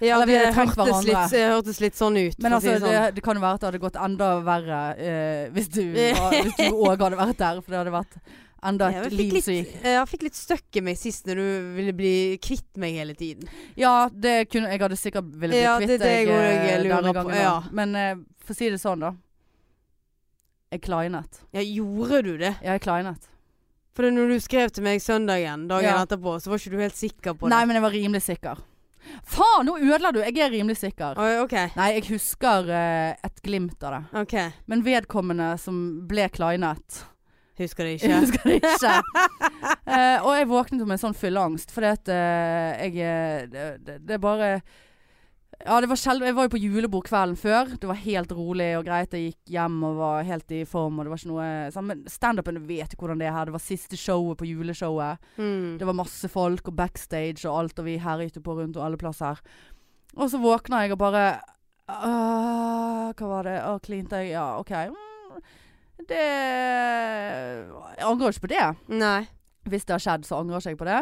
[SPEAKER 1] Ja,
[SPEAKER 2] Eller vi
[SPEAKER 1] det
[SPEAKER 2] hadde trengt
[SPEAKER 1] hørtes
[SPEAKER 2] hverandre.
[SPEAKER 1] litt, det hørtes litt sånn ut.
[SPEAKER 2] Men
[SPEAKER 1] for å si
[SPEAKER 2] altså,
[SPEAKER 1] det,
[SPEAKER 2] det,
[SPEAKER 1] sånn.
[SPEAKER 2] det kan jo være at det hadde gått enda verre eh, hvis du var- hvis du òg hadde vært der. For det hadde vært enda
[SPEAKER 1] Ja,
[SPEAKER 2] et
[SPEAKER 1] jeg
[SPEAKER 2] liv
[SPEAKER 1] fikk
[SPEAKER 2] som gikk.
[SPEAKER 1] litt, jeg fikk litt støkk i meg sist når du ville bli kvitt meg hele tiden.
[SPEAKER 2] Ja, det kunne jeg hadde sikkert ville
[SPEAKER 1] Ja,
[SPEAKER 2] blitt
[SPEAKER 1] det er
[SPEAKER 2] kvitt
[SPEAKER 1] det jeg
[SPEAKER 2] eh,
[SPEAKER 1] også lurer
[SPEAKER 2] denne
[SPEAKER 1] på,
[SPEAKER 2] gangen. da.
[SPEAKER 1] ja.
[SPEAKER 2] Men eh, for å si det sånn, da. Jeg kleinet.
[SPEAKER 1] Ja, gjorde du det?
[SPEAKER 2] Ja, jeg kleinet.
[SPEAKER 1] For det er når du skrev til meg søndagen dagen
[SPEAKER 2] Ja.
[SPEAKER 1] etterpå, så var ikke du helt sikker på det.
[SPEAKER 2] Nei, men jeg var rimelig sikker. Faen, nå ødela du! Jeg er rimelig sikker.
[SPEAKER 1] Oi, OK.
[SPEAKER 2] Nei, jeg husker eh, et glimt av det.
[SPEAKER 1] ok.
[SPEAKER 2] Men vedkommende som ble kleinet
[SPEAKER 1] Husker det
[SPEAKER 2] Jeg
[SPEAKER 1] ikke.
[SPEAKER 2] husker det ikke. Eh, og jeg våknet med en sånn fylleangst, fordi at eh, jeg eh, det, det, det er bare ja, det var sjelden Jeg var jo på julebord kvelden før. Det var helt rolig og greit. Jeg gikk hjem og var helt i form, og det var ikke noe sånn. Men standupen du vet jo hvordan det er her. Det var siste showet på juleshowet.
[SPEAKER 1] Mm.
[SPEAKER 2] Det var masse folk og backstage og alt, og vi herjet jo på rundt og alle plasser. Og så våkna jeg og bare «Åh, Hva var det? Åh, klinte jeg? Ja, OK. Mm, Det Jeg angrer jo ikke på det.
[SPEAKER 1] Nei.
[SPEAKER 2] Hvis det har skjedd, så angrer ikke jeg på det.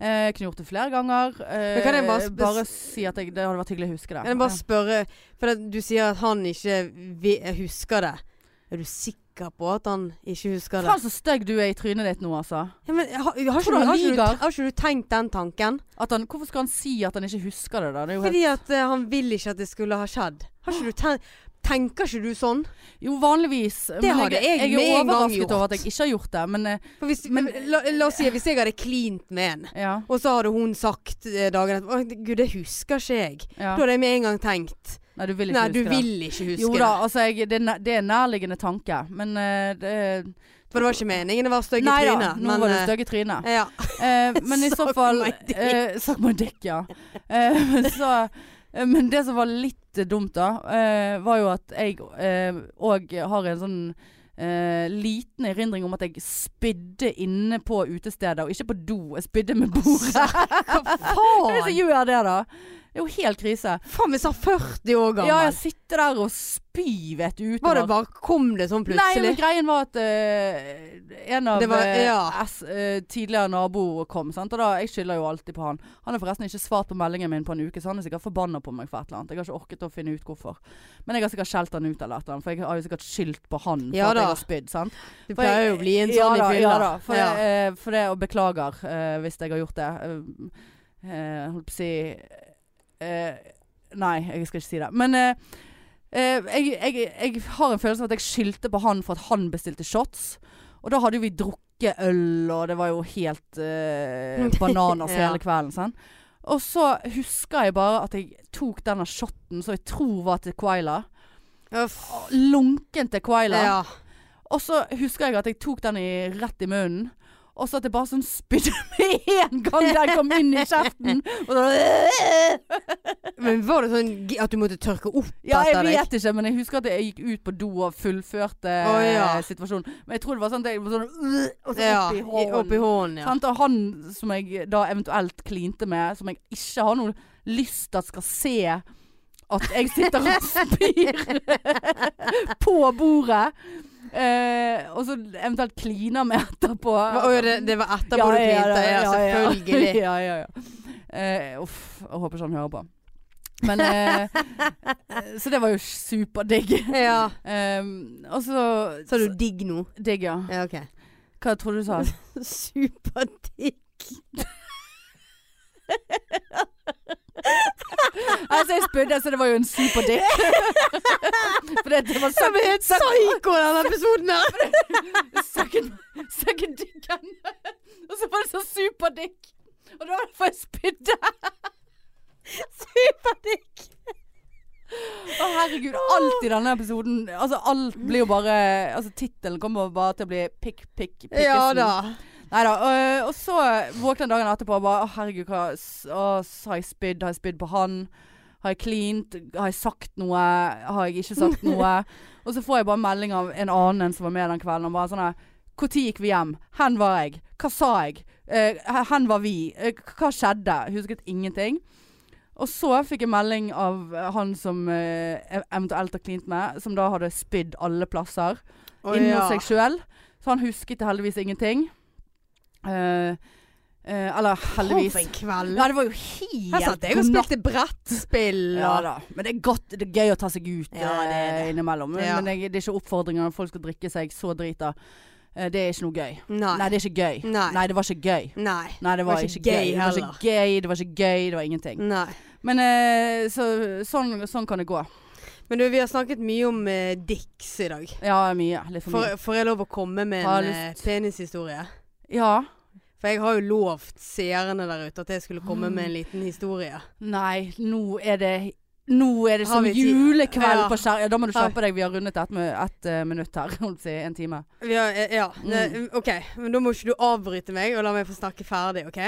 [SPEAKER 2] Eh, Jeg kunne gjort det flere ganger. Eh,
[SPEAKER 1] Men kan jeg bare sp-
[SPEAKER 2] si at jeg, det hadde vært hyggelig å huske det.
[SPEAKER 1] Kan jeg bare spørre For det, du sier at han ikke vi, husker det. Er du sikker på at han ikke husker det?
[SPEAKER 2] Faen så stygg du er i trynet ditt nå, altså.
[SPEAKER 1] Ja, men, har, har, ikke,
[SPEAKER 2] Tror du
[SPEAKER 1] du-
[SPEAKER 2] han
[SPEAKER 1] har, ikke,
[SPEAKER 2] lyger?
[SPEAKER 1] du- har ikke du tenkt den tanken?
[SPEAKER 2] At han, hvorfor skal han si at han ikke husker det, da? Det er jo, helt,
[SPEAKER 1] Fordi at eh, han vil ikke at det skulle ha skjedd. Har ikke du ten Tenker ikke du sånn?
[SPEAKER 2] jo vanligvis. men
[SPEAKER 1] hadde jeg
[SPEAKER 2] jeg
[SPEAKER 1] med
[SPEAKER 2] er
[SPEAKER 1] en gang
[SPEAKER 2] overrasket
[SPEAKER 1] gjort.
[SPEAKER 2] over at jeg ikke har gjort det, men eh,
[SPEAKER 1] For hvis,
[SPEAKER 2] Men-
[SPEAKER 1] la, la oss si at hvis jeg hadde klint med en,
[SPEAKER 2] ja.
[SPEAKER 1] og så hadde hun sagt eh, dagen etter «Å, Gud, det husker ikke jeg.
[SPEAKER 2] ja.
[SPEAKER 1] Da hadde jeg med en gang tenkt
[SPEAKER 2] Nei, du vil ikke
[SPEAKER 1] Nei, du
[SPEAKER 2] huske det.
[SPEAKER 1] vil ikke huske
[SPEAKER 2] Jo da,
[SPEAKER 1] det.
[SPEAKER 2] altså jeg, det, er næ- det er nærliggende tanke, men eh, det,
[SPEAKER 1] For det var ikke meningen å være stygg i
[SPEAKER 2] Nei da,
[SPEAKER 1] trynet.
[SPEAKER 2] nå var du stygg i trynet.
[SPEAKER 1] eh, ja.
[SPEAKER 2] Eh, men i så
[SPEAKER 1] Suck
[SPEAKER 2] fall
[SPEAKER 1] my dick.
[SPEAKER 2] eh, Suck my dick, ja. Eh, men, så, eh, men det som var litt eh, dumt, da, eh, var jo at jeg òg har en sånn eh, liten erindring om at jeg spydde inne på utestedet, og ikke på do. Jeg spydde med
[SPEAKER 1] sånn.
[SPEAKER 2] bordet.
[SPEAKER 1] Hva
[SPEAKER 2] Hvem er det som
[SPEAKER 1] faen?
[SPEAKER 2] gjør det, da? Det er jo helt krise.
[SPEAKER 1] Faen, vi sa 40 år gammel.
[SPEAKER 2] Ja, jeg sitter der og spyr, vet du, utover.
[SPEAKER 1] var det bare Kom det sånn
[SPEAKER 2] Nei,
[SPEAKER 1] plutselig?
[SPEAKER 2] men greien var at eh, en av
[SPEAKER 1] Det var-
[SPEAKER 2] eh,
[SPEAKER 1] ja.
[SPEAKER 2] S, eh, tidligere naboer kom, sant? og da, jeg skylder jo alltid på han. Han har forresten ikke svart på meldingen min på en uke, så han er sikkert forbanna på meg for et eller annet. Jeg har ikke orket å finne ut hvorfor. Men jeg har sikkert skjelt han ut eller et eller annet, for jeg har jo sikkert skyldt på han for
[SPEAKER 1] Ja
[SPEAKER 2] at
[SPEAKER 1] da.
[SPEAKER 2] jeg har spydd, sant.
[SPEAKER 1] det
[SPEAKER 2] For jeg-
[SPEAKER 1] pleier jo å bli en
[SPEAKER 2] ja
[SPEAKER 1] sånn
[SPEAKER 2] da,
[SPEAKER 1] i fylla.
[SPEAKER 2] Ja da, for, Det, eh, for det, og beklager eh, hvis jeg har gjort det. Eh, eh, holdt på å si eh, Nei, jeg skal ikke si det. Men eh, eh, jeg, jeg, jeg har en følelse av at jeg skyldte på han for at han bestilte shots. Og da hadde jo vi drukket øl, og det var jo helt eh, bananas
[SPEAKER 1] Ja.
[SPEAKER 2] hele kvelden. sant? Og så husker jeg bare at jeg tok denne shotten som jeg tror var til Quaila.
[SPEAKER 1] Uff.
[SPEAKER 2] Lunken til Quaila.
[SPEAKER 1] Ja.
[SPEAKER 2] Og så husker jeg at jeg tok den i, rett i munnen. Og så at jeg bare sånn spydde med en gang den kom inn i kjeften. Og så,
[SPEAKER 1] Men var det sånn gi- at du måtte tørke opp
[SPEAKER 2] ja, jeg
[SPEAKER 1] etter deg?
[SPEAKER 2] vet ikke, men jeg husker at jeg gikk ut på do og fullførte
[SPEAKER 1] Å, ja.
[SPEAKER 2] eh, situasjonen. Men jeg tror det var sånn at jeg var sånn Og så
[SPEAKER 1] Ja,
[SPEAKER 2] opp i hånden.
[SPEAKER 1] Opp i hånden, ja.
[SPEAKER 2] Sant? Og han som jeg da eventuelt klinte med, som jeg ikke har noe lyst til at skal se at jeg sitter og spyr på bordet. Eh, og så eventuelt kliner med etterpå.
[SPEAKER 1] Å Sånn. ja, det, det var etterpå du klinte? Ja, selvfølgelig.
[SPEAKER 2] Ja, ja, ja. Eh, uff, jeg håper ikke han hører på. Men eh, Så det var jo superdigg.
[SPEAKER 1] Ja.
[SPEAKER 2] Eh, og så
[SPEAKER 1] Sa du digg nå?
[SPEAKER 2] Digg, ja.
[SPEAKER 1] Ja, OK.
[SPEAKER 2] Hva tror du du sa?
[SPEAKER 1] Superdigg.
[SPEAKER 2] Altså, jeg spydde, så det var jo en superdick. For det, det var
[SPEAKER 1] Jeg blir helt psyko av denne episoden her.
[SPEAKER 2] second, second dicken. Og så var det så superdick. Og det var derfor jeg spydde.
[SPEAKER 1] Superdigg.
[SPEAKER 2] Å, herregud. Alt i denne episoden Altså, alt blir jo bare Altså, tittelen kommer bare til å bli pikk, pikk, pikkesen.
[SPEAKER 1] Ja da.
[SPEAKER 2] Nei da. øh, Og, og så våkna jeg dagen etterpå og bare Å, herregud, hva s- å, s- Har jeg spydd? Har jeg spydd på han? Har jeg klint? Har jeg sagt noe? Har jeg ikke sagt noe? og så får jeg bare melding av en annen enn som var med den kvelden. Og bare sånn her Når gikk vi hjem? Hen var jeg? Hva sa jeg? Eh, hen var vi? Eh, hva skjedde? Husket ingenting. Og så fikk jeg melding av eh, han som eh, ev- eventuelt har klint med, som da hadde spydd alle plasser
[SPEAKER 1] Å,
[SPEAKER 2] inni
[SPEAKER 1] ja.
[SPEAKER 2] seg sjøl. Så han husket heldigvis ingenting. Eh, eh, eller heldigvis.
[SPEAKER 1] For en kveld.
[SPEAKER 2] Ja, det var jo helt
[SPEAKER 1] Her satt jeg og
[SPEAKER 2] natt.
[SPEAKER 1] spilte brettspill.
[SPEAKER 2] Ja
[SPEAKER 1] og-
[SPEAKER 2] da. Men det er godt. Det er gøy å ta seg ut
[SPEAKER 1] Ja, det er
[SPEAKER 2] eh,
[SPEAKER 1] det.
[SPEAKER 2] innimellom. Men-
[SPEAKER 1] Ja.
[SPEAKER 2] Men jeg, det er ikke oppfordringer når folk skal drikke seg så drita. Eh, det er ikke noe gøy.
[SPEAKER 1] Nei.
[SPEAKER 2] Nei, det er ikke gøy.
[SPEAKER 1] Nei.
[SPEAKER 2] Nei, det var ikke gøy.
[SPEAKER 1] Nei.
[SPEAKER 2] Nei, det var, ikke, gøy. Det var
[SPEAKER 1] heller.
[SPEAKER 2] ikke gøy, det var ikke gøy, det var ingenting.
[SPEAKER 1] Nei.
[SPEAKER 2] Men eh, så, sånn, sånn kan det gå.
[SPEAKER 1] Men du, vi har snakket mye om eh, dicks i dag.
[SPEAKER 2] Ja, mye. Litt for mye.
[SPEAKER 1] Får får jeg lov å komme med
[SPEAKER 2] Har
[SPEAKER 1] en
[SPEAKER 2] jeg
[SPEAKER 1] eh, penishistorie?
[SPEAKER 2] Ja.
[SPEAKER 1] For jeg har jo lovt seerne der ute at jeg skulle komme med
[SPEAKER 2] Ah.
[SPEAKER 1] en liten historie.
[SPEAKER 2] Nei, nå er det nå er det
[SPEAKER 1] Har
[SPEAKER 2] som
[SPEAKER 1] vi tid?
[SPEAKER 2] julekveld
[SPEAKER 1] Ja.
[SPEAKER 2] på skjær... Ja, da må du
[SPEAKER 1] Har-
[SPEAKER 2] kjappe deg. Vi har rundet ett et, minutt her. Holdt på å si en time.
[SPEAKER 1] Vi har, eh, ja, ne,
[SPEAKER 2] Mm.
[SPEAKER 1] OK. Men da må ikke du avbryte meg og la meg få snakke ferdig, OK?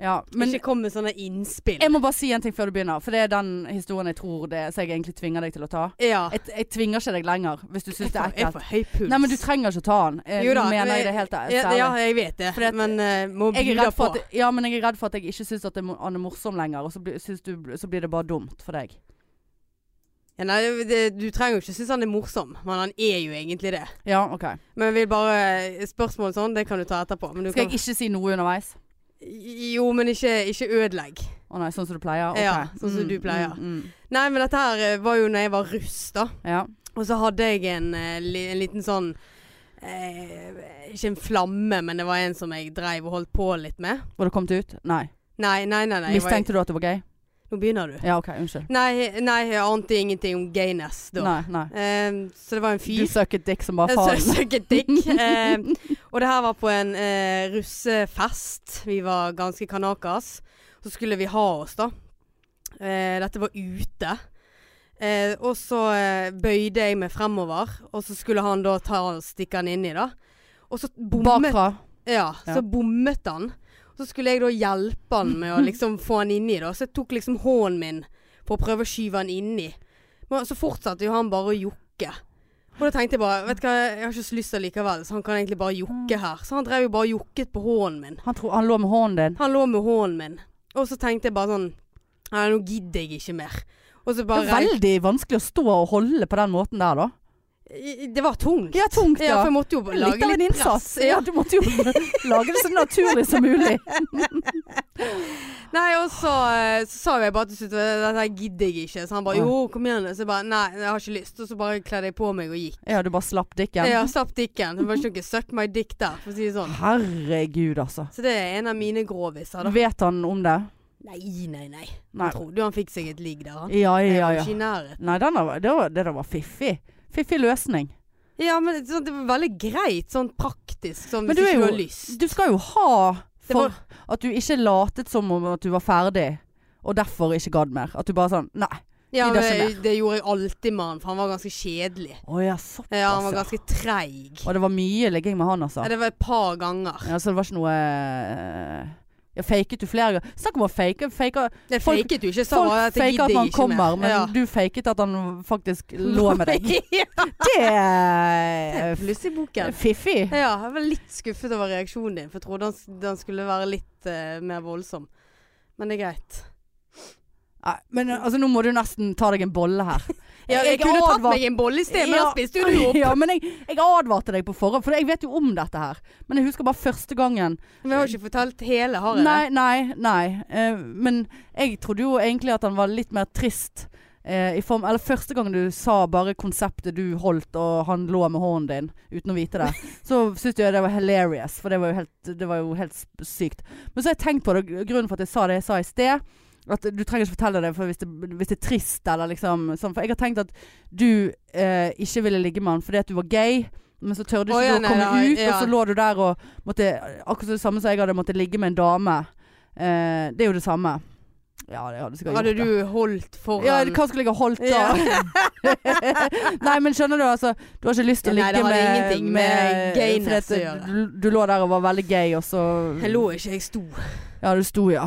[SPEAKER 2] Ja, men
[SPEAKER 1] ikke kom med sånne innspill.
[SPEAKER 2] jeg må bare si en ting før du begynner. For det er den historien jeg tror det Så jeg egentlig tvinger deg til å ta.
[SPEAKER 1] ja.
[SPEAKER 2] Jeg, jeg tvinger ikke deg lenger, hvis du syns det er
[SPEAKER 1] Ah. Jeg
[SPEAKER 2] ekkelt.
[SPEAKER 1] får høy puls.
[SPEAKER 2] Nei, men du trenger ikke å ta den. Eh,
[SPEAKER 1] Jo da,
[SPEAKER 2] nå mener jeg det
[SPEAKER 1] men-
[SPEAKER 2] helt eh,
[SPEAKER 1] ja,
[SPEAKER 2] særlig.
[SPEAKER 1] ja, jeg vet det.
[SPEAKER 2] Fordi at-
[SPEAKER 1] men eh, må
[SPEAKER 2] jeg er
[SPEAKER 1] bjuda
[SPEAKER 2] redd
[SPEAKER 1] på.
[SPEAKER 2] for at, ja, men jeg er redd for at jeg ikke syns at det må- han er morsom lenger, og så blir, syns du, så blir det bare dumt for deg.
[SPEAKER 1] ja, nei, det, du trenger jo ikke synes han er morsom, men han er jo egentlig det.
[SPEAKER 2] Ja, OK.
[SPEAKER 1] Men jeg vil bare Spørsmål sånn, det kan du ta etterpå. Men du
[SPEAKER 2] Skal jeg
[SPEAKER 1] kan,
[SPEAKER 2] ikke si noe underveis?
[SPEAKER 1] jo, men ikke, ikke ødelegg.
[SPEAKER 2] Å nei, sånn som du pleier? Ok.
[SPEAKER 1] Ja, sånn som du pleier.
[SPEAKER 2] Mm, mm,
[SPEAKER 1] Nei, men dette her eh, var jo når jeg var russ, da.
[SPEAKER 2] ja.
[SPEAKER 1] Og så hadde jeg en, eh, li- en liten sånn eh, Ikke en flamme, men det var en som jeg dreiv og holdt på litt med.
[SPEAKER 2] Var det kommet ut? Nei.
[SPEAKER 1] Nei, nei, nei. nei jeg var-
[SPEAKER 2] Mistenkte du at det var gay?
[SPEAKER 1] Nå begynner du.
[SPEAKER 2] Ja, OK, unnskyld.
[SPEAKER 1] Nei, nei, jeg ante ingenting om gayness da.
[SPEAKER 2] Nei, nei.
[SPEAKER 1] Eh, så det var en fyr.
[SPEAKER 2] Du søket dick som bare
[SPEAKER 1] Jeg sø-
[SPEAKER 2] faen.
[SPEAKER 1] søket dick. Eh, og det her var på en eh, russefest. Vi var ganske kanakas. Så skulle vi ha oss, da. Eh, dette var ute. Eh, og så eh, bøyde jeg meg fremover, og så skulle han da ta og stikke han inni, da. Og så bommet,
[SPEAKER 2] Bakfra.
[SPEAKER 1] ja, så
[SPEAKER 2] Ja.
[SPEAKER 1] bommet han. Så skulle jeg da hjelpe han med å liksom få han inni, da. Så jeg tok liksom hånden min på å prøve å skyve han inni. Men så fortsatte jo han bare å jokke. Og da tenkte jeg bare Vet du hva, jeg har ikke så lyst til likevel, så han kan egentlig bare jokke her. Så han drev jo bare og jokket på hånden min.
[SPEAKER 2] Han, tro, han lå med hånden din.
[SPEAKER 1] Han lå med hånden min. Og så tenkte jeg bare sånn Nei, nå gidder jeg ikke mer. Og så
[SPEAKER 2] Det
[SPEAKER 1] bare
[SPEAKER 2] er veldig vanskelig å stå og holde på den måten der, da.
[SPEAKER 1] I- Det var tungt.
[SPEAKER 2] Ja, tungt,
[SPEAKER 1] Ja,
[SPEAKER 2] ja.
[SPEAKER 1] for jeg måtte jo lage
[SPEAKER 2] Litt av en
[SPEAKER 1] litt
[SPEAKER 2] innsats.
[SPEAKER 1] press.
[SPEAKER 2] Ja,
[SPEAKER 1] Ja.
[SPEAKER 2] du måtte jo lage det så naturlig som mulig.
[SPEAKER 1] Nei, og så, eh, så sa jeg bare til slutt Dette her gidder jeg ikke. Så han bare
[SPEAKER 2] Ja.
[SPEAKER 1] jo, kom igjen. Så jeg bare nei, jeg har ikke lyst. Og så bare kledde jeg på meg og gikk.
[SPEAKER 2] Ja, du bare slapp dicken.
[SPEAKER 1] Ja, slapp dikken. Det var ikke noe suck my dick der, for å si det sånn.
[SPEAKER 2] Herregud, altså.
[SPEAKER 1] Så det er en av mine groviser, da.
[SPEAKER 2] Vet han om det?
[SPEAKER 1] Nei, nei, nei.
[SPEAKER 2] Nei.
[SPEAKER 1] Tror du han fikk seg et ligg der, han?
[SPEAKER 2] Ja,
[SPEAKER 1] Jeg
[SPEAKER 2] ja,
[SPEAKER 1] var
[SPEAKER 2] ja.
[SPEAKER 1] Ikke i nærheten.
[SPEAKER 2] Nei, den var, det, var, det der var fiffig. Fiffig løsning.
[SPEAKER 1] Ja, men sånn, det var veldig greit, sånn praktisk, sånn
[SPEAKER 2] Men
[SPEAKER 1] hvis
[SPEAKER 2] du er
[SPEAKER 1] ikke du
[SPEAKER 2] jo-
[SPEAKER 1] har lyst.
[SPEAKER 2] Du skal jo ha
[SPEAKER 1] Det
[SPEAKER 2] for
[SPEAKER 1] var-
[SPEAKER 2] at du ikke latet som om at du var ferdig, og derfor ikke gadd mer. At du bare sånn Nei,
[SPEAKER 1] Ja,
[SPEAKER 2] Gidder ikke
[SPEAKER 1] men, det gjorde jeg alltid med han, for han var ganske kjedelig.
[SPEAKER 2] Å ja, såpass.
[SPEAKER 1] Ja, han var
[SPEAKER 2] ja.
[SPEAKER 1] ganske treig.
[SPEAKER 2] Og det var mye ligging med han, altså.
[SPEAKER 1] Ja, det var et par ganger.
[SPEAKER 2] Ja, så det var ikke noe eh, Ja, faket du flere ganger? Snakk om å fake. fake
[SPEAKER 1] Det
[SPEAKER 2] folk-
[SPEAKER 1] faket jo ikke. Sa
[SPEAKER 2] folk
[SPEAKER 1] bare at jeg
[SPEAKER 2] faker at
[SPEAKER 1] gidder
[SPEAKER 2] man
[SPEAKER 1] ikke
[SPEAKER 2] kommer,
[SPEAKER 1] mer.
[SPEAKER 2] men
[SPEAKER 1] Ja.
[SPEAKER 2] du faket at han faktisk lå med deg. eh,
[SPEAKER 1] Ja,
[SPEAKER 2] Det er f-
[SPEAKER 1] Pluss i boken.
[SPEAKER 2] fiffig.
[SPEAKER 1] Ja, jeg var litt skuffet over reaksjonen din, for jeg trodde han, s- den skulle være litt eh, mer voldsom. Men det er greit.
[SPEAKER 2] Nei, Men altså, nå må du nesten ta deg en bolle her.
[SPEAKER 1] Ja, jeg, kunne tatt
[SPEAKER 2] advar-
[SPEAKER 1] meg en bolle i sted, men
[SPEAKER 2] Ja.
[SPEAKER 1] han spiste jo det opp.
[SPEAKER 2] Ja, men jeg, jeg advarte deg på forhånd, for jeg vet jo om dette her. Men jeg husker bare første gangen.
[SPEAKER 1] Men jeg har ikke fortalt hele, har jeg det?
[SPEAKER 2] Nei, nei, nei. Eh, men jeg trodde jo egentlig at han var litt mer trist. eh, i form, eller første gang du sa bare konseptet du holdt og han lå med hånden din uten å vite det, så syntes jeg det var hilarious, for det var jo helt, det var jo helt sp- sykt. Men så har jeg tenkt på det, grunnen for at jeg sa det jeg sa i sted, at du trenger ikke fortelle det, for hvis det, hvis det er trist eller liksom sånn. For jeg har tenkt at du eh, ikke ville ligge med han fordi at du var gay, men så tørde
[SPEAKER 1] Å,
[SPEAKER 2] ikke
[SPEAKER 1] ja,
[SPEAKER 2] du å
[SPEAKER 1] nei,
[SPEAKER 2] komme
[SPEAKER 1] nei,
[SPEAKER 2] ut, og
[SPEAKER 1] ja.
[SPEAKER 2] så lå du der og måtte Akkurat det samme som jeg hadde måttet ligge med en dame. Eh, det er jo det samme. Ja, det hadde sikkert
[SPEAKER 1] Hadde
[SPEAKER 2] gjort
[SPEAKER 1] du holdt foran
[SPEAKER 2] ja, hva skulle jeg ha holdt da? nei, men skjønner du, altså. Du har ikke lyst til å
[SPEAKER 1] Ja, nei, det
[SPEAKER 2] ligge
[SPEAKER 1] hadde
[SPEAKER 2] med,
[SPEAKER 1] ingenting med gayness
[SPEAKER 2] fordi
[SPEAKER 1] å
[SPEAKER 2] at Du, du lå der og var veldig gay, og så
[SPEAKER 1] Jeg lå ikke, jeg sto.
[SPEAKER 2] Ja, du sto, ja.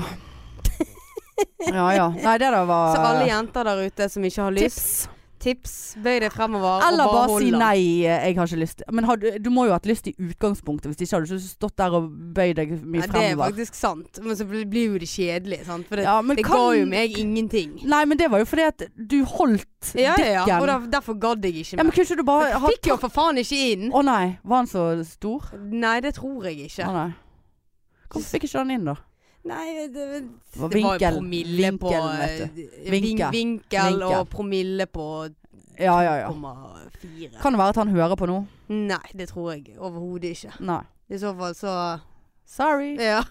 [SPEAKER 2] Ja ja. Nei, det der var eh,
[SPEAKER 1] Så alle jenter der ute som ikke har lyst,
[SPEAKER 2] tips.
[SPEAKER 1] tips, bøy deg fremover
[SPEAKER 2] Eller
[SPEAKER 1] og
[SPEAKER 2] bare,
[SPEAKER 1] bare
[SPEAKER 2] si
[SPEAKER 1] hold den.
[SPEAKER 2] nei, eh, jeg har ikke lyst. Men har du, du må jo ha hatt lyst i utgangspunktet, hvis ikke hadde du ikke stått der og bøyd deg mye
[SPEAKER 1] Ja, det er
[SPEAKER 2] fremover.
[SPEAKER 1] faktisk sant, men så blir blir jo det kjedelig, sant. For det,
[SPEAKER 2] Ja, men
[SPEAKER 1] det
[SPEAKER 2] kan-
[SPEAKER 1] ga jo meg ingenting.
[SPEAKER 2] Nei, men det var jo fordi at du holdt
[SPEAKER 1] Ja, ja, ja.
[SPEAKER 2] dikken.
[SPEAKER 1] Og da, derfor gadd jeg ikke
[SPEAKER 2] Ja, men
[SPEAKER 1] mer.
[SPEAKER 2] kunne ikke du bare
[SPEAKER 1] Jeg
[SPEAKER 2] ha
[SPEAKER 1] fikk jo for faen ikke inn.
[SPEAKER 2] Å nei, var han så stor?
[SPEAKER 1] Nei, det tror
[SPEAKER 2] Å
[SPEAKER 1] jeg ikke.
[SPEAKER 2] nei. Hvorfor fikk ikke han inn, da?
[SPEAKER 1] Nei, det,
[SPEAKER 2] Det var
[SPEAKER 1] det var jo
[SPEAKER 2] vinkel.
[SPEAKER 1] promille på
[SPEAKER 2] Vinkel, vet
[SPEAKER 1] eh,
[SPEAKER 2] Vinkel.
[SPEAKER 1] vin- vinkel
[SPEAKER 2] Vinkel.
[SPEAKER 1] og promille på
[SPEAKER 2] Ja, ja, ja.
[SPEAKER 1] 2,4.
[SPEAKER 2] Kan det være at han hører på nå?
[SPEAKER 1] Nei, det tror jeg overhodet ikke.
[SPEAKER 2] Nei.
[SPEAKER 1] I så fall så
[SPEAKER 2] Sorry.
[SPEAKER 1] Ja.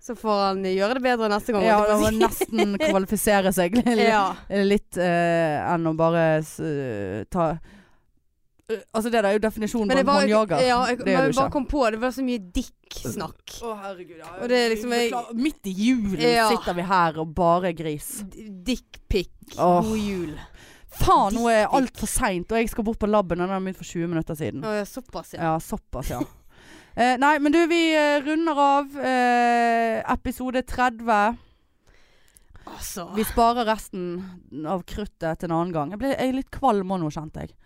[SPEAKER 1] Så får han gjøre det bedre neste gang.
[SPEAKER 2] Ja,
[SPEAKER 1] holdt
[SPEAKER 2] det
[SPEAKER 1] jeg på å
[SPEAKER 2] må
[SPEAKER 1] si.
[SPEAKER 2] nesten kvalifisere seg litt,
[SPEAKER 1] ja.
[SPEAKER 2] litt eh, enn å bare s- eh, ta Eh, Altså, det der er jo definisjonen
[SPEAKER 1] Men
[SPEAKER 2] på en
[SPEAKER 1] jeg bare,
[SPEAKER 2] håndjager.
[SPEAKER 1] ja, jeg,
[SPEAKER 2] det
[SPEAKER 1] men
[SPEAKER 2] er
[SPEAKER 1] jeg
[SPEAKER 2] du
[SPEAKER 1] bare
[SPEAKER 2] ikke.
[SPEAKER 1] kom på det var så mye dick-snakk.
[SPEAKER 2] Å, herregud. Ja,
[SPEAKER 1] Og det er liksom- jeg-
[SPEAKER 2] Klar- Midt i julen
[SPEAKER 1] Ja.
[SPEAKER 2] sitter vi her og bare gris.
[SPEAKER 1] Dickpic.
[SPEAKER 2] Åh.
[SPEAKER 1] God jul.
[SPEAKER 2] Faen, nå er altfor seint, og jeg skal bort på laben, og den har begynt for 20 minutter siden.
[SPEAKER 1] Å, ja, såpass, ja.
[SPEAKER 2] Ja, såpass, ja. Eh, nei, men du, vi eh, runder av eh, episode 30.
[SPEAKER 1] Altså.
[SPEAKER 2] Vi sparer resten av kruttet til en annen gang. Jeg, ble, jeg er litt kvalm òg nå, kjente jeg.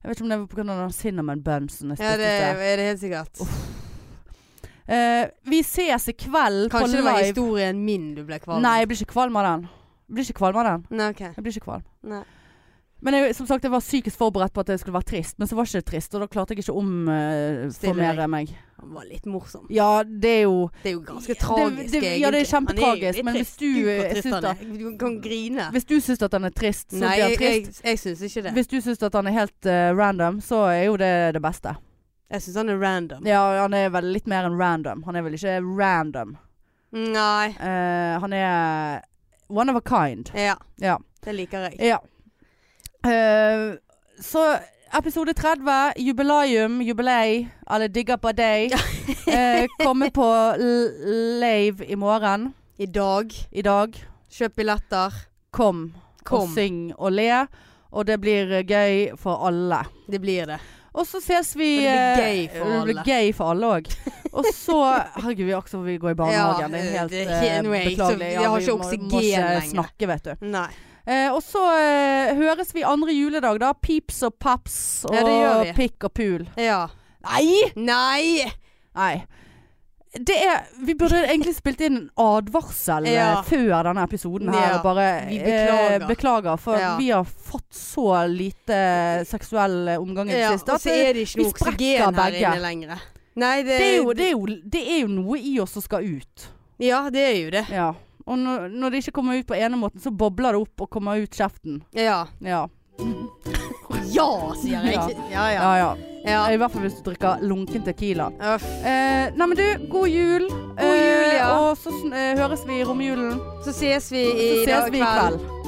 [SPEAKER 2] Jeg vet ikke om det var pga. den cinnamon bunsen jeg spiste.
[SPEAKER 1] Ja, det
[SPEAKER 2] i sted.
[SPEAKER 1] er det helt sikkert.
[SPEAKER 2] Eh, vi ses i kveld
[SPEAKER 1] Kanskje det
[SPEAKER 2] på
[SPEAKER 1] var
[SPEAKER 2] live.
[SPEAKER 1] historien min du ble kvalm
[SPEAKER 2] Nei, jeg blir ikke kvalm av den. Jeg blir ikke kvalm av den.
[SPEAKER 1] Nei, ok.
[SPEAKER 2] Jeg blir ikke kvalm.
[SPEAKER 1] Nei.
[SPEAKER 2] Men jeg, som sagt, jeg var psykisk forberedt på at det skulle være trist, men så var ikke det trist, og da klarte jeg ikke å
[SPEAKER 1] Stille deg.
[SPEAKER 2] omformere meg.
[SPEAKER 1] Han var litt morsom.
[SPEAKER 2] Ja, det er jo
[SPEAKER 1] Det er jo ganske
[SPEAKER 2] Ja,
[SPEAKER 1] tragisk,
[SPEAKER 2] det- det- ja, det er
[SPEAKER 1] egentlig. Han jo
[SPEAKER 2] kjempetragisk,
[SPEAKER 1] litt
[SPEAKER 2] men hvis
[SPEAKER 1] trist.
[SPEAKER 2] du,
[SPEAKER 1] Gud, hvor
[SPEAKER 2] eh,
[SPEAKER 1] trist
[SPEAKER 2] syns
[SPEAKER 1] han
[SPEAKER 2] da-
[SPEAKER 1] er. Du kan grine.
[SPEAKER 2] Hvis du syns at han er trist, så
[SPEAKER 1] Nei,
[SPEAKER 2] blir han
[SPEAKER 1] jeg, jeg,
[SPEAKER 2] trist.
[SPEAKER 1] jeg syns ikke det.
[SPEAKER 2] Hvis du syns at han er helt eh, random, så er jo det det beste.
[SPEAKER 1] Jeg syns han er random.
[SPEAKER 2] Ja, han er vel litt mer enn random. Han er vel ikke random.
[SPEAKER 1] Nei.
[SPEAKER 2] Eh, han er one of a kind.
[SPEAKER 1] Ja.
[SPEAKER 2] Ja.
[SPEAKER 1] Det liker jeg.
[SPEAKER 2] ja. Eh, så episode 30, jubileum, jubilei, eller digger på deg. Eh, kommer på l- lave i morgen.
[SPEAKER 1] I dag.
[SPEAKER 2] I dag.
[SPEAKER 1] Kjøp billetter.
[SPEAKER 2] Kom, og
[SPEAKER 1] Kom.
[SPEAKER 2] syng og le. Og det blir eh, gøy for alle.
[SPEAKER 1] Det blir det.
[SPEAKER 2] Og så ses vi
[SPEAKER 1] Og det blir
[SPEAKER 2] eh,
[SPEAKER 1] gøy for
[SPEAKER 2] Det blir
[SPEAKER 1] alle.
[SPEAKER 2] gøy for alle òg. Og så Herregud, vi akkurat vi går i barnehagen. det er
[SPEAKER 1] Ja,
[SPEAKER 2] helt
[SPEAKER 1] det er
[SPEAKER 2] eh,
[SPEAKER 1] helt- nå er jeg- så
[SPEAKER 2] beklagelig.
[SPEAKER 1] jeg har
[SPEAKER 2] vi
[SPEAKER 1] ikke
[SPEAKER 2] må-
[SPEAKER 1] oksygen
[SPEAKER 2] Må ikke
[SPEAKER 1] lenger.
[SPEAKER 2] snakke, vet du.
[SPEAKER 1] Nei.
[SPEAKER 2] Eh, og så eh, høres vi andre juledag, da. Pips og paps og
[SPEAKER 1] Ja, det gjør vi.
[SPEAKER 2] pikk og pul.
[SPEAKER 1] Ja.
[SPEAKER 2] Nei!
[SPEAKER 1] Nei!
[SPEAKER 2] Nei. Det er Vi burde egentlig spilt inn en advarsel eh,
[SPEAKER 1] Ja.
[SPEAKER 2] før denne episoden her.
[SPEAKER 1] Ja,
[SPEAKER 2] Og bare
[SPEAKER 1] vi beklager.
[SPEAKER 2] Eh, beklager for
[SPEAKER 1] Ja.
[SPEAKER 2] vi har fått så lite seksuell eh, omgang i det
[SPEAKER 1] Ja, og
[SPEAKER 2] siste. at
[SPEAKER 1] så er det ikke
[SPEAKER 2] vi
[SPEAKER 1] noe
[SPEAKER 2] sprekker
[SPEAKER 1] oksygen her
[SPEAKER 2] begge.
[SPEAKER 1] inne lenger. Nei, det,
[SPEAKER 2] det er, jo, det, er jo, det er jo noe i oss som skal ut.
[SPEAKER 1] Ja, det er jo det.
[SPEAKER 2] Ja. Og når, når det ikke kommer ut på ene måten, så bobler det opp og kommer ut kjeften.
[SPEAKER 1] Ja.
[SPEAKER 2] Ja.
[SPEAKER 1] Ja, sier jeg. Ja, ja.
[SPEAKER 2] ja, ja.
[SPEAKER 1] ja.
[SPEAKER 2] I hvert fall hvis du drikker lunken tequila.
[SPEAKER 1] Uff.
[SPEAKER 2] Eh, nei, men du, god jul.
[SPEAKER 1] God jul, ja.
[SPEAKER 2] og så sn- eh, høres vi i romjulen.
[SPEAKER 1] Så ses vi
[SPEAKER 2] Så
[SPEAKER 1] i
[SPEAKER 2] ses
[SPEAKER 1] dag
[SPEAKER 2] vi i kveld.